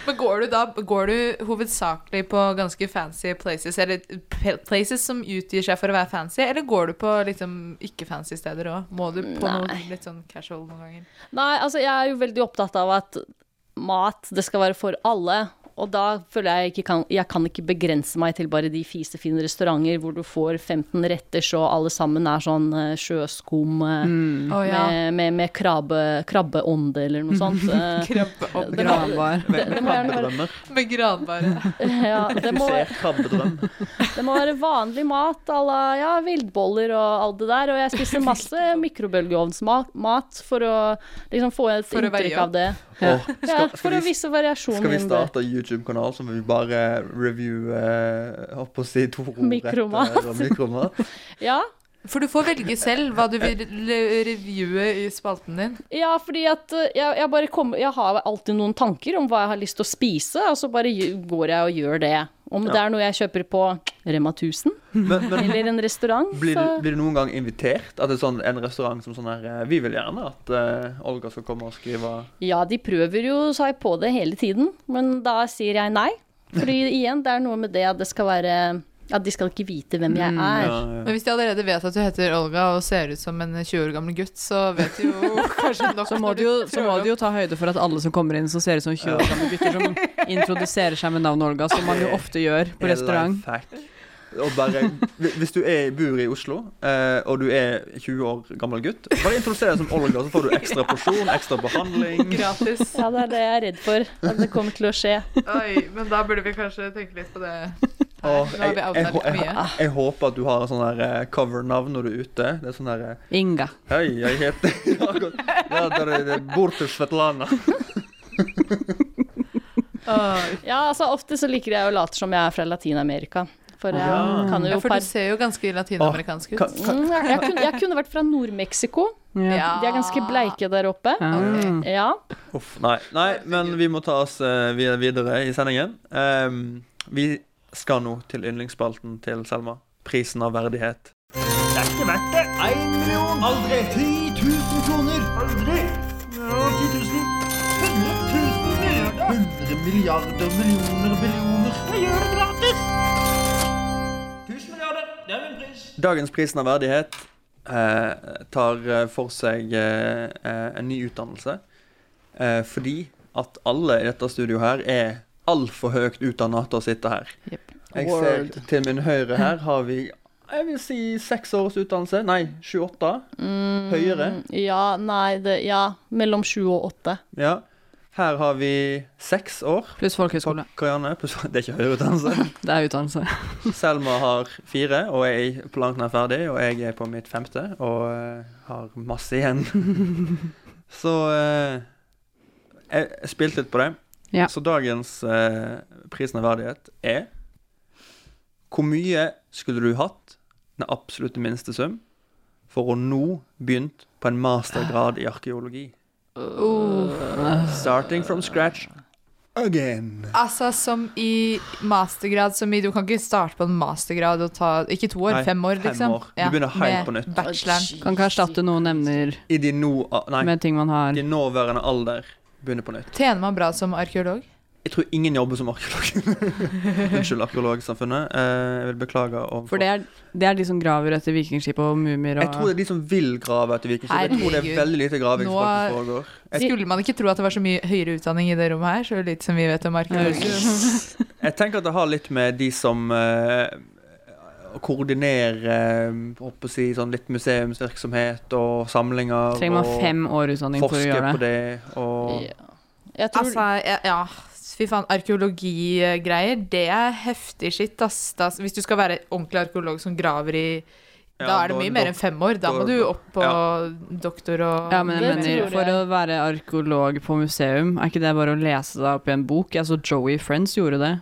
Speaker 6: Men går du da går du hovedsakelig på ganske fancy places, eller pe- places som utgir seg for å være fancy, eller går du på liksom ikke-fancy steder òg? Må du på noe
Speaker 8: Nei.
Speaker 6: litt sånn casual noen ganger?
Speaker 8: Nei, altså jeg er jo veldig opptatt av at mat, det skal være for alle. Og da føler jeg ikke kan, jeg kan ikke begrense meg til bare de fisefine restauranter hvor du får 15 retter, så alle sammen er sånn eh, sjøskum eh,
Speaker 6: Mm.
Speaker 7: Mm.
Speaker 6: Å ja.
Speaker 8: med, med, med krabbe, krabbeånde eller noe sånt. Eh,
Speaker 6: Krabbe opp
Speaker 8: det må-
Speaker 7: Granbar.
Speaker 8: det- det må gjerne være-
Speaker 5: Krabbedrømmer.
Speaker 6: med granbare.
Speaker 8: Ja, det må,
Speaker 5: Fusert krabbedrøm.
Speaker 8: det må være vanlig mat à la ja, villboller og alt det der. Og jeg spiser masse mikrobølgeovnsmat mat for å liksom få et
Speaker 6: For å veie
Speaker 8: inntrykk
Speaker 6: opp.
Speaker 8: av det.
Speaker 5: Åh,
Speaker 8: Ja,
Speaker 5: skal,
Speaker 8: for
Speaker 5: skal,
Speaker 8: å
Speaker 5: vi,
Speaker 8: vise variasjonen.
Speaker 5: skal vi
Speaker 8: innen det.
Speaker 5: starte YouTube-kanal som vi bare review eh, holdt på å si to ord
Speaker 8: Mikromat.
Speaker 5: etter, og mikromat?
Speaker 8: Ja,
Speaker 6: For du får velge selv hva du vil le- reviewe i spalten din.
Speaker 8: ja fordi at eh, jeg, jeg bare kommer Jeg har alltid noen tanker om hva jeg har lyst til å spise, og så bare gj- går jeg og gjør det. Om det er noe jeg kjøper på Rema 1000
Speaker 5: Men, men
Speaker 8: eller en restaurant,
Speaker 5: blir,
Speaker 8: så
Speaker 5: du, blir du noen gang invitert? At det er sånn, en restaurant som sånn her eh, Vi vil gjerne at eh, Olga skal komme og skrive
Speaker 8: Ja, de prøver jo seg på det hele tiden, men da sier jeg nei. Fordi igjen, det er noe med det at det skal være At de skal ikke vite
Speaker 6: Mm,
Speaker 8: hvem jeg er.
Speaker 6: Men hvis de allerede vet at du heter Olga og ser ut som en 20 år gammel gutt, så vet de jo kanskje nok
Speaker 7: Så må
Speaker 6: når
Speaker 7: du jo,
Speaker 6: trår
Speaker 7: så må
Speaker 6: opp.
Speaker 7: du jo ta høyde for at alle som kommer inn som ser ut som 20 år gamle gutter, som introduserer seg med navnet Olga, som man jo ofte gjør på
Speaker 5: Eller
Speaker 7: restaurant.
Speaker 5: fact. Og bare, hvi- hvis du er, bor i Oslo, eh, og du er 20 år gammel gutt, bare introduser deg som Olga, så får du ekstra porsjon, ekstra behandling.
Speaker 6: Gratis.
Speaker 8: Ja, det er det jeg er redd for. At det kommer til å skje.
Speaker 6: Oi, men da burde vi kanskje tenke litt på det.
Speaker 5: Og
Speaker 6: Nå har
Speaker 5: jeg,
Speaker 6: vi
Speaker 5: jeg,
Speaker 6: outa
Speaker 5: hå-
Speaker 6: litt
Speaker 5: jeg,
Speaker 6: mye.
Speaker 5: jeg håper at du har en sånn her eh, cover-navn når du er ute. Det er sånn her eh,
Speaker 7: Inga.
Speaker 5: Hei, jeg heter Ja, der er det bor til Svetlana.
Speaker 8: Ja, altså ofte så liker jeg å late som jeg er fra Latin-Amerika. For jeg
Speaker 6: Ja.
Speaker 8: kan
Speaker 6: Ja,
Speaker 8: jo
Speaker 6: for du ser jo ganske latinamerikansk ut.
Speaker 8: Mm, jeg, jeg, kunne, jeg kunne vært fra Nord-Mexico.
Speaker 6: Ja.
Speaker 8: De er ganske bleike der oppe.
Speaker 5: Ja.
Speaker 8: Ja.
Speaker 5: Uff, nei. nei, men vi må ta oss eh, vi- videre i sendingen. Ehm, vi skal nå til yndlingsspalten til Selma. Prisen av verdighet.
Speaker 12: Det er ikke verdt det. Én million. Aldri. 10 000 kroner. Aldri. Ja, 10 000. 100 000 milliarder. 100 milliarder millioner millioner. Jeg gjør det gratis. 1000 milliarder. Det er min pris.
Speaker 5: Dagens Prisen av verdighet eh, tar eh, for seg eh, eh, en ny utdannelse. Eh, fordi at alle i dette studioet her er altfor høyt utdanna til å sitte her. Jeg ser
Speaker 12: Word.
Speaker 5: til min høyre her har vi jeg vil si seks års utdannelse. Nei, 28.
Speaker 8: Mm,
Speaker 5: Høyere.
Speaker 8: Ja, nei, det, ja. Mellom sju og åtte.
Speaker 5: Ja. Her har vi seks år.
Speaker 7: Pluss folkehøyskole.
Speaker 5: Karianne, pluss, det er ikke høyere utdannelse.
Speaker 7: Det er utdannelse.
Speaker 5: Selma har fire, og jeg er på langt nær ferdig, og jeg er på mitt femte, og eh, har masse igjen. Så eh, jeg jeg spilte litt på det.
Speaker 7: Ja.
Speaker 5: Så dagens eh, prisen av verdighet er Hvor mye skulle du hatt den absolutte minste sum for å nå begynt på en mastergrad i arkeologi? Starting from scratch again.
Speaker 6: Altså som i mastergrad som i, Du kan ikke starte på en mastergrad og ta Ikke to år,
Speaker 5: Nei,
Speaker 6: fem år,
Speaker 5: fem
Speaker 6: liksom.
Speaker 5: år. Du begynner helt
Speaker 6: med
Speaker 5: på nytt.
Speaker 6: Bacheloren.
Speaker 7: Kan ikke erstatte noen emner
Speaker 5: I de nå... ah, Nei,
Speaker 7: med ting man har.
Speaker 5: i nåværende alder begynner på nytt.
Speaker 6: Tjener man bra som arkeolog?
Speaker 5: Jeg tror ingen jobber som arkeolog. Unnskyld, Arkeologsamfunnet. Eh, jeg vil beklage overfor
Speaker 7: For det er, det er de som graver etter vikingskip og mumier
Speaker 5: Jeg tror det
Speaker 7: og
Speaker 5: er de som vil grave etter vikingskip. Jeg tror det
Speaker 6: Herregud.
Speaker 5: er veldig lite graving som
Speaker 6: Nå-
Speaker 5: faktisk foregår. Jeg,
Speaker 6: Skulle man ikke tro at det var så mye høyere utdanning i det rommet her, så litt som vi vet om arkeologi?
Speaker 5: jeg tenker at det har litt med de som eh, koordinerer eh, holdt på å si, sånn litt museumsvirksomhet og samlinger.
Speaker 7: Trenger man
Speaker 5: og
Speaker 7: fem år utdanning for å
Speaker 5: forsker
Speaker 7: gjøre
Speaker 5: på det. Og
Speaker 8: Jeg tror-
Speaker 6: Altså, ja, ja. Fy faen, arkeologigreier, det er heftig shit, ass. Da, hvis du skal være ordentlig arkeolog som graver i
Speaker 7: Ja,
Speaker 6: Da er det
Speaker 7: da-
Speaker 6: mye mer enn fem år. Da må
Speaker 7: da-
Speaker 6: du opp på doktor og
Speaker 7: Ja, men jeg mener, for å
Speaker 6: jeg.
Speaker 7: være arkeolog på museum, er ikke det bare å lese deg opp i en bok? Jeg så Joey Friends gjorde det.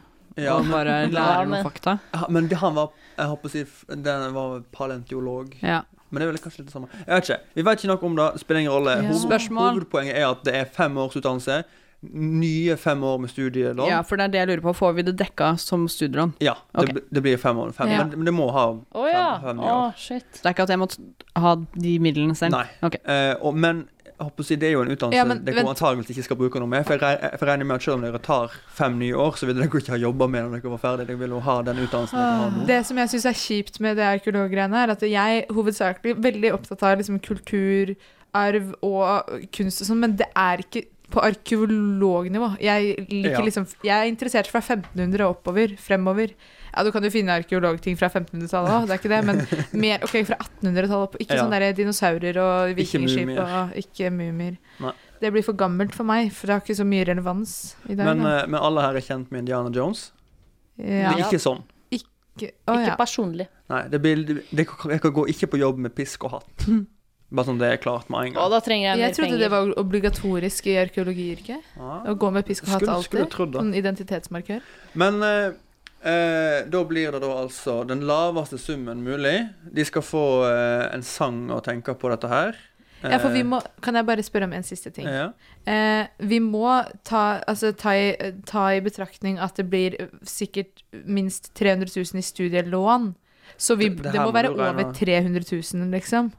Speaker 5: Ja,
Speaker 7: og
Speaker 5: men-
Speaker 7: bare
Speaker 5: Ja,
Speaker 7: lærer
Speaker 5: men-
Speaker 7: noen fakta.
Speaker 5: Ja, men det, han var Jeg holdt på å si f- Den var paleontolog.
Speaker 7: Ja.
Speaker 5: Men det er vel kanskje litt det samme. Jeg vet ikke. Vi vet ikke nok om det. Spiller ingen rolle.
Speaker 7: Ja.
Speaker 5: Hoved,
Speaker 7: Spørsmål?
Speaker 5: Hovedpoenget er at det er fem års utdannelse. Nye fem år med studielån.
Speaker 7: ja, for det er det jeg lurer på. Får vi det dekka som studielån?
Speaker 5: Ja, det, bl- det blir fem år. Fem.
Speaker 7: Ja.
Speaker 5: Men, men det må ha
Speaker 7: Å ja.
Speaker 5: fem, fem i år.
Speaker 8: shit.
Speaker 7: Det er ikke at jeg måtte ha de midlene selv?
Speaker 5: Nei. Eh, og, men jeg håper å si, det er jo en utdannelse
Speaker 7: Ja, men
Speaker 5: dere
Speaker 7: vent.
Speaker 5: antageligvis ikke skal bruke noe med. For jeg, reg- jeg regner med at selv om dere tar fem nye år, så vil dere jo ikke ha jobba med når dere var ferdig. Dere vil jo ha den utdannelsen dere
Speaker 7: Ah,
Speaker 5: har nå.
Speaker 6: Det som jeg syns er kjipt med det arkeologgreiene, er at jeg hovedsakelig er veldig opptatt av liksom kultur, arv og kunst og sånn, men det er ikke på arkeolognivå. Jeg liker
Speaker 7: Ja.
Speaker 6: liksom Jeg er interessert fra 1500 og oppover. Fremover. Ja, du kan jo finne arkeologting fra 1500-tallet òg, det er ikke det, men mer OK, fra 1800-tallet opp. Ikke
Speaker 5: Ja.
Speaker 6: sånne der dinosaurer og
Speaker 5: Ikke
Speaker 6: vikingskip
Speaker 5: mumier.
Speaker 6: og ikke mumier.
Speaker 5: Nei.
Speaker 6: Det blir for gammelt for meg, for det har ikke så mye relevans i dag.
Speaker 5: Men,
Speaker 6: da.
Speaker 5: eh, men alle her er kjent med Indiana Jones.
Speaker 6: Ja.
Speaker 5: Det er ikke sånn.
Speaker 6: Ikke, å, ja.
Speaker 8: personlig.
Speaker 5: Nei, det blir, det, det, jeg kan gå ikke på jobb med pisk og hatt. Bare sånn det er klart med en gang.
Speaker 6: jeg trodde det var obligatorisk i arkeologiyrket.
Speaker 5: Ah.
Speaker 6: Å gå med pisk og hatt
Speaker 5: Skulle-
Speaker 6: alltid.
Speaker 5: skulle trodd det.
Speaker 6: Sånn identitetsmarkør.
Speaker 5: Men eh, eh, da blir det da altså den laveste summen mulig. De skal få eh, en sang å tenke på dette her. Eh,
Speaker 6: Ja, for vi må, kan jeg bare spørre om en siste ting?
Speaker 5: Ja.
Speaker 6: Eh, vi må ta, altså, ta, i, ta i betraktning at det blir sikkert minst 300 000 i studielån. Så vi,
Speaker 5: Det-
Speaker 6: det,
Speaker 5: det her
Speaker 6: må
Speaker 5: må
Speaker 6: være
Speaker 5: du regne
Speaker 6: over
Speaker 5: med.
Speaker 6: 300 000, liksom.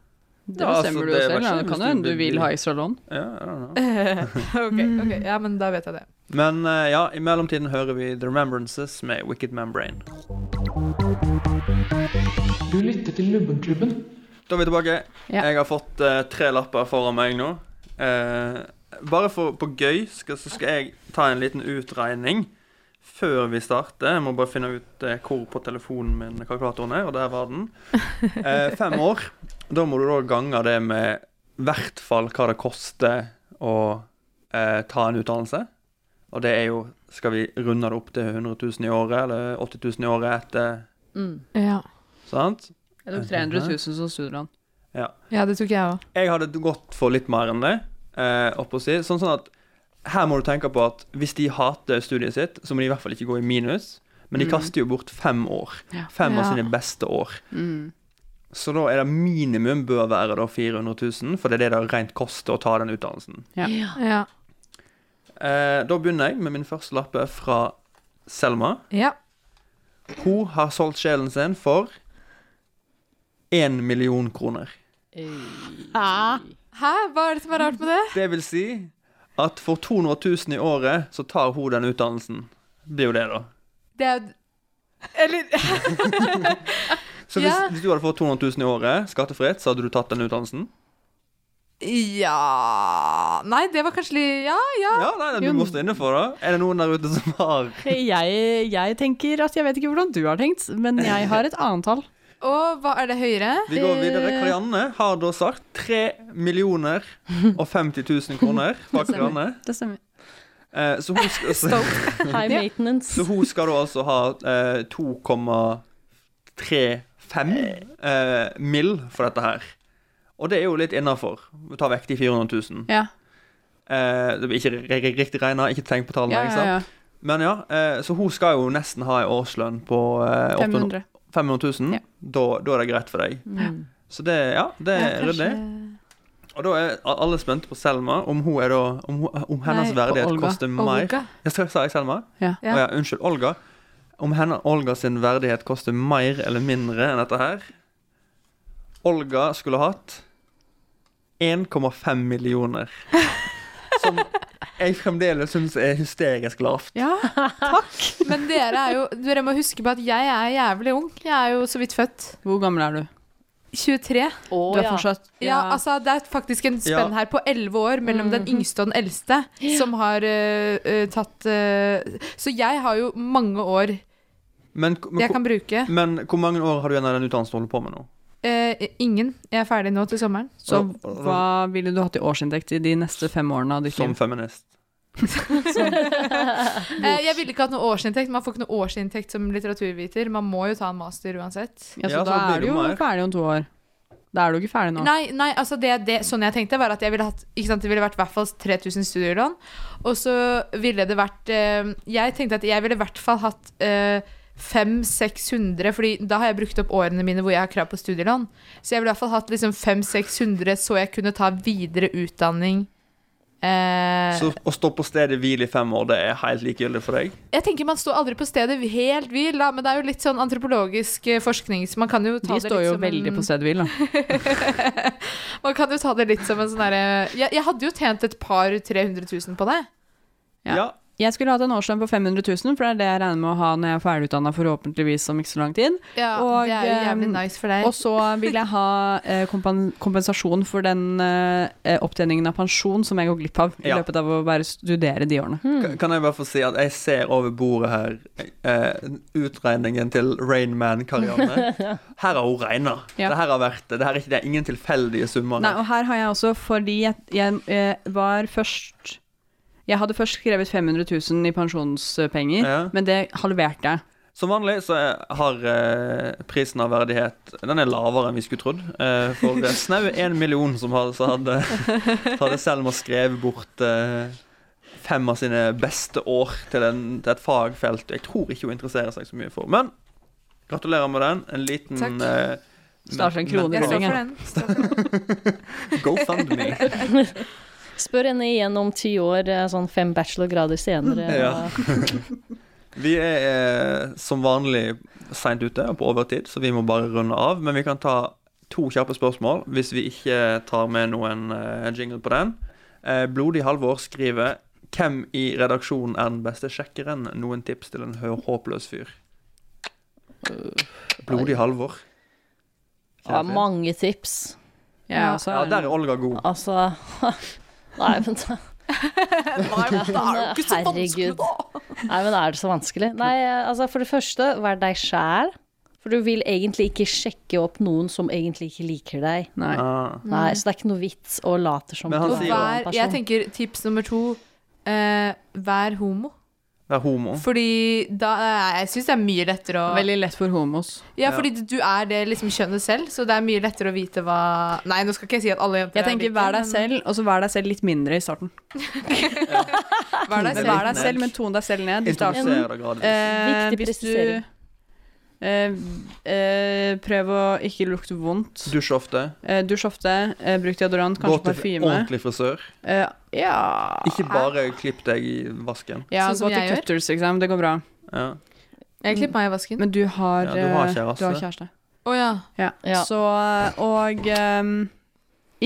Speaker 7: Det
Speaker 5: altså,
Speaker 7: bestemmer du jo selv. da. Det kan jo hende du vil ha
Speaker 5: i
Speaker 7: extra lån.
Speaker 5: Ja, I don't know.
Speaker 6: ok, ok, Mm. ja, men da vet jeg det.
Speaker 5: Men eh, ja, i mellomtiden hører vi The Remembrances med Wicked Membrane.
Speaker 1: Du lytter til Lubbenklubben.
Speaker 5: Da er vi tilbake.
Speaker 1: Ja.
Speaker 5: Jeg har fått eh, tre lapper foran meg nå. Eh, bare for, på gøy skal, så skal jeg ta en liten utregning før vi starter. Jeg må bare finne ut eh, hvor på telefonen min kalkulatoren er, og der var den. Eh, fem år. Da må du da gange det med i hvert fall hva det koster å eh, ta en utdannelse. Og det er jo Skal vi runde det opp til 100 000 i året, eller 80 000 i året etter
Speaker 7: Mm.
Speaker 6: Ja.
Speaker 5: Sant?
Speaker 7: Jeg tok 300 000 som studielån.
Speaker 5: Ja.
Speaker 6: ja, det tok jeg òg.
Speaker 5: Jeg hadde gått for litt mer enn det. Eh, opp å si. sånn, sånn at Her må du tenke på at hvis de hater studiet sitt, så må de i hvert fall ikke gå i minus. Men de
Speaker 7: Mm.
Speaker 5: kaster jo bort fem år. Fem av
Speaker 7: Ja. Mm.
Speaker 5: sine beste år. Så da er det minimum bør være da 400 000, for det er det det rent koster å ta den utdannelsen.
Speaker 7: Ja.
Speaker 6: Ja.
Speaker 5: Eh, da begynner jeg med min første lappe fra Selma.
Speaker 6: Ja.
Speaker 5: Hun har solgt sjelen sin for én million kroner.
Speaker 6: Hæ? Hva er det som er rart med det?
Speaker 5: Det vil si at for 200 000 i året så tar hun den utdannelsen. Det er jo det, da.
Speaker 6: Det er jo Eller
Speaker 5: Så hvis,
Speaker 6: Ja.
Speaker 5: hvis du hadde fått 200 000 i året skattefritt, så hadde du tatt den utdannelsen?
Speaker 6: Ja Nei, det var kanskje litt Ja, ja.
Speaker 5: Ja, nei, nei, du må stå inne for det. Er det noen der ute som har
Speaker 7: Jeg, jeg tenker at jeg vet ikke hvordan du har tenkt, men jeg har et annet tall.
Speaker 6: Og hva er det høyere?
Speaker 5: Vi går videre. Karianne har da sagt 3 millioner og 50 000 kroner fra Karianne.
Speaker 7: Det stemmer.
Speaker 5: Eh, så hun skal så,
Speaker 8: High maintenance.
Speaker 5: så hun skal da altså ha eh, 2,35 eh, mill. for dette her. Og det er jo litt innafor. Ta vekk de 400 000.
Speaker 7: Ja.
Speaker 5: Eh, det blir ikke ri- ri- riktig regna, ikke tenk på tallene.
Speaker 7: Ja,
Speaker 5: ikke
Speaker 7: ja,
Speaker 5: sant?
Speaker 7: ja.
Speaker 5: Men ja, eh, så hun skal jo nesten ha en årslønn på eh, 800
Speaker 7: 500.
Speaker 5: 500 000. Da, da er det greit for deg.
Speaker 7: Mm.
Speaker 5: Så det, ja, Eh, det er
Speaker 7: Ja,
Speaker 5: ryddig. Og da er a- alle spente på Selma, om, hun er da, om, hun- om hennes
Speaker 7: Nei,
Speaker 5: verdighet
Speaker 7: Olga.
Speaker 5: koster mer
Speaker 7: Olga.
Speaker 5: Ja, sa sa jeg Selma?
Speaker 7: Ja.
Speaker 5: Å ja, unnskyld, Olga. Om henne Olga sin verdighet koster mer eller mindre enn dette her. Olga skulle hatt 1,5 millioner. Som jeg fremdeles syns er hysterisk lavt.
Speaker 7: Ja,
Speaker 6: takk. Men dere er jo Dere må huske på at jeg er jævlig ung. Jeg er jo så vidt født.
Speaker 7: Hvor gammel er du?
Speaker 6: 23.
Speaker 7: Du er ja. fortsatt-
Speaker 6: ja.
Speaker 7: ja.
Speaker 6: altså Det er faktisk en
Speaker 7: Ja.
Speaker 6: spenn her på 11 år mellom den yngste og den eldste som har øh, øh, tatt øh, Så jeg har jo mange år
Speaker 5: Men, men,
Speaker 6: jeg kan bruke.
Speaker 5: men hvor mange år har du igjen av den utdannelsen du holder på med nå?
Speaker 6: Eh, ingen. Jeg er ferdig nå til sommeren.
Speaker 7: Så hva ville du hatt i årsinntekt i de neste fem årene av ditt
Speaker 5: Som feminist.
Speaker 6: Eh, jeg ville ikke hatt noe årsinntekt. Man får ikke noe årsinntekt som litteraturviter. Man må jo ta en master uansett.
Speaker 7: Ja, så da er du jo ferdig om to år. Da er du ikke ferdig nå.
Speaker 6: Nei, nei, altså det, det, sånn jeg tenkte var at jeg ville hatt, ikke sant, det ville vært i hvert fall 3000 studielån. Og så ville det vært eh, Jeg tenkte at jeg ville i hvert fall hatt eh, 500-600, fordi da har jeg brukt opp årene mine hvor jeg har krav på studielån. Så jeg ville i hvert fall hatt liksom 500-600 så jeg kunne ta videre utdanning. Eh,
Speaker 5: Så å stå på stedet hvil i fem år, det er helt likegyldig for deg?
Speaker 6: jeg tenker Man står aldri på stedet helt hvil, da, men det er jo litt sånn antropologisk eh, forskning. Så man kan jo ta
Speaker 7: De
Speaker 6: det
Speaker 7: står
Speaker 6: litt
Speaker 7: jo
Speaker 6: som
Speaker 7: veldig
Speaker 6: en,
Speaker 7: på stedet hvil, da.
Speaker 6: Man kan jo ta det litt som en sånn derre jeg, jeg hadde jo tjent et par 300 000 på det.
Speaker 7: Ja. Jeg skulle hatt en årslønn på 500 000, for det er det jeg regner med å ha når jeg er ferdigutdanna forhåpentligvis om ikke så lang tid.
Speaker 6: Ja,
Speaker 7: Og,
Speaker 6: det er jo jævlig
Speaker 7: eh,
Speaker 6: nice for deg.
Speaker 7: Og så vil jeg ha eh, kompen kompensasjon for den eh, opptjeningen av pensjon som jeg går glipp av i
Speaker 5: Ja.
Speaker 7: løpet av å bare studere de årene.
Speaker 5: Ka- Kan jeg bare få si at jeg ser over bordet her eh, utregningen til Rain Man-Karianne. Her har hun regna.
Speaker 7: Ja.
Speaker 5: Det her har vært det. Her er ikke, det er ingen tilfeldige summer.
Speaker 7: Nei, og her har jeg også, fordi jeg, jeg eh, var først Jeg hadde først skrevet 500 000 i pensjonspenger,
Speaker 5: Ja.
Speaker 7: men det halverte jeg.
Speaker 5: Som vanlig så er- har eh, prisen av verdighet Den er lavere enn vi skulle trodd. Eh, for det er snaue én million som hadde, så hadde, så hadde Selma skrevet bort eh, fem av sine beste år til, en, til et fagfelt jeg tror ikke hun interesserer seg så mye for. Men gratulerer med den. En liten
Speaker 7: Takk.
Speaker 5: eh, men-
Speaker 7: Starter en krone i
Speaker 5: mental-
Speaker 7: ringen.
Speaker 5: Go fund me.
Speaker 8: Spør henne igjen om ti år, eh, sånn fem bachelorgrader senere.
Speaker 5: Ja. Vi er eh, som vanlig seint ute og på overtid, så vi må bare runde av. Men vi kan ta to kjappe spørsmål, hvis vi ikke tar med noen eh, jingle på den. Eh, Blodig Halvor skriver Hvem i redaksjonen er den beste sjekkeren? Noen tips til en hø- håpløs fyr? Blodig Halvor.
Speaker 8: Ja, mange tips.
Speaker 5: Ja, ja, der er Olga god.
Speaker 8: Altså Nei, men da Nei, men det er jo ikke så vanskelig, da! Nei, men er det så vanskelig? Nei, altså for det første, vær deg sjæl. For du vil egentlig ikke sjekke opp noen som egentlig ikke liker deg.
Speaker 7: Nei.
Speaker 5: Ah.
Speaker 8: Nei så det er ikke noe vits å late som du
Speaker 5: Men han
Speaker 8: er
Speaker 5: sier
Speaker 8: en
Speaker 5: jo-
Speaker 6: Vær,
Speaker 8: person.
Speaker 6: jeg tenker tips nummer to eh, Vær homo.
Speaker 5: Det er homo.
Speaker 6: Fordi da eh, Jeg syns det er mye lettere å
Speaker 7: Veldig lett for homos.
Speaker 6: Ja, fordi du er det liksom kjønnet selv, så det er mye lettere å vite hva Nei, nå skal ikke jeg si at alle jenter
Speaker 7: Jeg tenker vær deg selv, og så vær deg selv litt mindre i starten.
Speaker 6: Vær deg
Speaker 7: Men
Speaker 6: selv.
Speaker 7: vær deg selv, men ton deg selv ned i starten.
Speaker 5: Introduser deg gradvis.
Speaker 7: Eh,
Speaker 8: Viktig
Speaker 7: hvis du
Speaker 8: presisering.
Speaker 7: eh, eh, Prøv å ikke lukte vondt.
Speaker 5: Dusj ofte.
Speaker 7: Eh, dusj ofte. Eh, bruk deodorant,
Speaker 5: Gå
Speaker 7: kanskje
Speaker 5: til
Speaker 7: parfyme.
Speaker 5: ordentlig frisør.
Speaker 7: Eh, ja
Speaker 5: Ikke bare klipp deg i vasken.
Speaker 7: ja,
Speaker 6: Sånn som
Speaker 7: Gå til
Speaker 6: jeg gjør.
Speaker 7: cutters, liksom. Det går bra.
Speaker 5: Ja.
Speaker 6: Jeg klipper meg i vasken.
Speaker 7: Men du har,
Speaker 5: Ja, du har
Speaker 7: eh,
Speaker 5: kjæreste.
Speaker 7: Du har kjæreste.
Speaker 6: Å ja.
Speaker 7: Ja.
Speaker 8: Ja.
Speaker 7: Så Og ehm,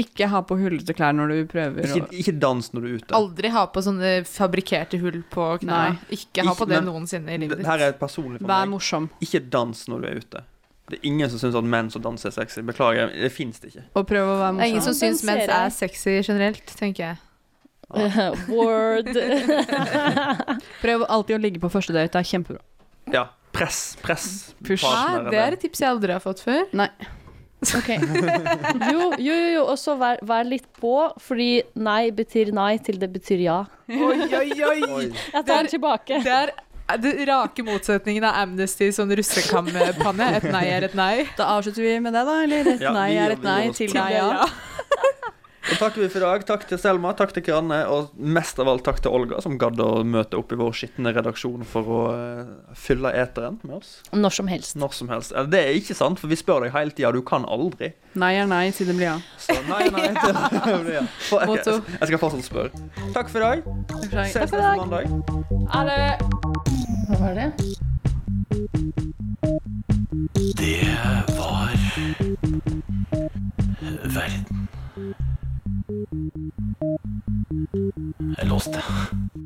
Speaker 7: ikke ha på hullete klær når du prøver
Speaker 5: Ikke,
Speaker 7: å
Speaker 5: ikke dans når du er ute.
Speaker 6: Aldri ha på sånne fabrikkerte hull på knærne. Ikke ha
Speaker 5: Ikke-
Speaker 6: på det
Speaker 5: men-
Speaker 6: noensinne i livet
Speaker 5: Det
Speaker 6: ditt.
Speaker 5: her er personlig for
Speaker 7: Vær
Speaker 5: meg.
Speaker 7: morsom.
Speaker 5: Ikke dans når du er ute. Det er ingen som syns at menn som danser er sexy. Beklager, det fins det ikke.
Speaker 7: Og prøv å være
Speaker 6: Det er ingen
Speaker 7: morsom.
Speaker 6: som
Speaker 8: Den
Speaker 6: syns mens
Speaker 8: ser jeg.
Speaker 6: er sexy generelt, tenker jeg.
Speaker 8: Word.
Speaker 7: Prøv alltid å ligge på første date. Det er kjempebra.
Speaker 5: Ja, press, press.
Speaker 7: Push.
Speaker 5: partnere
Speaker 6: Nei, det er et tips jeg aldri har fått før.
Speaker 7: Nei.
Speaker 8: Jo, jo, jo, jo. og så vær, vær litt på, fordi nei betyr nei til det betyr ja.
Speaker 6: Oi, oi, oi.
Speaker 8: Jeg tar den tilbake.
Speaker 6: Det er det rake motsetningen av Amnesty sånn russekampanne. Et nei er et nei.
Speaker 7: Da avslutter vi med det, da. Eller et
Speaker 5: Ja,
Speaker 7: nei
Speaker 5: vi
Speaker 7: er
Speaker 5: gjør-
Speaker 7: et
Speaker 5: vi
Speaker 7: nei
Speaker 5: gjør oss
Speaker 7: til
Speaker 5: klar.
Speaker 7: nei, ja.
Speaker 5: Da takker vi for i dag. Takk til Selma, takk til Kranne, og mest av alt takk til Olga, som gadd å møte opp i vår skitne redaksjon for å eh, fylle eteren med oss
Speaker 8: Når som helst.
Speaker 5: når som helst. Eh, Det er ikke sant, for vi spør deg hele tida, du kan aldri.
Speaker 7: Nei er nei til det blir ja.
Speaker 5: Så nei, nei. det blir ja. For- ok,
Speaker 7: Motto.
Speaker 5: Jeg skal fortsatt spørre. Takk for i dag. Ses
Speaker 8: for i
Speaker 5: neste
Speaker 8: dag.
Speaker 5: mandag.
Speaker 8: Ha det. Hva var det?
Speaker 13: Verden. Jeg låste.